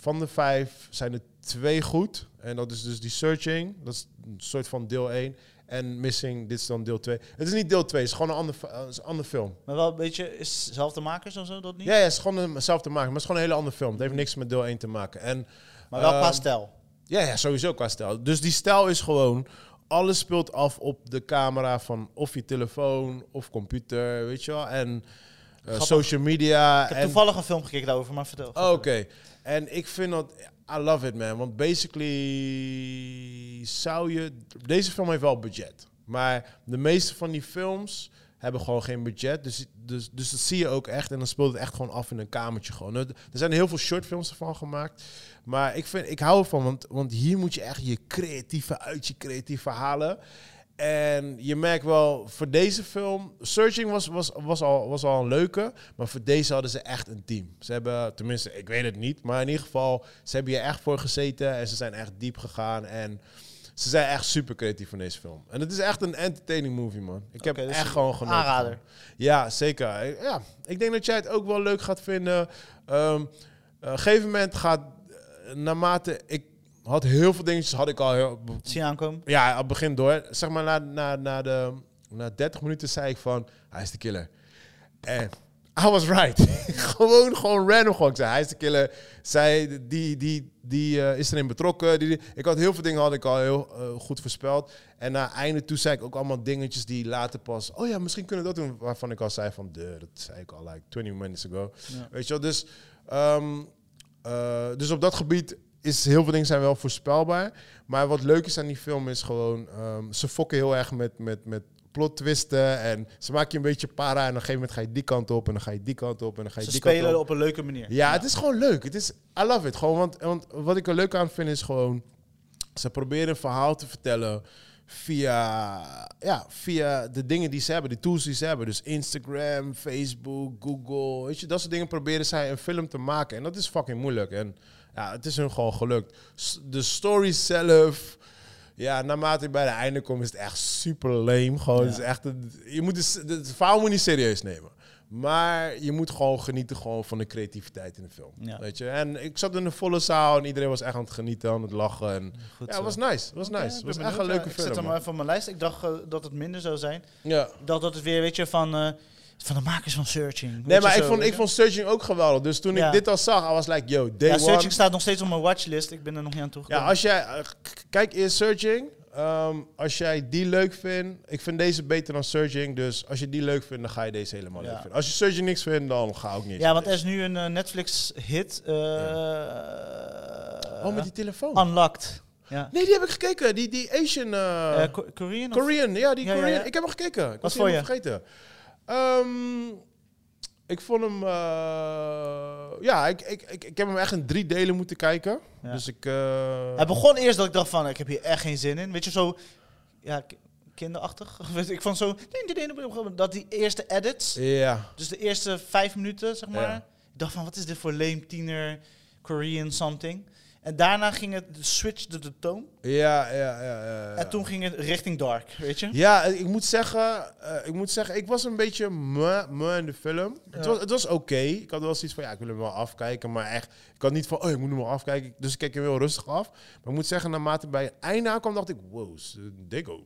Speaker 3: van de vijf zijn er twee goed. En dat is dus die Searching. Dat is een soort van deel 1. En Missing, dit is dan deel 2. Het is niet deel 2, het is gewoon een ander, eh, het is een ander film.
Speaker 2: Maar wel een beetje, is zelfde makers of zo, dat niet?
Speaker 3: Ja, ja, het is gewoon hetzelfde maken. Maar het is gewoon een hele andere film. Het heeft niks met deel 1 te maken. En,
Speaker 2: Maar wel qua
Speaker 3: ehm,
Speaker 2: stijl.
Speaker 3: Ja, ja, sowieso qua stijl. Dus die stijl is gewoon... Alles speelt af op de camera van of je telefoon of computer, weet je wel. En eh,
Speaker 2: Grappig.
Speaker 3: social media.
Speaker 2: Ik heb
Speaker 3: en
Speaker 2: toevallig een film gekeken daarover, maar vertel.
Speaker 3: Oh, Oké. En ik vind dat... I love it, man. Want basically zou je... Deze film heeft wel budget. Maar de meeste van die films hebben gewoon geen budget. Dus, dus, dus dat zie je ook echt. En dan speelt het echt gewoon af in een kamertje gewoon. Er er zijn heel veel shortfilms ervan gemaakt. Maar ik, vind, ik hou ervan. Want, want hier moet je echt je creatieve uit je creatieve halen. En je merkt wel, voor deze film... Searching was, was, was, al, was al een leuke. Maar voor deze hadden ze echt een team. Ze hebben, tenminste, ik weet het niet. Maar in ieder geval, ze hebben hier echt voor gezeten. En ze zijn echt diep gegaan. En ze zijn echt super creatief van deze film. En het is echt een entertaining movie, man. Ik
Speaker 2: Oké,
Speaker 3: heb
Speaker 2: dus
Speaker 3: echt gewoon genoten.
Speaker 2: aanrader.
Speaker 3: Ja, zeker. Ja, ik denk dat jij het ook wel leuk gaat vinden. Ehm, eh, op een gegeven moment gaat... eh, Naarmate ik had heel veel dingetjes, had ik al heel,
Speaker 2: Zie je aankomen?
Speaker 3: ja, op het begin door. Zeg maar na, na, na, de, na 30 minuten zei ik van, hij is de killer. En I was right. (laughs) gewoon, gewoon random gewoon. Ik zei, hij is de killer. Zij, die, die, die eh, is erin betrokken. Die, die- ik had heel veel dingen had ik al heel eh, goed voorspeld. En na einde toe zei ik ook allemaal dingetjes die later pas... Oh ja, misschien kunnen we dat doen. Waarvan ik al zei van, duh, dat zei ik al like 20 minutes ago.
Speaker 2: Ja.
Speaker 3: Weet je wel, dus... ehm, eh, dus op dat gebied is heel veel dingen zijn wel voorspelbaar. Maar wat leuk is aan die film is gewoon... ehm, ze fokken heel erg met, met, met plot twisten. En ze maken je een beetje para. En op een gegeven moment ga je die kant op. En dan ga je die kant op. En dan ga je
Speaker 2: Ze
Speaker 3: die
Speaker 2: spelen
Speaker 3: kant
Speaker 2: op een leuke manier.
Speaker 3: ja, het is gewoon leuk. Het is, I love it. Gewoon, want, want wat ik er leuk aan vind is gewoon... Ze proberen een verhaal te vertellen via, ja, via de dingen die ze hebben, de tools die ze hebben. Dus Instagram, Facebook, Google, weet je, dat soort dingen proberen zij een film te maken. En dat is fucking moeilijk. En Ja, het is hun gewoon gelukt. S- De story zelf. Ja, naarmate je bij de einde komt, is het echt super lame. Gewoon, het is echt, een- je moet het, het verhaal moet je niet serieus nemen. Maar je moet gewoon genieten gewoon van de creativiteit in de film.
Speaker 2: Ja.
Speaker 3: Weet je? En ik zat in een volle zaal en iedereen was echt aan het genieten, aan het lachen. En
Speaker 2: Goed eh,
Speaker 3: ja,
Speaker 2: zo.
Speaker 3: het was nice. Het was nice.
Speaker 2: Oké, ben
Speaker 3: het was echt
Speaker 2: benieuwd.
Speaker 3: een
Speaker 2: Ja,
Speaker 3: leuke
Speaker 2: Ik zet
Speaker 3: film.
Speaker 2: hem
Speaker 3: man.
Speaker 2: even op mijn lijst. Ik dacht eh, dat het minder zou zijn.
Speaker 3: Ja.
Speaker 2: Ik dacht dat het weer, weet je, van, eh, van de makers van Searching. Weet
Speaker 3: Nee,
Speaker 2: je
Speaker 3: maar ik
Speaker 2: zo,
Speaker 3: vond,
Speaker 2: weet
Speaker 3: ik
Speaker 2: je?
Speaker 3: vond Searching ook geweldig. Dus toen
Speaker 2: Ja.
Speaker 3: ik dit al zag, I was like, yo, day
Speaker 2: Ja,
Speaker 3: one.
Speaker 2: Searching staat nog steeds op mijn watchlist. Ik ben er nog niet aan toegekomen.
Speaker 3: Ja, als jij... eh, k- Kijk eerst Searching. Ehm, als jij die leuk vindt... Ik vind deze beter dan Searching. Dus als je die leuk vindt, dan ga je deze helemaal
Speaker 2: Ja.
Speaker 3: leuk vinden. Als je Searching niks vindt, dan ga ik niet.
Speaker 2: Ja, want er is nu een eh, Netflix-hit. eh,
Speaker 3: Oh, met die telefoon.
Speaker 2: Unlocked. Ja.
Speaker 3: Nee, die heb ik gekeken. Die, die Asian... eh,
Speaker 2: Eh, Ko- Korean? of-
Speaker 3: Korean, ja, die
Speaker 2: Ja, ja,
Speaker 3: Korean.
Speaker 2: ja.
Speaker 3: Ik heb hem gekeken. Ik
Speaker 2: Wat
Speaker 3: was
Speaker 2: vond
Speaker 3: helemaal vergeten. Ehm, ik vond hem... eh, ja, ik, ik, ik, ik heb hem echt in drie delen moeten kijken.
Speaker 2: Ja.
Speaker 3: Dus ik... eh,
Speaker 2: Hij begon eerst dat ik dacht van, ik heb hier echt geen zin in. Weet je, zo... Ja, ki- kinderachtig. Weet je, ik vond zo... Dat die eerste edits...
Speaker 3: Ja.
Speaker 2: Dus de eerste vijf minuten, zeg maar.
Speaker 3: Ja.
Speaker 2: Ik dacht van, wat is dit voor lame tiener Korean something? En daarna ging het, switchte de toon.
Speaker 3: Ja, ja, ja. ja, ja.
Speaker 2: En toen ging het richting dark, weet je?
Speaker 3: Ja, ik moet zeggen, eh, ik moet zeggen, ik was een beetje me, me in de film. Het was, het was oké. Ik had wel zoiets van, ja, ik wil hem wel afkijken, maar echt, ik had niet van, oh, ik moet hem wel afkijken. Dus ik keek hem heel rustig af. Maar ik moet zeggen, naarmate bij het einde aankwam, dacht ik, wow, s- (laughs) Dikko,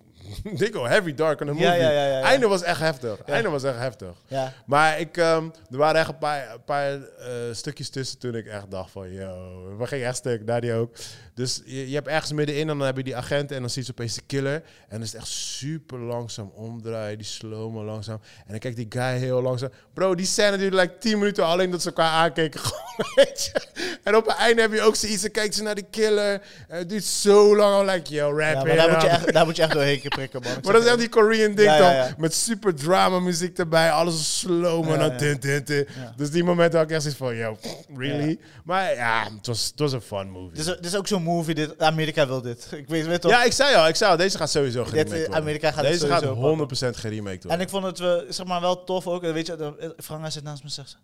Speaker 3: Dikko, heavy dark in de movie.
Speaker 2: Ja, ja, ja, ja, ja.
Speaker 3: Einde was echt heftig. Einde was echt heftig.
Speaker 2: Ja.
Speaker 3: Maar ik, ehm, er waren echt een paar, een paar eh, stukjes tussen toen ik echt dacht van, yo, we gingen echt stuk, daar die ook. Dus je, je hebt ergens middenin en dan heb je die agent en dan zie je opeens de killer. En dan is het echt super langzaam omdraaien, die slow langzaam. En dan kijkt die guy heel langzaam. Bro, die scène duurde like 10 minuten alleen dat ze elkaar aankeken. (laughs) Gewoon, weet je. En op het einde heb je ook zoiets, dan kijkt ze naar de killer. En het duurt zo lang, I'm like, yo, rap
Speaker 2: Ja, maar
Speaker 3: it
Speaker 2: daar moet, je
Speaker 3: up.
Speaker 2: echt, daar moet je echt doorheen prikken,
Speaker 3: (laughs)
Speaker 2: man. Ik
Speaker 3: eh, Maar
Speaker 2: zeg
Speaker 3: dat is echt die Korean ding
Speaker 2: Ja,
Speaker 3: dan.
Speaker 2: ja, ja.
Speaker 3: Met super drama muziek erbij. Alles slow, man.
Speaker 2: Ja,
Speaker 3: dan
Speaker 2: ja.
Speaker 3: tin, tin, tin.
Speaker 2: Ja.
Speaker 3: Dus die momenten had ik echt zoiets van, yo, really? Maar ja, het was, het was een fun
Speaker 2: het.
Speaker 3: movie.
Speaker 2: Dit is, dit is ook zo'n movie, dit, Amerika wil dit. Ik weet, weet Dus toch?
Speaker 3: ja, ik zei al, ik zei al, deze gaat sowieso geremaked
Speaker 2: eh,
Speaker 3: worden.
Speaker 2: Amerika gaat het
Speaker 3: deze
Speaker 2: sowieso
Speaker 3: gaat
Speaker 2: pakken.
Speaker 3: 100% geremaked
Speaker 2: En
Speaker 3: worden.
Speaker 2: ik vond het eh, zeg maar wel tof ook. Eh, Weet je, de- eh, Franga zit naast me en zegt ze,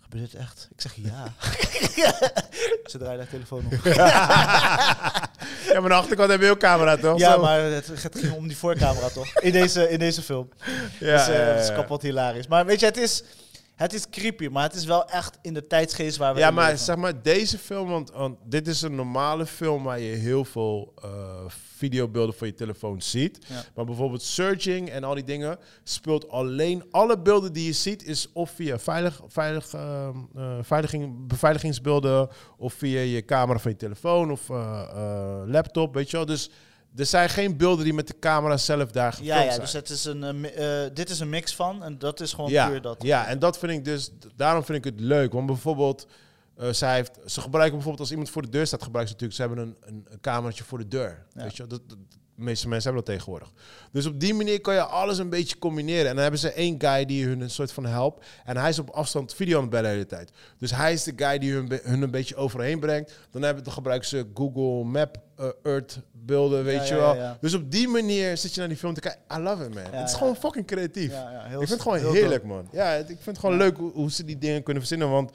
Speaker 2: gebeurt dit echt? Ik zeg ja. (laughs) ze draaien haar telefoon om.
Speaker 3: (laughs) Ja, maar de achterkant hebben we ook camera, toch?
Speaker 2: Ja,
Speaker 3: Zo.
Speaker 2: maar het, het ging om die voorcamera toch? In deze, in deze film.
Speaker 3: (laughs) Ja,
Speaker 2: dus, eh,
Speaker 3: ja, ja,
Speaker 2: Het is
Speaker 3: ja.
Speaker 2: kapot hilarisch. Maar weet je, het is, het is creepy, maar het is wel echt in de tijdsgeest waar we
Speaker 3: Ja,
Speaker 2: in
Speaker 3: maar
Speaker 2: leven.
Speaker 3: zeg maar, deze film, want, want dit is een normale film waar je heel veel eh, videobeelden van je telefoon ziet.
Speaker 2: Ja.
Speaker 3: Maar bijvoorbeeld searching en al die dingen speelt alleen alle beelden die je ziet, is of via veilig, veilig, ehm, eh, veiliging, beveiligingsbeelden, of via je camera van je telefoon of eh, eh, laptop, weet je wel. Dus er zijn geen beelden die met de camera zelf daar gefilmd
Speaker 2: Ja, ja,
Speaker 3: zijn.
Speaker 2: dus het is een, eh, mi- eh, dit is een mix van en dat is gewoon
Speaker 3: Ja,
Speaker 2: puur dat.
Speaker 3: ja, en dat vind ik dus, daarom vind ik het leuk. Want bijvoorbeeld, eh, zij heeft, ze gebruiken bijvoorbeeld als iemand voor de deur staat, gebruiken ze natuurlijk, ze hebben een, een, een kamertje voor de deur.
Speaker 2: Ja.
Speaker 3: Weet je, wel, dat, dat- de meeste mensen hebben dat tegenwoordig. Dus op die manier kan je alles een beetje combineren. En dan hebben ze één guy die hun een soort van helpt. En hij is op afstand video aan het bellen de hele tijd. Dus hij is de guy die hun, be- hun een beetje overheen brengt. Dan, hebben, dan gebruiken ze Google Map, eh, Earth beelden, weet
Speaker 2: Ja,
Speaker 3: je
Speaker 2: ja,
Speaker 3: wel.
Speaker 2: ja.
Speaker 3: Dus op die manier zit je naar die film te kijken. I love it, man.
Speaker 2: Ja,
Speaker 3: het is
Speaker 2: ja.
Speaker 3: gewoon fucking creatief
Speaker 2: Ja, ja, heel
Speaker 3: ik vind
Speaker 2: st-
Speaker 3: het gewoon
Speaker 2: heel
Speaker 3: heerlijk, man. Ja, het- ik vind het gewoon leuk hoe, hoe ze die dingen kunnen verzinnen. Want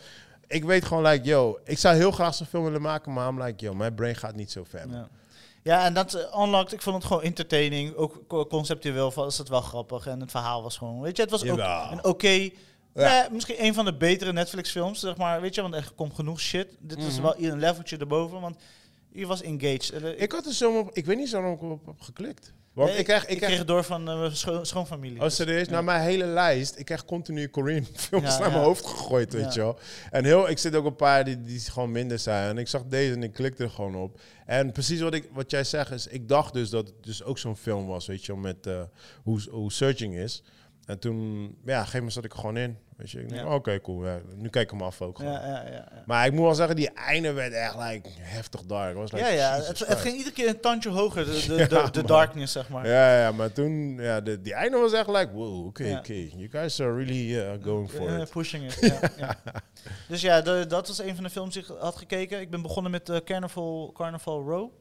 Speaker 3: ik weet gewoon, like, yo, ik zou heel graag zo'n film willen maken, maar I'm like, yo, mijn brain gaat niet zo ver.
Speaker 2: dope.
Speaker 3: man.
Speaker 2: Ja. Ja, en dat eh, Unlocked, ik vond het gewoon entertaining. Ook co- conceptueel was het wel grappig. En het verhaal was gewoon, weet je, het was ook
Speaker 3: Jawel.
Speaker 2: een oké... nee, misschien een van de betere Netflix-films, zeg maar. Weet je, want er komt genoeg shit. Dit is wel een leveltje erboven, want je was engaged. Eh,
Speaker 3: Ik had er zomaar op, ik weet niet waarom ik op, op geklikt. Want
Speaker 2: Nee,
Speaker 3: ik krijg, ik,
Speaker 2: kreeg
Speaker 3: krijg,
Speaker 2: het door van eh, mijn scho- schoonfamilie.
Speaker 3: oh serieus, naar mijn hele lijst, ik krijg continu Korean (laughs) films
Speaker 2: Ja,
Speaker 3: naar
Speaker 2: ja.
Speaker 3: mijn hoofd gegooid, weet
Speaker 2: Ja.
Speaker 3: je wel. En heel, ik zit ook een paar die, die gewoon minder zijn. En ik zag deze en ik klikte er gewoon op. En precies wat, ik, wat jij zegt is, ik dacht dus dat het dus ook zo'n film was, weet je wel, met eh, hoe, hoe Searching is. En toen, ja, op een gegeven moment zat ik er gewoon in. Weet je, ik denk,
Speaker 2: Ja.
Speaker 3: oké, cool. ja, nu kijk ik hem af ook
Speaker 2: ja,
Speaker 3: gewoon.
Speaker 2: ja, ja, ja.
Speaker 3: Maar ik moet wel zeggen, die einde werd echt like, heftig dark. Ik Was like,
Speaker 2: ja, ja.
Speaker 3: Jesus
Speaker 2: Het, het
Speaker 3: Christ.
Speaker 2: ging iedere keer een tandje hoger, de, de,
Speaker 3: (laughs)
Speaker 2: de,
Speaker 3: Ja,
Speaker 2: de
Speaker 3: man.
Speaker 2: darkness, zeg maar.
Speaker 3: Ja, ja, maar toen, ja, de, die einde was echt like, wow, oké,
Speaker 2: Ja.
Speaker 3: oké. You guys are really eh, going for
Speaker 2: Eh,
Speaker 3: it.
Speaker 2: pushing it, ja,
Speaker 3: (laughs)
Speaker 2: ja. Dus ja, de- dat was een van de films die ik had gekeken. Ik ben begonnen met eh, Carnival, Carnival Row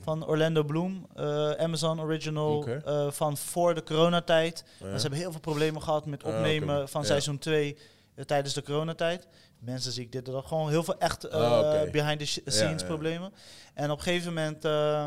Speaker 2: van Orlando Bloom. eh, Amazon Original
Speaker 3: Oké.
Speaker 2: eh, van voor de coronatijd.
Speaker 3: Ja.
Speaker 2: Maar ze hebben heel veel problemen gehad met
Speaker 3: Ah, oké.
Speaker 2: opnemen van
Speaker 3: Ja.
Speaker 2: seizoen 2. eh, tijdens de coronatijd. Mensen zie ik dit en dat. Gewoon heel veel echt eh,
Speaker 3: Ah, oké.
Speaker 2: behind the sh- scenes
Speaker 3: ja.
Speaker 2: problemen. En op een gegeven moment eh,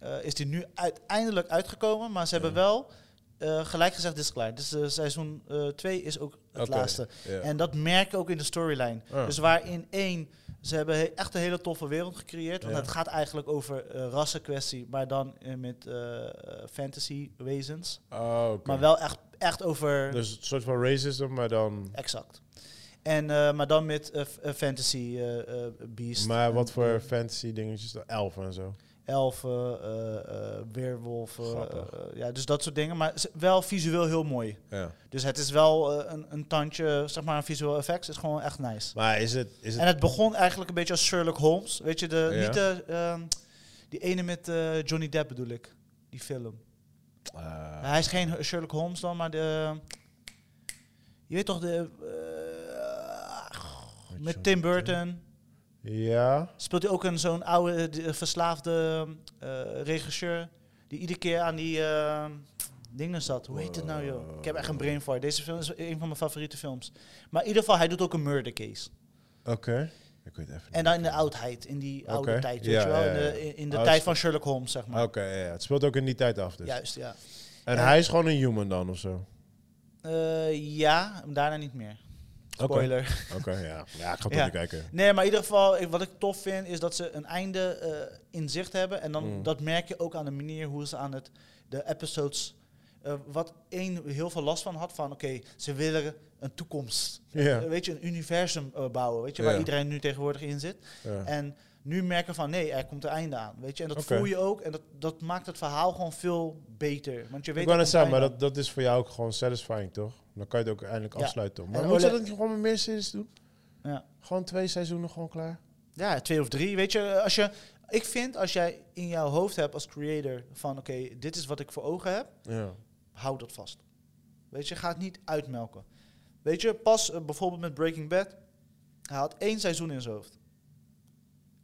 Speaker 2: eh, is die nu uiteindelijk uitgekomen. Maar ze hebben wel eh, gelijk gezegd, dit is klaar. Dus eh, seizoen 2 is ook het
Speaker 3: Oké,
Speaker 2: laatste.
Speaker 3: ja. Ah.
Speaker 2: En dat merk ik ook in de storyline.
Speaker 3: Ja.
Speaker 2: Dus waar in één, ze hebben he- echt een hele toffe wereld gecreëerd. Want
Speaker 3: Ja.
Speaker 2: het gaat eigenlijk over eh, rassenkwestie, maar dan eh, met eh, eh, fantasy wezens.
Speaker 3: Ah, oké.
Speaker 2: Maar wel echt, echt over.
Speaker 3: Dus een soort van racism, maar dan...
Speaker 2: Exact. En, eh, maar dan met eh, f- eh, fantasy eh, eh, beast.
Speaker 3: Maar
Speaker 2: En,
Speaker 3: wat voor
Speaker 2: eh,
Speaker 3: fantasy dingetjes? dan? Elfen en zo.
Speaker 2: elfen, eh, eh, weerwolven.
Speaker 3: Grappig.
Speaker 2: eh, eh, ja, dus dat soort dingen. Maar ze- wel visueel heel mooi.
Speaker 3: Ja.
Speaker 2: Dus het is wel eh, een, een tandje, zeg maar, aan visual effects. is gewoon echt nice.
Speaker 3: Maar is het... Is het
Speaker 2: En het begon eigenlijk een beetje als Sherlock Holmes. Weet je, de,
Speaker 3: Ja.
Speaker 2: niet de, ehm, die ene met eh, Johnny Depp bedoel ik. Die film.
Speaker 3: Ah,
Speaker 2: Hij is geen Sherlock Holmes dan, maar de... Je weet toch, de... eh, met Tim Burton
Speaker 3: ja.
Speaker 2: speelt hij ook een zo'n oude eh, die- eh, verslaafde eh, regisseur... die iedere keer aan die eh, dingen zat. Hoe heet het nou, joh? Ik heb echt een brain fart. Deze film is een van mijn favoriete films. Maar in ieder geval, hij doet ook een murder case.
Speaker 3: Oké. Ik weet even
Speaker 2: En dan in de oudheid, in die oude
Speaker 3: Oké,
Speaker 2: tijd,
Speaker 3: ja,
Speaker 2: weet je wel?
Speaker 3: ja,
Speaker 2: In
Speaker 3: ja.
Speaker 2: de, in- in de
Speaker 3: Oud-
Speaker 2: tijd van Sherlock Holmes, zeg maar.
Speaker 3: Oké, ja, ja. Het speelt ook in die tijd af dus.
Speaker 2: Juist, ja.
Speaker 3: En
Speaker 2: Ja.
Speaker 3: hij is gewoon een human dan of zo?
Speaker 2: Eh, ja, daarna niet meer.
Speaker 3: Oké.
Speaker 2: Spoiler.
Speaker 3: Oké, ja. Ja, ik ga toch
Speaker 2: Ja.
Speaker 3: niet kijken.
Speaker 2: Nee, maar in ieder geval, ik- wat ik tof vind, is dat ze een einde eh, in zicht hebben. En dan,
Speaker 3: Mm.
Speaker 2: dat merk je ook aan de manier hoe ze aan het, de episodes... eh, wat één heel veel last van had, van oké, ze willen een toekomst.
Speaker 3: Ja.
Speaker 2: Eh, weet je, een universum eh, bouwen, weet je,
Speaker 3: Ja.
Speaker 2: waar iedereen nu tegenwoordig in zit.
Speaker 3: Ja.
Speaker 2: En nu merken van nee, er komt een einde aan. Weet je? En dat
Speaker 3: Oké.
Speaker 2: voel je ook. En dat, dat maakt het verhaal gewoon veel beter. Want je weet
Speaker 3: Ik wou
Speaker 2: er
Speaker 3: net
Speaker 2: komt
Speaker 3: zeggen,
Speaker 2: een
Speaker 3: maar
Speaker 2: einde
Speaker 3: dat, dat is voor jou ook gewoon satisfying, toch? Dan kan je het ook eindelijk
Speaker 2: Ja.
Speaker 3: afsluiten. toch? Maar
Speaker 2: En
Speaker 3: moet je
Speaker 2: Ole-
Speaker 3: dat niet gewoon met meer series doen?
Speaker 2: aan. Ja.
Speaker 3: Gewoon twee seizoenen gewoon klaar?
Speaker 2: Ja, twee of drie. Weet je, als je, ik vind als jij in jouw hoofd hebt als creator van oké, dit is wat ik voor ogen heb,
Speaker 3: Ja.
Speaker 2: hou dat vast. Weet je, ga het niet uitmelken. Weet je, pas eh, bijvoorbeeld met Breaking Bad, hij had één seizoen in zijn hoofd.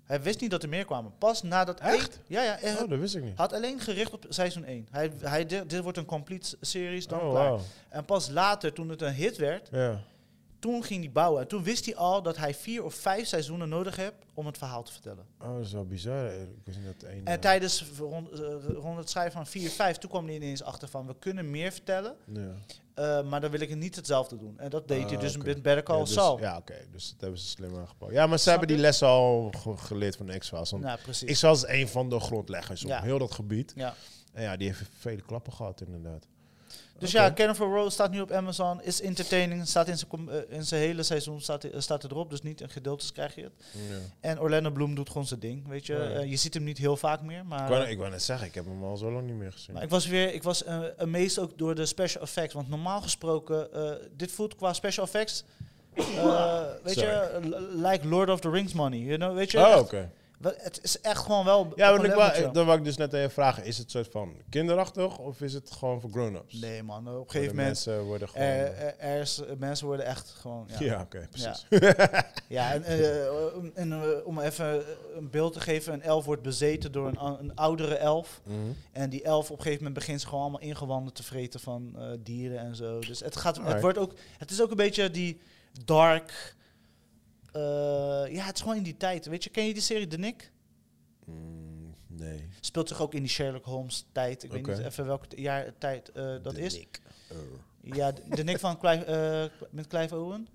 Speaker 2: Hij wist niet dat er meer kwamen. Pas nadat
Speaker 3: Echt?
Speaker 2: één- ja, ja. eh,
Speaker 3: Oh, dat wist ik niet.
Speaker 2: Had alleen gericht op seizoen 1. Hij, hij, di- dit wordt een complete series, dan
Speaker 3: oh,
Speaker 2: klaar.
Speaker 3: wauw.
Speaker 2: En pas later, toen het een hit werd,
Speaker 3: Ja.
Speaker 2: toen ging hij bouwen. En toen wist hij al dat hij vier of vijf seizoenen nodig hebt om het verhaal te vertellen.
Speaker 3: Oh, dat is wel bizar. Ik wist niet dat één...
Speaker 2: En
Speaker 3: eh,
Speaker 2: tijdens rond, eh, rond het schrijven van 4, 5, toen kwam hij ineens achter van we kunnen meer vertellen,
Speaker 3: ja.
Speaker 2: eh, maar dan wil ik het niet hetzelfde doen. En dat deed hij
Speaker 3: Ah,
Speaker 2: dus
Speaker 3: oké.
Speaker 2: met Better Call
Speaker 3: Ja, dus,
Speaker 2: Saul.
Speaker 3: Ja, oké. Dus dat hebben ze slim aangepakt. Ja, maar ze hebben
Speaker 2: je?
Speaker 3: die lessen al ge- geleerd van X-Files. want
Speaker 2: Nou, precies.
Speaker 3: X-Files is een van de grondleggers
Speaker 2: Ja.
Speaker 3: op heel dat gebied.
Speaker 2: ja.
Speaker 3: En ja, die heeft vele klappen gehad inderdaad.
Speaker 2: Dus
Speaker 3: Oké.
Speaker 2: ja, Jennifer Rose staat nu op Amazon, is entertaining, staat in zijn com- eh, in zijn hele seizoen staat, eh, staat erop, dus niet een gedeeltes krijg je het. En Orlando Bloom doet gewoon zijn ding, weet je.
Speaker 3: Oh, Ja, ja.
Speaker 2: Eh, je ziet hem niet heel vaak meer, maar... eh,
Speaker 3: Ik, wou, ik wou net zeggen, ik heb hem al zo lang niet meer gezien.
Speaker 2: Maar ik was weer, ik was eh, amazed ook door de special effects. Want normaal gesproken, eh, dit voelt qua special effects. eh,
Speaker 3: (laughs)
Speaker 2: weet je, eh, li- like Lord of the Rings money. You know, weet je,
Speaker 3: oh, oké.
Speaker 2: echt- wel- het is echt gewoon wel. op
Speaker 3: Ja,
Speaker 2: een
Speaker 3: want ik
Speaker 2: leveltje.
Speaker 3: wou, dan wou ik dus net aan je vragen. Is het soort van kinderachtig of is het gewoon voor grown-ups?
Speaker 2: Nee, man, op een
Speaker 3: Voor de
Speaker 2: gegeven moment.
Speaker 3: Mensen worden gewoon... eh.
Speaker 2: Er, er- er is, eh, mensen worden echt gewoon. Ja,
Speaker 3: ja, oké, precies.
Speaker 2: Ja, en, eh, om- en, eh, om even een beeld te geven: een elf wordt bezeten door een, a- een oudere elf.
Speaker 3: (laughs) Mhm.
Speaker 2: En die elf op een gegeven moment begint ze gewoon allemaal ingewanden te vreten van eh, dieren en zo. Dus het, gaat, het,
Speaker 3: Alright.
Speaker 2: wordt ook, het is ook een beetje die dark. eh, ja, het is gewoon in die tijd. Weet je, ken je die serie The Nick?
Speaker 3: Mm, nee.
Speaker 2: Speelt zich ook in die Sherlock Holmes tijd. Ik
Speaker 3: Oké.
Speaker 2: weet niet even welk t- jaar tijd eh, dat
Speaker 3: De
Speaker 2: is.
Speaker 3: Nick. Oh.
Speaker 2: Ja, de de Nick van Clive, eh, met Clive Owen.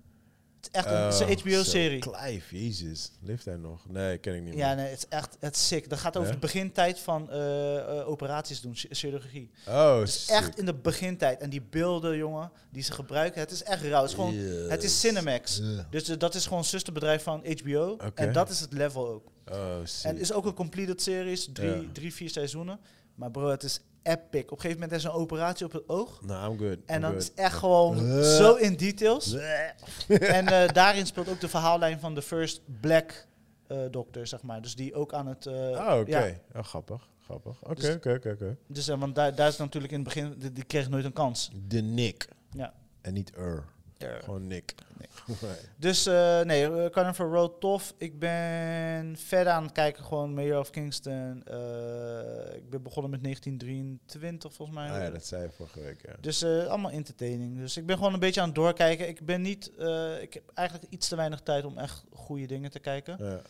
Speaker 2: Het is echt een, het is
Speaker 3: Oh,
Speaker 2: een
Speaker 3: zo,
Speaker 2: HBO-serie.
Speaker 3: Clive, jezus. Leeft hij nog? Nee, ken ik niet meer.
Speaker 2: Ja, nee, het is echt het is sick. Dat gaat over
Speaker 3: Ja?
Speaker 2: de begintijd van eh, eh, operaties doen, chi- chirurgie.
Speaker 3: Oh,
Speaker 2: Het is echt in de begintijd. En die beelden, jongen, die ze gebruiken, het is echt rauw. Het is, gewoon, het is Cinemax. Dus eh, dat is gewoon zusterbedrijf van HBO.
Speaker 3: Oké.
Speaker 2: En dat is het level ook.
Speaker 3: Oh,
Speaker 2: En het
Speaker 3: sick.
Speaker 2: is ook een completed series, drie,
Speaker 3: Ja.
Speaker 2: drie, vier seizoenen. Maar bro, het is epic. Op een gegeven moment is er een operatie op het oog.
Speaker 3: Nou, I'm good.
Speaker 2: En
Speaker 3: I'm
Speaker 2: dan is
Speaker 3: good.
Speaker 2: het echt gewoon
Speaker 3: Eh.
Speaker 2: zo in details.
Speaker 3: Bleh.
Speaker 2: (laughs) En eh, daarin speelt ook de verhaallijn van de first black eh, dokter, zeg maar. Dus die ook aan het... eh,
Speaker 3: Oh, oké.
Speaker 2: ja.
Speaker 3: Oh, grappig. Grappig. Oké,
Speaker 2: Dus-
Speaker 3: oké, oké, oké.
Speaker 2: Dus, eh, want daar, daar is natuurlijk in het begin... Die, die kreeg nooit een kans.
Speaker 3: De Nick.
Speaker 2: Ja.
Speaker 3: En niet Er. Gewoon Nick. (laughs) Ah,
Speaker 2: Dus eh, nee, eh, Carnival Road tof. Ik ben verder aan het kijken, gewoon Mayor of Kingston. Eh, ik ben begonnen met 1923 volgens mij.
Speaker 3: Ah ja, dat zei je vorige week, ja.
Speaker 2: Dus eh, allemaal entertaining. Dus ik ben gewoon een beetje aan het doorkijken. Ik ben niet, eh, ik heb eigenlijk iets te weinig tijd om echt goede dingen te kijken.
Speaker 3: Ja.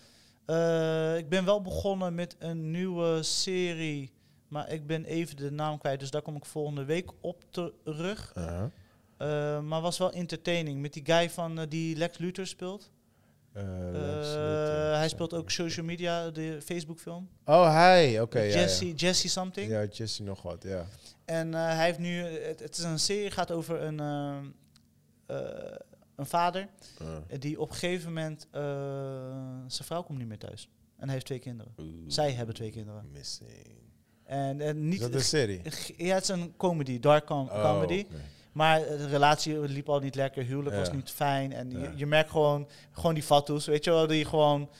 Speaker 2: Eh, ik ben wel begonnen met een nieuwe serie, maar ik ben even de naam kwijt. Dus daar kom ik volgende week op terug.
Speaker 3: Aha.
Speaker 2: Eh, maar was wel entertaining. Met die guy van eh, die Lex Luthor speelt.
Speaker 3: Eh,
Speaker 2: Eh,
Speaker 3: Lex Luthor.
Speaker 2: hij speelt ook social media, de Facebook film.
Speaker 3: Oh, hij. Oké, ja,
Speaker 2: Jesse,
Speaker 3: ja.
Speaker 2: Jesse something.
Speaker 3: Ja, Jesse nog wat, ja.
Speaker 2: En eh, hij heeft nu, het, het is een serie, gaat over een, eh, eh, een vader
Speaker 3: Ah.
Speaker 2: die op een gegeven moment, eh, zijn vrouw komt niet meer thuis. En hij heeft twee kinderen. Zij hebben twee kinderen.
Speaker 3: Missing.
Speaker 2: En, en
Speaker 3: Is
Speaker 2: niet,
Speaker 3: dat een serie?
Speaker 2: ja, het is een comedy, dark com-
Speaker 3: Oh,
Speaker 2: comedy.
Speaker 3: oké.
Speaker 2: Maar de relatie liep al niet lekker, huwelijk was
Speaker 3: Ja.
Speaker 2: niet fijn. En je,
Speaker 3: Ja.
Speaker 2: je merkt gewoon, gewoon die fatsoes, weet je wel, die gewoon...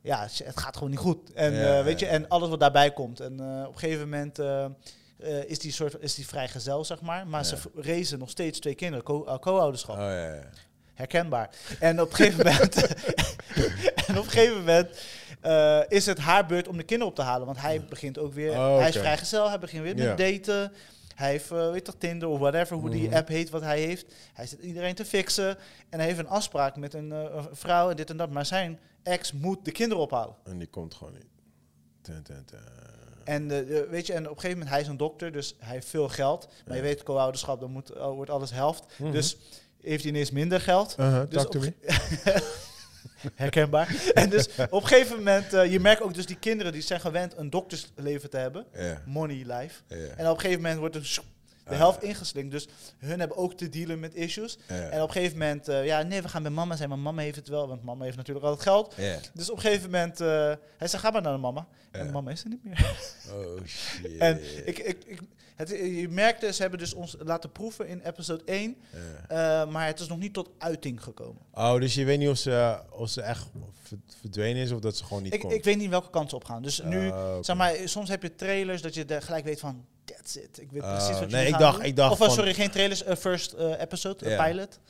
Speaker 2: Ja, sh- het gaat gewoon niet goed. En,
Speaker 3: Ja,
Speaker 2: eh,
Speaker 3: ja,
Speaker 2: weet je,
Speaker 3: ja.
Speaker 2: en alles wat daarbij komt. En eh, op een gegeven moment eh, eh, is, die soort, is die vrijgezel, zeg maar. Maar ze
Speaker 3: Ja.
Speaker 2: v- razen nog steeds twee kinderen, co- eh, co-ouderschap.
Speaker 3: Oh, ja, ja.
Speaker 2: Herkenbaar. En op een gegeven moment,
Speaker 3: (laughs)
Speaker 2: en op een gegeven moment eh, is het haar beurt om de kinderen op te halen. Want hij begint ook weer,
Speaker 3: Oh,
Speaker 2: hij is
Speaker 3: oké.
Speaker 2: vrijgezel, hij begint weer
Speaker 3: Ja. Mhm.
Speaker 2: met daten. Hij heeft, eh, weet toch, Tinder of whatever, hoe die app heet, wat hij heeft. Hij zit iedereen te fixen. En hij heeft een afspraak met een eh, vrouw en dit en dat. Maar zijn ex moet de kinderen ophalen.
Speaker 3: En die komt gewoon niet. Ten, ten, ten.
Speaker 2: En, eh, eh, weet je, en op een gegeven moment, hij is een dokter, dus hij heeft veel geld. Maar je weet, co-ouderschap, dan moet, eh, wordt alles helft.
Speaker 3: Mhm.
Speaker 2: Dus heeft hij ineens minder geld.
Speaker 3: Uh-huh,
Speaker 2: Dus
Speaker 3: talk to
Speaker 2: op
Speaker 3: me.
Speaker 2: (laughs) Herkenbaar. (laughs) en dus op een gegeven moment, eh, je merkt ook dus die kinderen die zijn gewend een doktersleven te hebben.
Speaker 3: Ja,
Speaker 2: Money life.
Speaker 3: ja,
Speaker 2: En op een gegeven moment wordt er sjoep, de
Speaker 3: Ah,
Speaker 2: helft
Speaker 3: ja.
Speaker 2: ingeslingerd. Dus hun hebben ook te dealen met issues. En
Speaker 3: ja.
Speaker 2: op een gegeven moment, eh, ja nee, we gaan bij mama zijn, maar mama heeft het wel. Want mama heeft natuurlijk al het geld.
Speaker 3: Ja.
Speaker 2: Dus op een gegeven moment, eh, hij zei, ga maar naar de mama. En
Speaker 3: Ja.
Speaker 2: mama is er niet meer.
Speaker 3: (laughs) Oh, shit.
Speaker 2: En ik, ik, ik, het, je merkte, ze hebben dus ons laten proeven in episode 1.
Speaker 3: Ja.
Speaker 2: eh, maar het is nog niet tot uiting gekomen.
Speaker 3: Oh, dus je weet niet of ze, of ze echt verd- verdwenen is of dat ze gewoon niet
Speaker 2: Ik,
Speaker 3: komt.
Speaker 2: ik weet niet welke kant ze op gaan. Dus nu,
Speaker 3: Ah, oké.
Speaker 2: zeg maar, soms heb je trailers dat je daar gelijk weet van, that's it. Ik weet
Speaker 3: Ah,
Speaker 2: precies wat
Speaker 3: nee,
Speaker 2: je
Speaker 3: ik
Speaker 2: gaan
Speaker 3: dacht-
Speaker 2: doen.
Speaker 3: ik dacht
Speaker 2: Of eh,
Speaker 3: van-
Speaker 2: sorry, geen trailers, eh, first eh, episode, eh,
Speaker 3: Ja.
Speaker 2: pilot.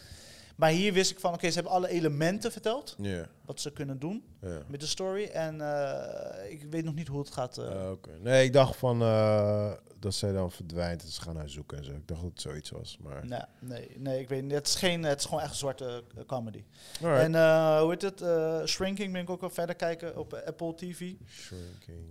Speaker 2: Maar hier wist ik van, oké, ze hebben alle elementen verteld,
Speaker 3: Ja,
Speaker 2: wat ze kunnen doen
Speaker 3: ja.
Speaker 2: met de story. En eh, ik weet nog niet hoe het gaat. eh.
Speaker 3: Ah, oké. Nee, ik dacht van eh, dat zij dan verdwijnt en ze gaan haar zoeken en zo. Ik dacht dat het zoiets was, maar...
Speaker 2: nee, nee, nee, ik weet niet. Het is, geen, het is gewoon echt zwarte eh, comedy.
Speaker 3: Alright.
Speaker 2: En eh, hoe heet het? eh, Shrinking ben ik ook wel verder kijken op eh, Apple TV.
Speaker 3: Shrinking.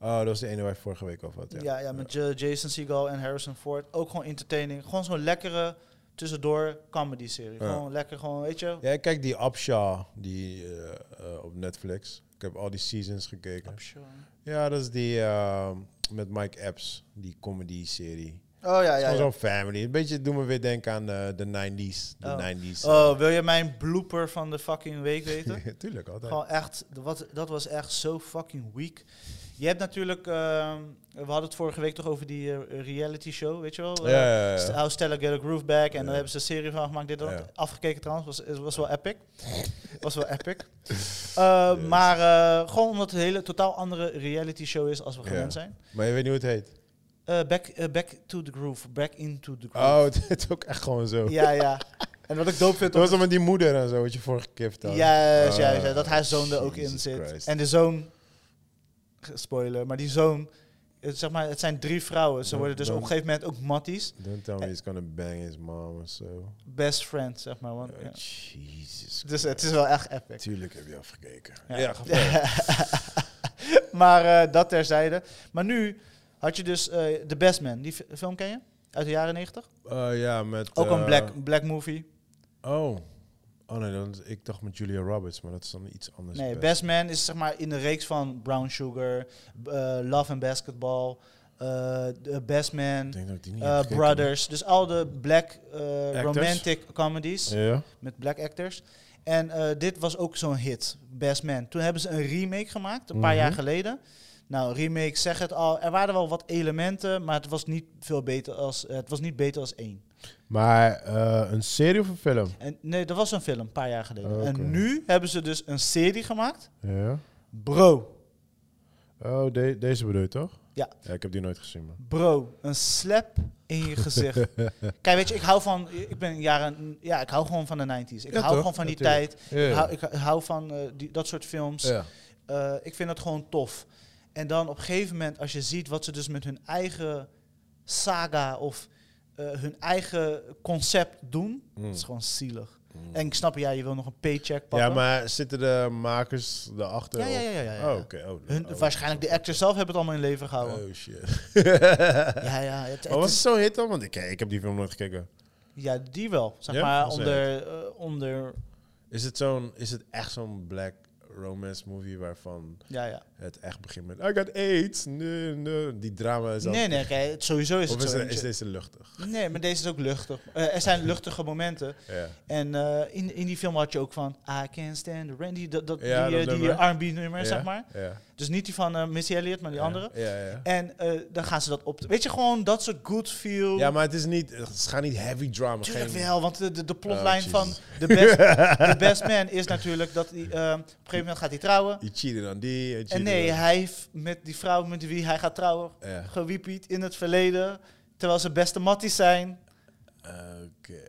Speaker 3: Oh, dat was de ene waar ik vorige week over had. Ja,
Speaker 2: Ja, ja, met J- Jason Segel en Harrison Ford. Ook gewoon entertaining. Gewoon zo'n lekkere tussendoor comedy serie.
Speaker 3: Ja.
Speaker 2: Gewoon lekker, gewoon, weet je.
Speaker 3: Ja, ik kijk die Upshaw die, eh, eh, op Netflix. Ik heb al die seasons gekeken.
Speaker 2: Oh,
Speaker 3: Ja, dat is die eh, met Mike Epps, die comedy-serie.
Speaker 2: Oh ja,
Speaker 3: Het is
Speaker 2: ja.
Speaker 3: gewoon
Speaker 2: ja.
Speaker 3: zo'n family. Een beetje doen we weer denken aan eh, de 90s. De
Speaker 2: Oh.
Speaker 3: 90s.
Speaker 2: Oh, wil je mijn blooper van de fucking week
Speaker 3: (laughs)
Speaker 2: weten?
Speaker 3: Ja, Tuurlijk, altijd.
Speaker 2: gewoon echt, wat, dat was echt zo fucking weak. Je hebt natuurlijk, ehm, we hadden het vorige week toch over die eh, reality show, weet je wel?
Speaker 3: ja,
Speaker 2: Eh,
Speaker 3: ja,
Speaker 2: St-
Speaker 3: ja.
Speaker 2: How Stella Get a Groove Back. En
Speaker 3: Ja.
Speaker 2: daar hebben ze een serie van gemaakt. Dit en dat.
Speaker 3: Ja.
Speaker 2: Afgekeken trouwens. Was, was wel epic. was wel
Speaker 3: (laughs)
Speaker 2: epic. Uh, Maar eh, gewoon omdat het een hele totaal andere reality show is als we
Speaker 3: Ja.
Speaker 2: gewend zijn.
Speaker 3: Maar je weet niet hoe het heet.
Speaker 2: Eh, back, eh, back to the groove. Back into the groove.
Speaker 3: Oh, (laughs) het is ook echt gewoon zo.
Speaker 2: Ja,
Speaker 3: (laughs)
Speaker 2: ja. En wat ik dope vind...
Speaker 3: Het
Speaker 2: om-
Speaker 3: was dan met die moeder en zo, wat je vorige keer vertelde.
Speaker 2: Juist,
Speaker 3: Ah,
Speaker 2: juist. ja, Dat haar zoon er ook in
Speaker 3: Jesus
Speaker 2: zit.
Speaker 3: Christ.
Speaker 2: En de zoon... Spoiler. Maar die zoon... eh, Zeg maar, het zijn drie vrouwen. Ze
Speaker 3: Dan-
Speaker 2: worden dus op
Speaker 3: dan-
Speaker 2: een gegeven moment ook matties.
Speaker 3: Don't tell me he's gonna bang his mom of zo.
Speaker 2: Best friend, zeg maar. Want,
Speaker 3: Oh,
Speaker 2: ja.
Speaker 3: Jesus.
Speaker 2: Dus het is wel echt epic.
Speaker 3: Tuurlijk heb je afgekeken.
Speaker 2: Ja.
Speaker 3: Ja, ga verder.
Speaker 2: (laughs) maar eh, dat terzijde. Maar nu had je dus eh The Best Man. Die fi- film ken je? Uit de jaren 90.
Speaker 3: Eh, ja, met...
Speaker 2: Ook een
Speaker 3: eh,
Speaker 2: black, black movie.
Speaker 3: Oh. Oh nee, dan, ik dacht met Julia Roberts, maar dat is dan iets anders.
Speaker 2: Nee,
Speaker 3: best.
Speaker 2: Best Man is zeg maar in de reeks van Brown Sugar, b- eh, Love and Basketball, eh, The Best Man,
Speaker 3: Ik denk dat ik die niet
Speaker 2: eh,
Speaker 3: heb gekeken,
Speaker 2: Brothers. Dus al de black eh,
Speaker 3: Actors?
Speaker 2: romantic comedies
Speaker 3: man. Ja?
Speaker 2: met black actors. En eh, dit was ook zo'n hit, Best Man. Toen hebben ze een remake gemaakt, een paar
Speaker 3: Mhm.
Speaker 2: jaar geleden. Nou, remake zeg het al. Er waren wel wat elementen, maar het was niet veel beter als het was niet beter als één.
Speaker 3: Maar eh, een serie of een film?
Speaker 2: En nee, dat was een film een paar jaar geleden.
Speaker 3: Oh, Oké.
Speaker 2: En nu hebben ze dus een serie gemaakt.
Speaker 3: Ja.
Speaker 2: Bro.
Speaker 3: Oh, de- deze bedoel je toch?
Speaker 2: Ja.
Speaker 3: Ja, ik heb die nooit gezien, man.
Speaker 2: Bro, een slap in je gezicht.
Speaker 3: (laughs)
Speaker 2: Kijk, weet je, ik hou van. Ik ben jaren. Ja, ik hou gewoon van de 90s. Ik
Speaker 3: Ja,
Speaker 2: hou
Speaker 3: toch?
Speaker 2: gewoon van die
Speaker 3: Natuurlijk.
Speaker 2: tijd.
Speaker 3: Ja.
Speaker 2: Ik hou, ik hou van eh, die, dat soort films.
Speaker 3: Ja.
Speaker 2: Eh, ik vind dat gewoon tof. En dan op een gegeven moment, als je ziet wat ze dus met hun eigen saga of eh, hun eigen concept
Speaker 3: Hmm. Mm.
Speaker 2: doen, dat is gewoon zielig. En ik snap, ja, je wil nog een paycheck pakken.
Speaker 3: ja, maar zitten de makers erachter?
Speaker 2: Ja, ja,
Speaker 3: of-
Speaker 2: ja, ja, ja, ja.
Speaker 3: Oh, oké. Oh,
Speaker 2: Hun,
Speaker 3: oh,
Speaker 2: waarschijnlijk de actors zelf hebben het allemaal in leven gehouden.
Speaker 3: Oh, shit. (laughs)
Speaker 2: Ja, ja, het,
Speaker 3: Maar
Speaker 2: het
Speaker 3: was
Speaker 2: is-
Speaker 3: het zo'n hit dan? Want ik, ik heb die film nooit gekeken.
Speaker 2: ja, die wel. Zeg
Speaker 3: Ja?
Speaker 2: maar
Speaker 3: Was
Speaker 2: onder, eh, onder.
Speaker 3: Is het, zo'n, is het echt zo'n black romance movie waarvan
Speaker 2: Ja, ja.
Speaker 3: het echt begint met... I got AIDS. Nee, nee. Die drama is al...
Speaker 2: Nee, nee, kijk, het- sowieso is
Speaker 3: Of
Speaker 2: het
Speaker 3: is,
Speaker 2: zo.
Speaker 3: de- is deze luchtig?
Speaker 2: Nee, maar deze is ook luchtig. Eh, er zijn luchtige momenten.
Speaker 3: Ja.
Speaker 2: En eh, in, in die film had je ook van I Can't Stand the Rain, die, dat, dat,
Speaker 3: Ja,
Speaker 2: die, eh,
Speaker 3: dat
Speaker 2: die
Speaker 3: nummer.
Speaker 2: R&B-nummer,
Speaker 3: Ja,
Speaker 2: zeg maar.
Speaker 3: Ja.
Speaker 2: Dus niet die van eh, Missy Elliott, maar die
Speaker 3: Ja.
Speaker 2: andere.
Speaker 3: Ja, ja.
Speaker 2: En eh, dan gaan ze dat op... Weet je, gewoon dat soort good feel.
Speaker 3: Ja, maar het is niet... Het gaat niet heavy drama.
Speaker 2: Tuurlijk
Speaker 3: geen-
Speaker 2: wel, want de, de, de plotlijn
Speaker 3: Oh,
Speaker 2: van
Speaker 3: Jesus.
Speaker 2: the
Speaker 3: (laughs)
Speaker 2: best, the best Man is natuurlijk dat hij... eh, op een gegeven moment gaat hij trouwen.
Speaker 3: Je cheated aan die. je
Speaker 2: En
Speaker 3: cheated
Speaker 2: nee,
Speaker 3: aan-
Speaker 2: hij heeft met die vrouw met wie hij gaat trouwen...
Speaker 3: Ja.
Speaker 2: gewiepied in het verleden, terwijl ze beste matties zijn.
Speaker 3: Oké,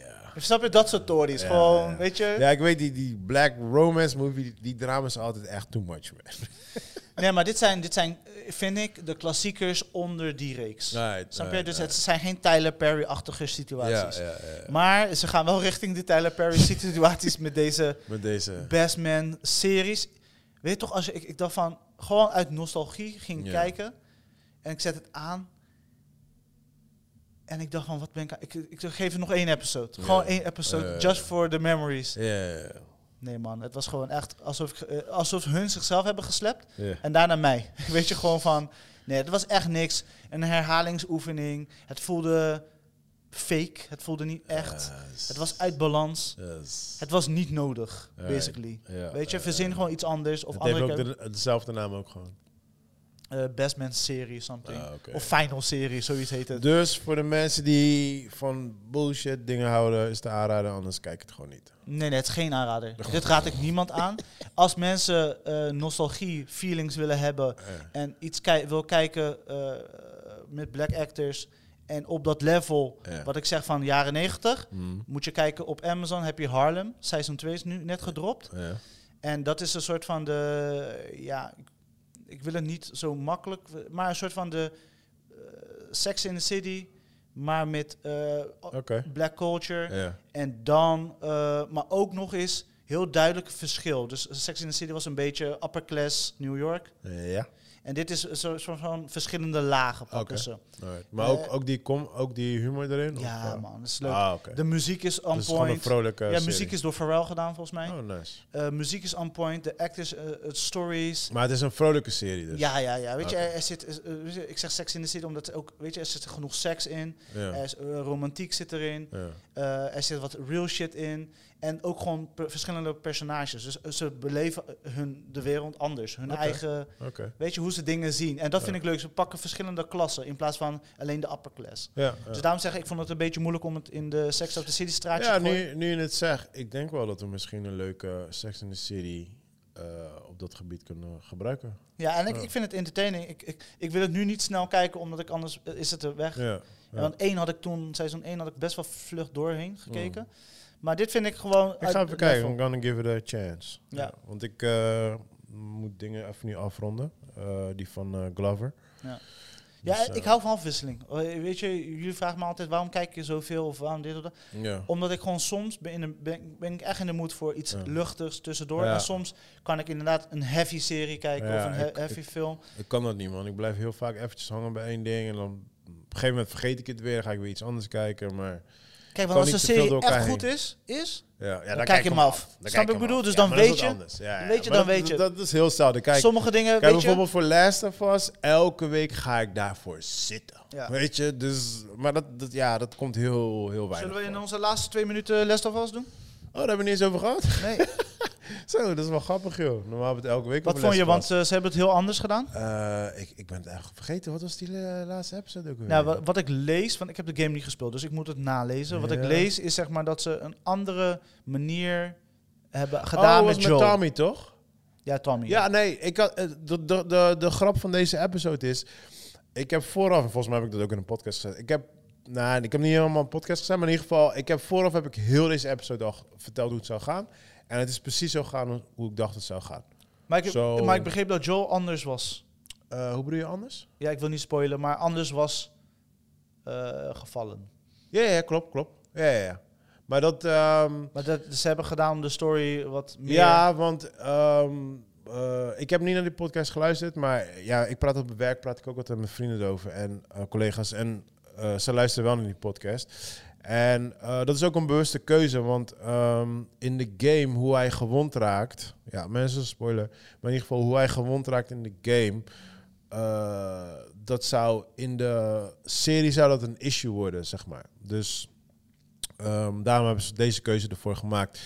Speaker 3: ja.
Speaker 2: Snap je? Dat soort tories.
Speaker 3: Ja,
Speaker 2: gewoon,
Speaker 3: ja.
Speaker 2: weet je...
Speaker 3: Ja, ik weet die, die black romance movie, die, die drama is altijd echt too much, man.
Speaker 2: Nee, maar dit zijn, dit zijn, eh, vind ik, de klassiekers onder die reeks.
Speaker 3: Right,
Speaker 2: Snap je?
Speaker 3: right,
Speaker 2: Dus
Speaker 3: right.
Speaker 2: het zijn geen Tyler Perry-achtige situaties.
Speaker 3: Ja, ja, ja.
Speaker 2: Maar ze gaan wel richting de Tyler
Speaker 3: (laughs)
Speaker 2: Perry-situaties met deze
Speaker 3: Met deze.
Speaker 2: Best Man-series. Weet je toch, als je, ik, ik dacht van, gewoon uit nostalgie ging
Speaker 3: Ja.
Speaker 2: kijken. En ik zet het aan. En ik dacht van, wat ben ik... aan- Ik, ik geef er nog één episode. Gewoon één episode,
Speaker 3: Eh.
Speaker 2: just for the memories.
Speaker 3: Ja, ja, ja.
Speaker 2: Nee man, het was gewoon echt alsof, ik, eh, alsof hun zichzelf hebben geslept.
Speaker 3: Ja.
Speaker 2: En daarna mij. (laughs) Weet je, gewoon van... Nee, het was echt niks. Een herhalingsoefening. Het voelde fake. Het voelde niet echt.
Speaker 3: Yes.
Speaker 2: Het was uit balans.
Speaker 3: Yes.
Speaker 2: Het was niet nodig,
Speaker 3: Ja,
Speaker 2: basically.
Speaker 3: ja,
Speaker 2: Weet je,
Speaker 3: ja,
Speaker 2: verzin
Speaker 3: ja.
Speaker 2: gewoon iets anders. Of
Speaker 3: Het heeft
Speaker 2: andere
Speaker 3: ook
Speaker 2: keer,
Speaker 3: de, dezelfde naam ook gewoon.
Speaker 2: eh, Best Man serie, something.
Speaker 3: Ah, oké.
Speaker 2: Of Final serie, zoiets heet het.
Speaker 3: Dus voor de mensen die van bullshit dingen houden, is de aanrader, anders kijk het gewoon niet.
Speaker 2: Nee, nee, het is geen aanrader. Dit raad ik niemand aan. Als mensen eh, nostalgie, feelings willen hebben en iets ki- wil kijken eh, met black actors en op dat level,
Speaker 3: Ja.
Speaker 2: wat ik zeg van jaren 90,
Speaker 3: Hmm.
Speaker 2: moet je kijken op Amazon heb je Harlem. Seizoen 2 is nu net gedropt.
Speaker 3: Ja.
Speaker 2: En dat is een soort van de, ja, ik, ik wil het niet zo makkelijk, maar een soort van de eh, Sex in the City, maar met eh,
Speaker 3: Oké.
Speaker 2: black culture.
Speaker 3: Ja.
Speaker 2: En dan, eh, maar ook nog eens heel duidelijk verschil. Dus Sex in the City was een beetje upper class New York.
Speaker 3: Ja.
Speaker 2: En dit is een soort soort van verschillende lagen pakken
Speaker 3: Oké.
Speaker 2: ze.
Speaker 3: Alright. Maar
Speaker 2: Eh,
Speaker 3: ook, ook, die kom, ook die humor erin?
Speaker 2: Ja,
Speaker 3: of, eh?
Speaker 2: man, dat is leuk.
Speaker 3: Ah, oké.
Speaker 2: De muziek is on
Speaker 3: Dus het is gewoon een
Speaker 2: point.
Speaker 3: vrolijke
Speaker 2: ja,
Speaker 3: serie.
Speaker 2: muziek is door Pharrell gedaan volgens mij.
Speaker 3: Oh, nice.
Speaker 2: Eh, muziek is on point, de actors, eh, eh, stories.
Speaker 3: Maar het is een vrolijke serie dus.
Speaker 2: Ja, ja, ja. Weet je,
Speaker 3: Oké.
Speaker 2: er, er zit, eh, eh, weet je, ik zeg seks in de City omdat er ook, weet je, er zit genoeg seks in.
Speaker 3: Ja.
Speaker 2: Er is, eh, romantiek zit erin.
Speaker 3: Ja.
Speaker 2: Eh, er zit wat real shit in. En ook gewoon per- verschillende personages. Dus eh, ze beleven eh, hun, de wereld anders. Hun
Speaker 3: Oké.
Speaker 2: eigen,
Speaker 3: Oké.
Speaker 2: weet je, hoe ze dingen zien. En dat vind ik leuk. Ze pakken verschillende klassen in plaats van alleen de upper class.
Speaker 3: Ja,
Speaker 2: Dus
Speaker 3: ja.
Speaker 2: daarom zeg ik, ik vond het een beetje moeilijk om het in de Sex of the City straatje
Speaker 3: ja
Speaker 2: te gooien.
Speaker 3: nu, nu je het zegt, ik denk wel dat we misschien een leuke Sex in the City eh, op dat gebied kunnen gebruiken.
Speaker 2: Ja, en ik, ik vind het entertaining. Ik, ik, ik wil het nu niet snel kijken, omdat ik anders eh, is het er weg.
Speaker 3: Ja.
Speaker 2: En Want één had ik toen, seizoen 1 had ik best wel vlug doorheen gekeken. Maar dit vind ik gewoon...
Speaker 3: Mm. Ik ga even kijken. I'm
Speaker 2: kijken.
Speaker 3: gonna give it a chance.
Speaker 2: Ja.
Speaker 3: want ik eh, moet dingen even nu afronden. Eh, die van eh, Glover.
Speaker 2: Ja,
Speaker 3: Dus, eh,
Speaker 2: ik hou van afwisseling. Eh, Weet je, jullie vragen me altijd waarom kijk je zoveel of waarom dit of dat.
Speaker 3: Ja.
Speaker 2: Omdat ik gewoon soms ben, in de, ben, ben ik echt in de mood voor iets
Speaker 3: Ja.
Speaker 2: luchtigs tussendoor.
Speaker 3: Ja.
Speaker 2: En soms kan ik inderdaad een heavy serie kijken
Speaker 3: Ja,
Speaker 2: of een he-
Speaker 3: ik-
Speaker 2: heavy film.
Speaker 3: Ik kan dat niet, man. Ik blijf heel vaak eventjes hangen bij één ding. En dan op een gegeven moment vergeet ik het weer. Dan ga ik weer iets anders kijken. Maar
Speaker 2: Kijk,
Speaker 3: kan
Speaker 2: want als
Speaker 3: niet
Speaker 2: een
Speaker 3: te veel
Speaker 2: serie
Speaker 3: door
Speaker 2: echt
Speaker 3: elkaar
Speaker 2: goed
Speaker 3: heen.
Speaker 2: is, is
Speaker 3: ja, ja, dan,
Speaker 2: kijk
Speaker 3: ik
Speaker 2: je hem af. Snap
Speaker 3: kijk
Speaker 2: je
Speaker 3: hem
Speaker 2: ik bedoel?
Speaker 3: af.
Speaker 2: Dus
Speaker 3: Ja,
Speaker 2: dan
Speaker 3: maar dat is
Speaker 2: weet
Speaker 3: wat
Speaker 2: je-
Speaker 3: anders. Ja, ja,
Speaker 2: weet je,
Speaker 3: maar
Speaker 2: dan
Speaker 3: dat-
Speaker 2: weet je.
Speaker 3: Dat, dat is heel hetzelfde. Kijk,
Speaker 2: sommige dingen,
Speaker 3: Kijk,
Speaker 2: weet je...
Speaker 3: bijvoorbeeld voor Last of Us, elke week ga ik daarvoor zitten.
Speaker 2: Ja.
Speaker 3: Weet je, dus, maar dat, dat, ja, dat komt heel, heel weinig.
Speaker 2: Zullen we in
Speaker 3: voor.
Speaker 2: onze laatste twee minuten Last of Us doen?
Speaker 3: Oh, daar hebben we niet eens over gehad? (laughs)
Speaker 2: Nee.
Speaker 3: Zo, dat is wel grappig, joh. Normaal hebben we het elke week
Speaker 2: Wat
Speaker 3: over
Speaker 2: vond je? Want
Speaker 3: Last of
Speaker 2: eh, ze hebben het heel anders gedaan.
Speaker 3: Us. Eh, ik, ik ben het eigenlijk vergeten. Wat was die eh, laatste episode ook weer? Oh,
Speaker 2: Nou, wa- wat ik lees, want ik heb de game niet gespeeld, dus ik moet het nalezen. Wat ik
Speaker 3: Ja.
Speaker 2: lees is zeg maar dat ze een andere manier hebben
Speaker 3: oh,
Speaker 2: gedaan
Speaker 3: was
Speaker 2: met Joel.
Speaker 3: Tommy, toch?
Speaker 2: Ja, Tommy.
Speaker 3: Ja, nee, ik had, eh, de, de, de, de grap van deze episode is... Ik heb vooraf, en volgens mij heb ik dat ook in een podcast gezet. Ik heb, nou, ik heb niet helemaal een podcast gezet, maar in ieder geval... Ik heb vooraf heb ik heel deze episode al ge- verteld hoe het zou gaan. En het is precies zo gegaan hoe- hoe ik dacht het zou gaan.
Speaker 2: Maar, ik, heb-
Speaker 3: Zo.
Speaker 2: maar ik begreep dat Joel anders was.
Speaker 3: Eh, hoe bedoel je anders?
Speaker 2: Ja, ik wil niet spoilen, maar anders was eh, gevallen.
Speaker 3: Ja, ja, klopt, klopt. Ja, ja, ja. Maar dat... ehm,
Speaker 2: Maar dat, ze hebben gedaan om de story wat meer...
Speaker 3: Ja, want ehm, eh, ik heb niet naar die podcast geluisterd, maar ja, ik praat op mijn werk, praat ik ook altijd met vrienden over en eh, collega's en eh, ze luisteren wel naar die podcast. En eh, dat is ook een bewuste keuze, want ehm, in de game hoe hij gewond raakt, ja mensen spoiler, maar in ieder geval hoe hij gewond raakt in de game, eh, dat zou in de serie zou dat een issue worden, zeg maar. Dus ehm, daarom hebben ze deze keuze ervoor gemaakt.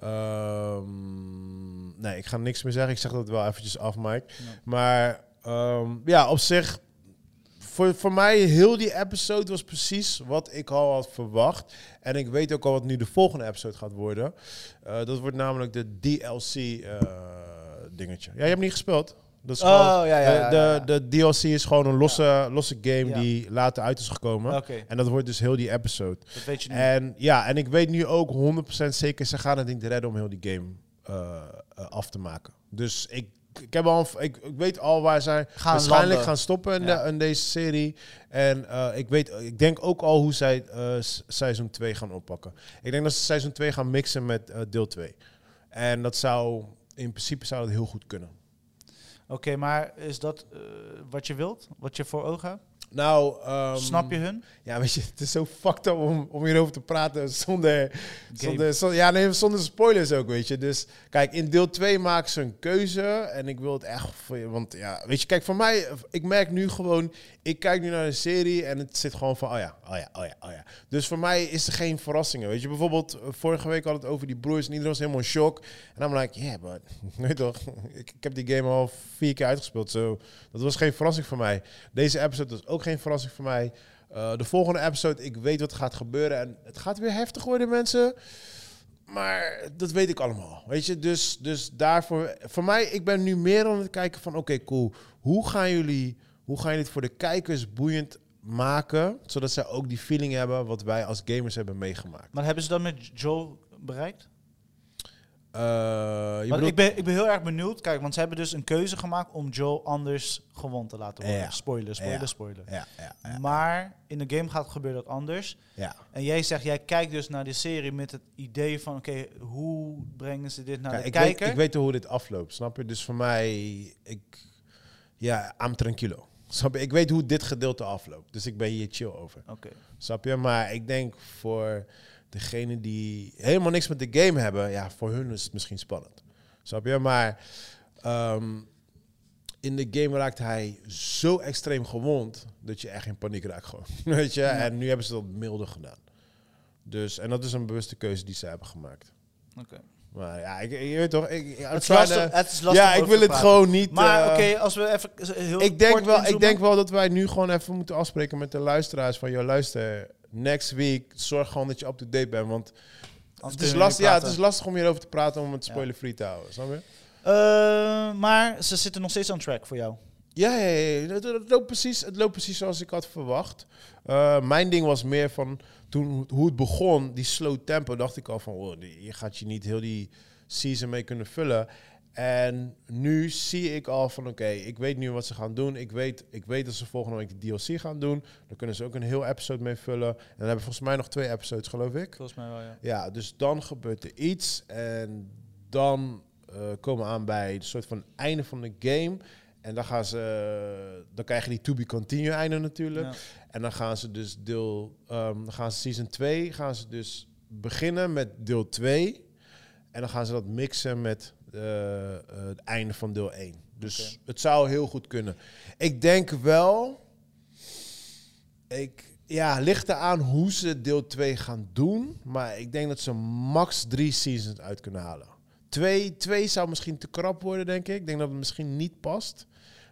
Speaker 3: Ehm, nee, ik ga niks meer zeggen. Ik zeg dat wel eventjes af, Mike.
Speaker 2: Ja.
Speaker 3: Maar ehm, ja, op zich, voor, voor mij, heel die episode was precies wat ik al had verwacht. En ik weet ook al wat nu de volgende episode gaat worden. Eh, dat wordt namelijk de DLC-dingetje. eh, ja, je hebt niet gespeeld. Dat is
Speaker 2: Oh,
Speaker 3: gewoon-
Speaker 2: ja, ja, ja,
Speaker 3: de,
Speaker 2: ja, ja.
Speaker 3: de, de DLC is gewoon een losse, losse game
Speaker 2: Ja.
Speaker 3: die later uit is gekomen.
Speaker 2: Oké,
Speaker 3: En dat wordt dus heel die episode.
Speaker 2: dat weet je nu.
Speaker 3: En ja, en ik weet nu ook 100% zeker, ze gaan het niet redden om heel die game eh, eh, af te maken. Dus ik, ik, heb al, een v- ik, ik weet al waar zij
Speaker 2: Gaan
Speaker 3: waarschijnlijk
Speaker 2: landen.
Speaker 3: gaan stoppen in,
Speaker 2: Ja.
Speaker 3: de- in deze serie. En eh, ik, weet, ik denk ook al hoe zij eh, s- seizoen 2 gaan oppakken. Ik denk dat ze seizoen 2 gaan mixen met eh, deel 2. En dat zou, in principe zou dat heel goed kunnen.
Speaker 2: Oké, maar is dat eh, wat je wilt? Wat je voor ogen hebt?
Speaker 3: Nou, ehm,
Speaker 2: Snap je hun?
Speaker 3: Ja, weet je, het is zo fucked up om, om hierover te praten zonder,
Speaker 2: Game.
Speaker 3: zonder, zon- ja, nee, zonder spoilers ook, weet je. Dus kijk, in deel 2 maken ze een keuze en ik wil het echt voor je, want ja, weet je, kijk, voor mij, ik merk nu gewoon, ik kijk nu naar een serie en het zit gewoon van, oh ja, oh ja, oh ja, oh ja. Dus voor mij is er geen verrassingen, weet je. Bijvoorbeeld, eh, vorige week had het over die broers en iedereen was helemaal in shock. En I'm like, yeah, but, (laughs) nee toch, ik, ik heb die game al vier keer uitgespeeld, zo. dat was geen verrassing voor mij. Deze episode was ook geen verrassing voor mij. Eh, de volgende episode, ik weet wat gaat gebeuren. En het gaat weer heftig worden, mensen. Maar dat weet ik allemaal. Weet je, dus, dus daarvoor... Voor mij, ik ben nu meer aan het kijken van... Oké, cool. Hoe gaan jullie... Hoe gaan jullie het voor de kijkers boeiend maken... zodat zij ook die feeling hebben... wat wij als gamers hebben meegemaakt?
Speaker 2: Maar hebben ze dat met Joel bereikt?
Speaker 3: Eh, je
Speaker 2: Want
Speaker 3: bedoelt-
Speaker 2: ik, ben, ik ben heel erg benieuwd. Kijk, want ze hebben dus een keuze gemaakt om Joel anders gewond te laten worden.
Speaker 3: Ja.
Speaker 2: Spoiler, spoiler,
Speaker 3: Ja.
Speaker 2: spoiler.
Speaker 3: Ja, ja, ja,
Speaker 2: Maar in de game gaat gebeurt dat anders.
Speaker 3: ja.
Speaker 2: En jij zegt, jij kijkt dus naar de serie met het idee van... oké, hoe brengen ze dit naar
Speaker 3: Kijk,
Speaker 2: Nou, de
Speaker 3: ik,
Speaker 2: kijker?
Speaker 3: weet, ik weet hoe dit afloopt, snap je? Dus voor mij, ik, ja, I'm tranquilo. (laughs) Snap je? Ik weet hoe dit gedeelte afloopt, dus ik ben hier chill over.
Speaker 2: Oké.
Speaker 3: Snap je? Maar ik denk voor degenen die helemaal niks met de game hebben, ja, voor hun is het misschien spannend. Snap je? Maar ehm, in de game raakt hij zo extreem gewond dat je echt in paniek raakt gewoon. (laughs) Weet je? En nu hebben ze dat milder gedaan. Dus, en dat is een bewuste keuze die ze hebben gemaakt.
Speaker 2: Oké.
Speaker 3: Maar ja, ik, je weet toch, ik, ik- I'm
Speaker 2: Het, is
Speaker 3: trying
Speaker 2: lastig-
Speaker 3: to-
Speaker 2: het is lastig
Speaker 3: eh, ja,
Speaker 2: om
Speaker 3: ik
Speaker 2: over
Speaker 3: wil
Speaker 2: te
Speaker 3: het
Speaker 2: praten.
Speaker 3: gewoon niet.
Speaker 2: Maar
Speaker 3: eh,
Speaker 2: oké, als we even z- heel
Speaker 3: ik, denk
Speaker 2: kort
Speaker 3: wel, ik
Speaker 2: inzoomen.
Speaker 3: denk wel dat wij nu gewoon even moeten afspreken met de luisteraars van joh, luister. Next week, zorg gewoon dat je up-to-date bent.
Speaker 2: Anders
Speaker 3: Want het is,
Speaker 2: kunnen we niet
Speaker 3: lastig, ja, het
Speaker 2: praten.
Speaker 3: is lastig om hierover te praten om het
Speaker 2: Ja.
Speaker 3: spoiler-free te houden. Snap je?
Speaker 2: Eh, maar ze zitten nog steeds aan track voor jou.
Speaker 3: Ja, ja, ja, ja. Het, het loopt precies, het loopt precies zoals ik had verwacht. Eh, mijn ding was meer van toen hoe het begon, die slow tempo, dacht ik al van oh, die- je gaat je niet heel die season mee kunnen vullen. En nu zie ik al van oké, ik weet nu wat ze gaan doen. Ik weet, ik weet dat ze volgende week de DLC gaan doen. Dan kunnen ze ook een heel episode mee vullen. En dan hebben we volgens mij nog twee episodes, geloof ik.
Speaker 2: Volgens mij wel, ja.
Speaker 3: Ja, dus dan gebeurt er iets. En dan eh, komen we aan bij een soort van einde van de game. En dan gaan ze. eh, dan krijgen die to be continue einde natuurlijk.
Speaker 2: Ja.
Speaker 3: En dan gaan ze dus deel. ehm, dan gaan ze season 2 gaan ze dus beginnen met deel 2. En dan gaan ze dat mixen met eh, eh, het einde van deel 1. Dus
Speaker 2: Oké.
Speaker 3: het zou heel goed kunnen. Ik denk wel. Ik, ja, ligt eraan hoe ze deel 2 gaan doen. Maar ik denk dat ze max drie seasons uit kunnen halen. Twee, twee zou misschien te krap worden, denk ik. Ik denk dat het misschien niet past.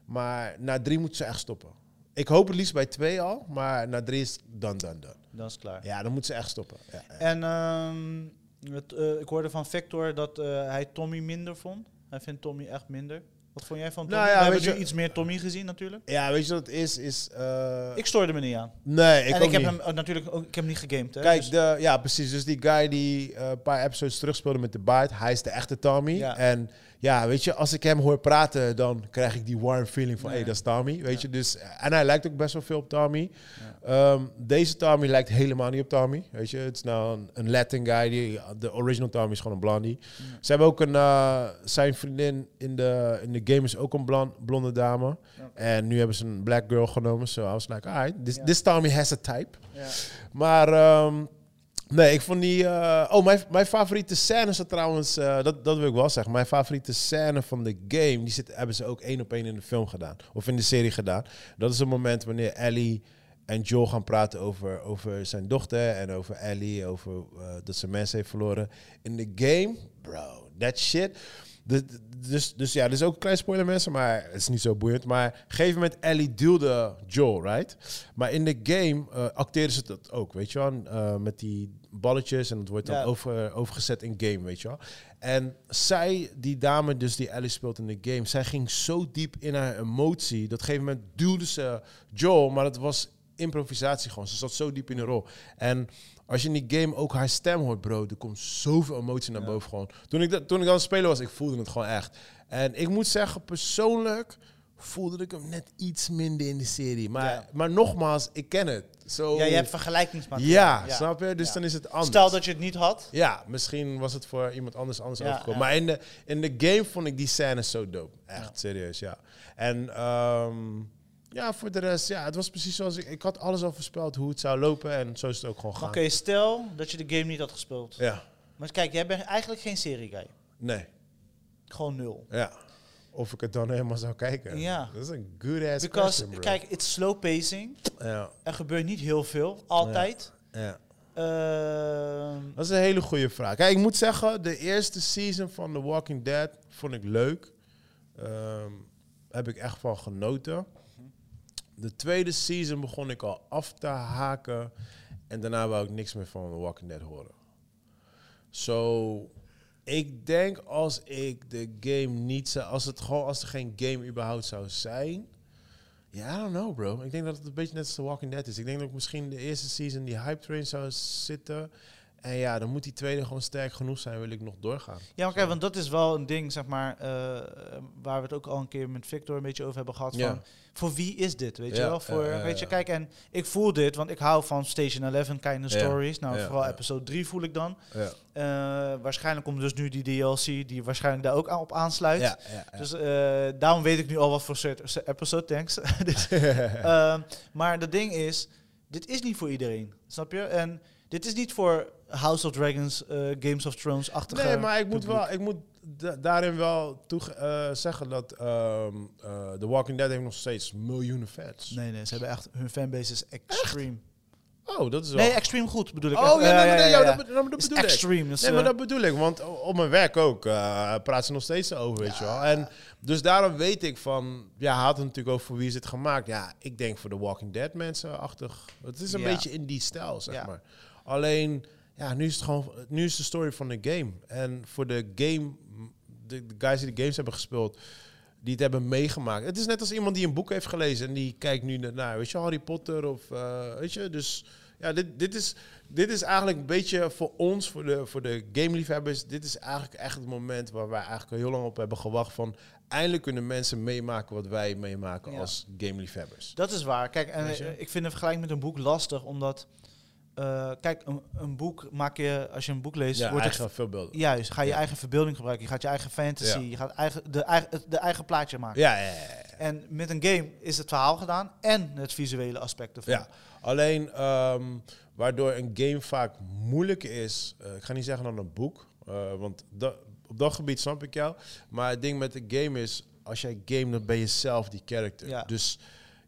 Speaker 3: Maar na drie moeten ze echt stoppen. Ik hoop het liefst bij twee al. Maar na drie is dan, dan, dan.
Speaker 2: Dan is het klaar.
Speaker 3: Ja, dan moeten ze echt stoppen. Ja, ja.
Speaker 2: En ehm, het, eh, ik hoorde van Victor dat eh, hij Tommy minder vond. Hij vindt Tommy echt minder. Wat vond jij van
Speaker 3: Nou
Speaker 2: Tommy?
Speaker 3: ja,
Speaker 2: We hebben
Speaker 3: weet
Speaker 2: nu
Speaker 3: je-
Speaker 2: iets meer Tommy gezien natuurlijk.
Speaker 3: Ja, weet je wat het is? is eh,
Speaker 2: Ik stoorde me niet aan.
Speaker 3: nee, ik,
Speaker 2: en
Speaker 3: ook
Speaker 2: ik heb
Speaker 3: niet.
Speaker 2: hem oh, natuurlijk ook, ik heb hem niet gegamed. Hè,
Speaker 3: Kijk,
Speaker 2: dus-
Speaker 3: de, ja, precies. Dus die guy die eh, een paar episodes terug speelde met de baard, hij is de echte Tommy.
Speaker 2: Ja.
Speaker 3: En ja, weet je, als ik hem hoor praten, dan krijg ik die warm feeling van, hé,
Speaker 2: Ja.
Speaker 3: dat is Tommy. Weet
Speaker 2: Ja.
Speaker 3: je, dus, en hij lijkt ook best wel veel op Tommy. Ehm, deze Tommy lijkt helemaal niet op Tommy. Weet je, het is nou een, een Latin guy. Die, de original Tommy is gewoon een blondie. Ze hebben ook een, eh, zijn vriendin in de, in de game is ook een blon- blonde dame. En nu hebben ze een black girl genomen. So I was like, alright, this,
Speaker 2: Ja.
Speaker 3: this Tommy has a type.
Speaker 2: ja.
Speaker 3: Maar ehm, nee, ik vond die. eh, oh, mijn, mijn favoriete scène is er trouwens. eh, dat, dat wil ik wel zeggen. Mijn favoriete scène van de game. Die zit, hebben ze ook één op één in de film gedaan. Of in de serie gedaan. Dat is het moment wanneer Ellie en Joel gaan praten over, over zijn dochter. En over Ellie. Over eh, dat ze mensen heeft verloren. In de game, bro, that shit. Dus, dus, dus ja, dit is ook een klein spoiler mensen, maar het is niet zo boeiend. Maar op een gegeven moment, Ellie duwde Joel, right? Maar in de game eh acteerden ze dat ook, weet je wel? En, eh, met die balletjes en dat wordt dan
Speaker 2: Ja.
Speaker 3: over, eh, overgezet in game, weet je wel? En zij, die dame dus die Ellie speelt in de game, zij ging zo diep in haar emotie. Dat op een gegeven moment duwde ze Joel, maar dat was improvisatie gewoon. Ze zat zo diep in de rol. En als je in die game ook haar stem hoort, bro, er komt zoveel emotie naar boven gewoon. Toen ik, dat, toen ik aan het spelen was, ik voelde het gewoon echt. En ik moet zeggen, persoonlijk voelde ik hem net iets minder in de serie. Maar,
Speaker 2: Ja.
Speaker 3: maar nogmaals, ik ken het. Zo,
Speaker 2: ja, je hebt vergelijkingsmateriaal.
Speaker 3: Oh. ja,
Speaker 2: Ja.
Speaker 3: snap je? Dus
Speaker 2: Ja.
Speaker 3: dan is het anders.
Speaker 2: Stel dat je het niet had.
Speaker 3: Ja, misschien was het voor iemand anders anders
Speaker 2: Ja,
Speaker 3: overgekomen.
Speaker 2: ja.
Speaker 3: Maar in de, in de game vond ik die scène zo dope. Echt, serieus, ja. En ehm, ja, voor de rest, ja, het was precies zoals ik... Ik had alles al voorspeld hoe het zou lopen en zo is het ook gewoon
Speaker 2: Oké,
Speaker 3: gaan.
Speaker 2: stel dat je de game niet had gespeeld.
Speaker 3: Ja,
Speaker 2: Maar kijk, jij bent eigenlijk geen serie guy.
Speaker 3: nee,
Speaker 2: Gewoon nul.
Speaker 3: ja. Of ik het dan helemaal zou kijken.
Speaker 2: Ja.
Speaker 3: Dat is een good-ass
Speaker 2: Because,
Speaker 3: question, bro.
Speaker 2: kijk, it's slow pacing.
Speaker 3: Ja,
Speaker 2: Er gebeurt niet heel veel, altijd.
Speaker 3: ja.
Speaker 2: Ehm,
Speaker 3: Dat is een hele goede vraag. Kijk, ik moet zeggen, de eerste season van The Walking Dead vond ik leuk. Ehm, heb ik echt van genoten. De tweede season begon ik al af te haken. En daarna wou ik niks meer van The Walking Dead horen. Zo, ik denk als ik de game niet zou... Als, het gewoon, als er geen game überhaupt zou zijn... Ja, I don't know, bro. Ik denk dat het een beetje net als The Walking Dead is. Ik denk dat ik misschien de eerste season die hype train zou zitten. En ja, dan moet die tweede gewoon sterk genoeg zijn, wil ik nog doorgaan.
Speaker 2: Ja, maar kijk, want dat is wel een ding, zeg maar, eh, waar we het ook al een keer met Victor een beetje over hebben gehad.
Speaker 3: Ja.
Speaker 2: Van, voor wie is dit, weet je
Speaker 3: Ja,
Speaker 2: wel? Voor,
Speaker 3: ja, ja,
Speaker 2: weet je,
Speaker 3: ja.
Speaker 2: kijk, en ik voel dit, want ik hou van Station 11 kind of
Speaker 3: Ja,
Speaker 2: stories. Nou,
Speaker 3: ja,
Speaker 2: vooral
Speaker 3: ja.
Speaker 2: episode 3 voel ik dan.
Speaker 3: Ja,
Speaker 2: Eh, waarschijnlijk komt dus nu die DLC, die waarschijnlijk daar ook aan, op aansluit. Dus eh, daarom weet ik nu al wat voor soort episode, thanks. (laughs) Dus,
Speaker 3: (laughs)
Speaker 2: ehm, maar het ding is, dit is niet voor iedereen, snap je? En dit is niet voor House of Dragons, eh, Games of Thrones-achtige...
Speaker 3: Dus, Nee, maar ik moet,
Speaker 2: publiek.
Speaker 3: wel, ik moet da- daarin wel toege- eh, zeggen dat ehm, eh, The Walking Dead heeft nog steeds miljoenen fans.
Speaker 2: Nee, nee, ze hebben echt... Hun fanbase is extreme.
Speaker 3: Oh, dat is wel...
Speaker 2: Nee, extreme goed bedoel ik.
Speaker 3: oh,
Speaker 2: Echt-
Speaker 3: ja, nee, nee, nee, ja,
Speaker 2: ja.
Speaker 3: dat be- dat
Speaker 2: Is
Speaker 3: bedoel ik.
Speaker 2: extreme. Dus,
Speaker 3: Nee, maar
Speaker 2: eh,
Speaker 3: dat bedoel ik, want o- op mijn werk ook eh praat ze nog steeds over, weet je wel. En dus daarom weet ik van, ja, hij had het natuurlijk over voor wie is het gemaakt. Ja, ik denk voor de Walking Dead mensen-achtig. Het is een
Speaker 2: Ja.
Speaker 3: beetje in die stijl, zeg
Speaker 2: Ja.
Speaker 3: maar. Alleen, ja, nu is het gewoon, nu is de story van de game. En voor de game, de, de guys die de games hebben gespeeld, die het hebben meegemaakt. Het is net als iemand die een boek heeft gelezen en die kijkt nu naar, weet je, Harry Potter of, eh, weet je, dus... Ja, dit, dit, is, dit is eigenlijk een beetje voor ons, voor de, voor de gameliefhebbers, dit is eigenlijk echt het moment waar wij eigenlijk al heel lang op hebben gewacht van eindelijk kunnen mensen meemaken wat wij meemaken
Speaker 2: Ja.
Speaker 3: als gameliefhebbers.
Speaker 2: Dat is waar. Kijk, en,
Speaker 3: Weet je?
Speaker 2: eh, ik vind een vergelijking met een boek lastig, omdat... eh, kijk, een, een boek maak je... Als je een boek leest,
Speaker 3: Ja,
Speaker 2: wordt het...
Speaker 3: eigenlijk veel beelden.
Speaker 2: Juist, ga je
Speaker 3: Ja.
Speaker 2: eigen verbeelding gebruiken. Je gaat je eigen fantasy,
Speaker 3: Ja.
Speaker 2: je gaat eigen, de, eigen, de eigen plaatje maken.
Speaker 3: Ja, ja, ja, ja.
Speaker 2: En met een game is het verhaal gedaan en het visuele aspect ervan.
Speaker 3: Ja, alleen ehm, waardoor een game vaak moeilijk is. eh, ik ga niet zeggen dan een boek, eh, want da- op dat gebied snap ik jou. Maar het ding met de game is, als jij game, dan ben je zelf die character.
Speaker 2: Ja.
Speaker 3: Dus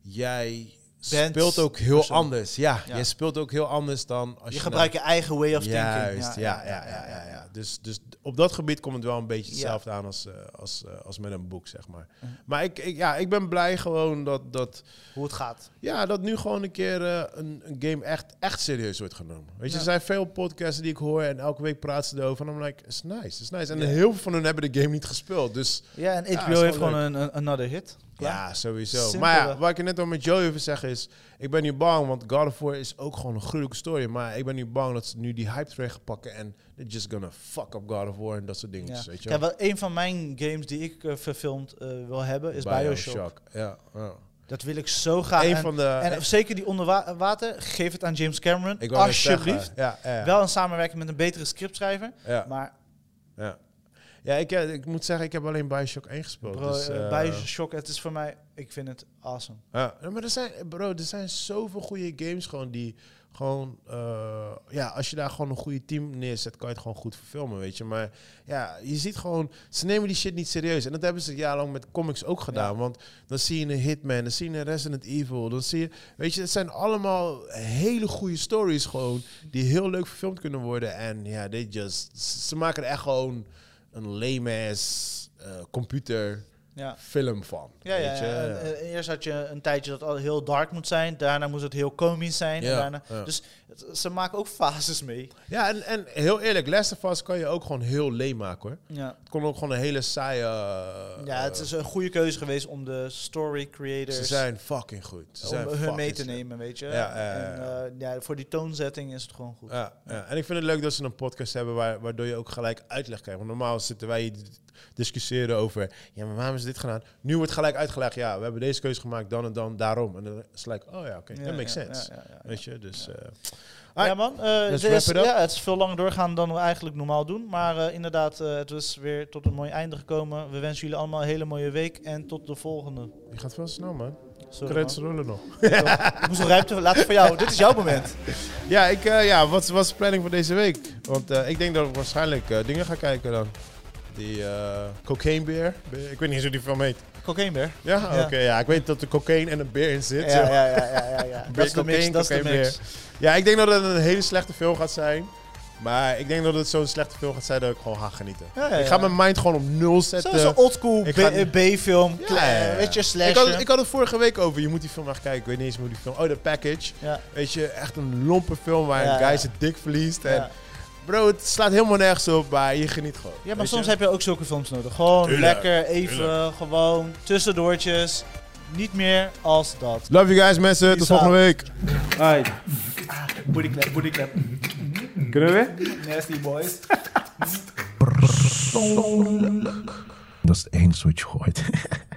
Speaker 3: jij
Speaker 2: Bands,
Speaker 3: speelt ook heel
Speaker 2: persoon.
Speaker 3: anders. Ja,
Speaker 2: Ja.
Speaker 3: je speelt ook heel anders dan als je...
Speaker 2: Je gebruikt je eigen way of
Speaker 3: nou-
Speaker 2: thinking.
Speaker 3: Juist, ja, ja, ja, ja, ja. Dus, dus op dat gebied komt het wel een beetje
Speaker 2: Ja.
Speaker 3: hetzelfde aan als, eh, als, eh, als met een boek, zeg maar.
Speaker 2: Ja.
Speaker 3: Maar ik, ik, ja, ik ben blij gewoon dat, dat,
Speaker 2: Hoe het gaat.
Speaker 3: ja, dat nu gewoon een keer eh, een, een game echt, echt serieus wordt genomen. Weet je,
Speaker 2: Ja.
Speaker 3: er zijn veel podcasts die ik hoor en elke week praten ze erover. En I'm like, it's nice, it's nice. En
Speaker 2: Ja.
Speaker 3: heel veel van hun hebben de game niet gespeeld, dus...
Speaker 2: Ja, en HBO
Speaker 3: Ja, is wel
Speaker 2: heeft gewoon een, een another hit. Klaar.
Speaker 3: Ja, sowieso.
Speaker 2: Simpelweg.
Speaker 3: Maar ja, waar ik het net al met Joey over zeg is... Ik ben nu bang, want God of War is ook gewoon een gruwelijke story. Maar ik ben nu bang dat ze nu die hype train gaan pakken... en they're just gonna fuck up God of War en dat soort dingen.
Speaker 2: Ja.
Speaker 3: Weet je
Speaker 2: Kijk, wel, een van mijn games die ik eh, verfilmd eh, wil hebben is Bioshock.
Speaker 3: Ja, ja.
Speaker 2: Dat wil ik zo graag.
Speaker 3: Eén
Speaker 2: en,
Speaker 3: van de...
Speaker 2: en zeker die onder wa- water, geef het aan James Cameron.
Speaker 3: ik wou net zeggen,
Speaker 2: Alsjeblieft.
Speaker 3: Ja, ja,
Speaker 2: Wel een samenwerking met een betere scriptschrijver.
Speaker 3: ja,
Speaker 2: Maar
Speaker 3: ja. Ja, ik, eh, ik moet zeggen, ik heb alleen Bioshock 1 gespeeld.
Speaker 2: bro,
Speaker 3: dus,
Speaker 2: eh,
Speaker 3: eh,
Speaker 2: Bioshock, het is voor mij, ik vind het awesome.
Speaker 3: Ja, ja, maar er zijn, bro, er zijn zoveel goede games gewoon die gewoon, eh, ja, als je daar gewoon een goede team neerzet, kan je het gewoon goed verfilmen, weet je. Maar ja, je ziet gewoon, ze nemen die shit niet serieus. En dat hebben ze jarenlang met comics ook gedaan, want dan zie je een Hitman, dan zie je een Resident Evil, dan zie je, weet je, het zijn allemaal hele goede stories gewoon, die heel leuk verfilmd kunnen worden. En ja, they just, ze maken er echt gewoon een lame-ass eh, computer
Speaker 2: Ja.
Speaker 3: film van,
Speaker 2: Ja, ja,
Speaker 3: weet je.
Speaker 2: ja. En, eh, eerst had je een tijdje dat al heel dark moet zijn. Daarna moest het heel komisch zijn.
Speaker 3: Ja,
Speaker 2: En daarna,
Speaker 3: ja.
Speaker 2: Dus het- ze maken ook fases mee.
Speaker 3: Ja, en, en heel eerlijk, Last of Us kan je ook gewoon heel leem maken hoor.
Speaker 2: Ja.
Speaker 3: Het kon ook gewoon een hele saaie. eh,
Speaker 2: ja, het is een goede keuze geweest om de story creators
Speaker 3: Ze zijn fucking goed. Ze
Speaker 2: om
Speaker 3: zijn
Speaker 2: hun
Speaker 3: fucking
Speaker 2: mee te
Speaker 3: slim.
Speaker 2: nemen, weet je.
Speaker 3: Ja, ja, ja,
Speaker 2: en, eh, ja, voor die toonzetting is het gewoon goed.
Speaker 3: Ja, ja, en ik vind het leuk dat ze een podcast hebben waar, waardoor je ook gelijk uitleg krijgt. Want normaal zitten wij hier te discussiëren over, ja, maar waarom is dit gedaan? Nu wordt gelijk uitgelegd, ja, we hebben deze keuze gemaakt, dan en dan, daarom. En dan is het like, oh ja, oké,
Speaker 2: Ja,
Speaker 3: dat makes
Speaker 2: ja,
Speaker 3: sense.
Speaker 2: ja, ja, ja.
Speaker 3: Weet je, dus... eh,
Speaker 2: Ja, man. eh,
Speaker 3: Let's
Speaker 2: dit is,
Speaker 3: wrap it up.
Speaker 2: ja, het is veel langer doorgaan dan we eigenlijk normaal doen. Maar eh, inderdaad, eh, het is weer tot een mooi einde gekomen. We wensen jullie allemaal een hele mooie week. En tot de volgende.
Speaker 3: je gaat veel snel, man.
Speaker 2: Sorry,
Speaker 3: Credits
Speaker 2: man.
Speaker 3: rollen nog.
Speaker 2: Ik moest nog ruimte laten voor jou. Dit is jouw moment.
Speaker 3: Ja, ik, eh, ja wat was de planning voor deze week? Want eh, ik denk dat ik waarschijnlijk eh, dingen ga kijken dan. Die eh cocaine beer. Ik weet niet eens hoe die film heet.
Speaker 2: Cocaine weer.
Speaker 3: Ja?
Speaker 2: Ja.
Speaker 3: Oké, ja. Ik weet dat er cocaine en een beer in zit.
Speaker 2: Ja, ja, ja, ja, ja, ja. Dat is de
Speaker 3: Cocaine,
Speaker 2: mix, dat is de
Speaker 3: cocaine
Speaker 2: mix.
Speaker 3: Ja, ik denk dat het een hele slechte film gaat zijn. Maar ik denk dat het zo'n slechte film gaat zijn dat ik gewoon ga genieten.
Speaker 2: Ja, ja,
Speaker 3: Ik ga
Speaker 2: ja.
Speaker 3: mijn mind gewoon op nul zetten.
Speaker 2: Zo'n zo'n oldschool
Speaker 3: eh, Ik ga-
Speaker 2: B- B-film.
Speaker 3: Ja,
Speaker 2: kle-
Speaker 3: ja, ja.
Speaker 2: Weet je,
Speaker 3: ik,
Speaker 2: slasher.
Speaker 3: had, ik had het vorige week over. Je moet die film echt kijken. Ik weet niet eens hoe die film... Oh, The Package.
Speaker 2: ja,
Speaker 3: Weet je, echt een lompe film waar
Speaker 2: Ja,
Speaker 3: een guy
Speaker 2: ja.
Speaker 3: zijn dik verliest. En
Speaker 2: ja.
Speaker 3: Bro, het slaat helemaal nergens op, maar je geniet gewoon.
Speaker 2: Ja, maar
Speaker 3: Weet
Speaker 2: soms
Speaker 3: je?
Speaker 2: heb je ook zulke films nodig. Gewoon
Speaker 3: Tuurlijk,
Speaker 2: lekker, even, gewoon, tussendoortjes. Niet meer als dat.
Speaker 3: Love you guys, mensen. Tot
Speaker 2: Peace out.
Speaker 3: volgende week.
Speaker 4: Alright,
Speaker 2: Bodyclap, bodyclap.
Speaker 4: kunnen we weer?
Speaker 2: Nasty boys.
Speaker 5: Dat is één switch gooit.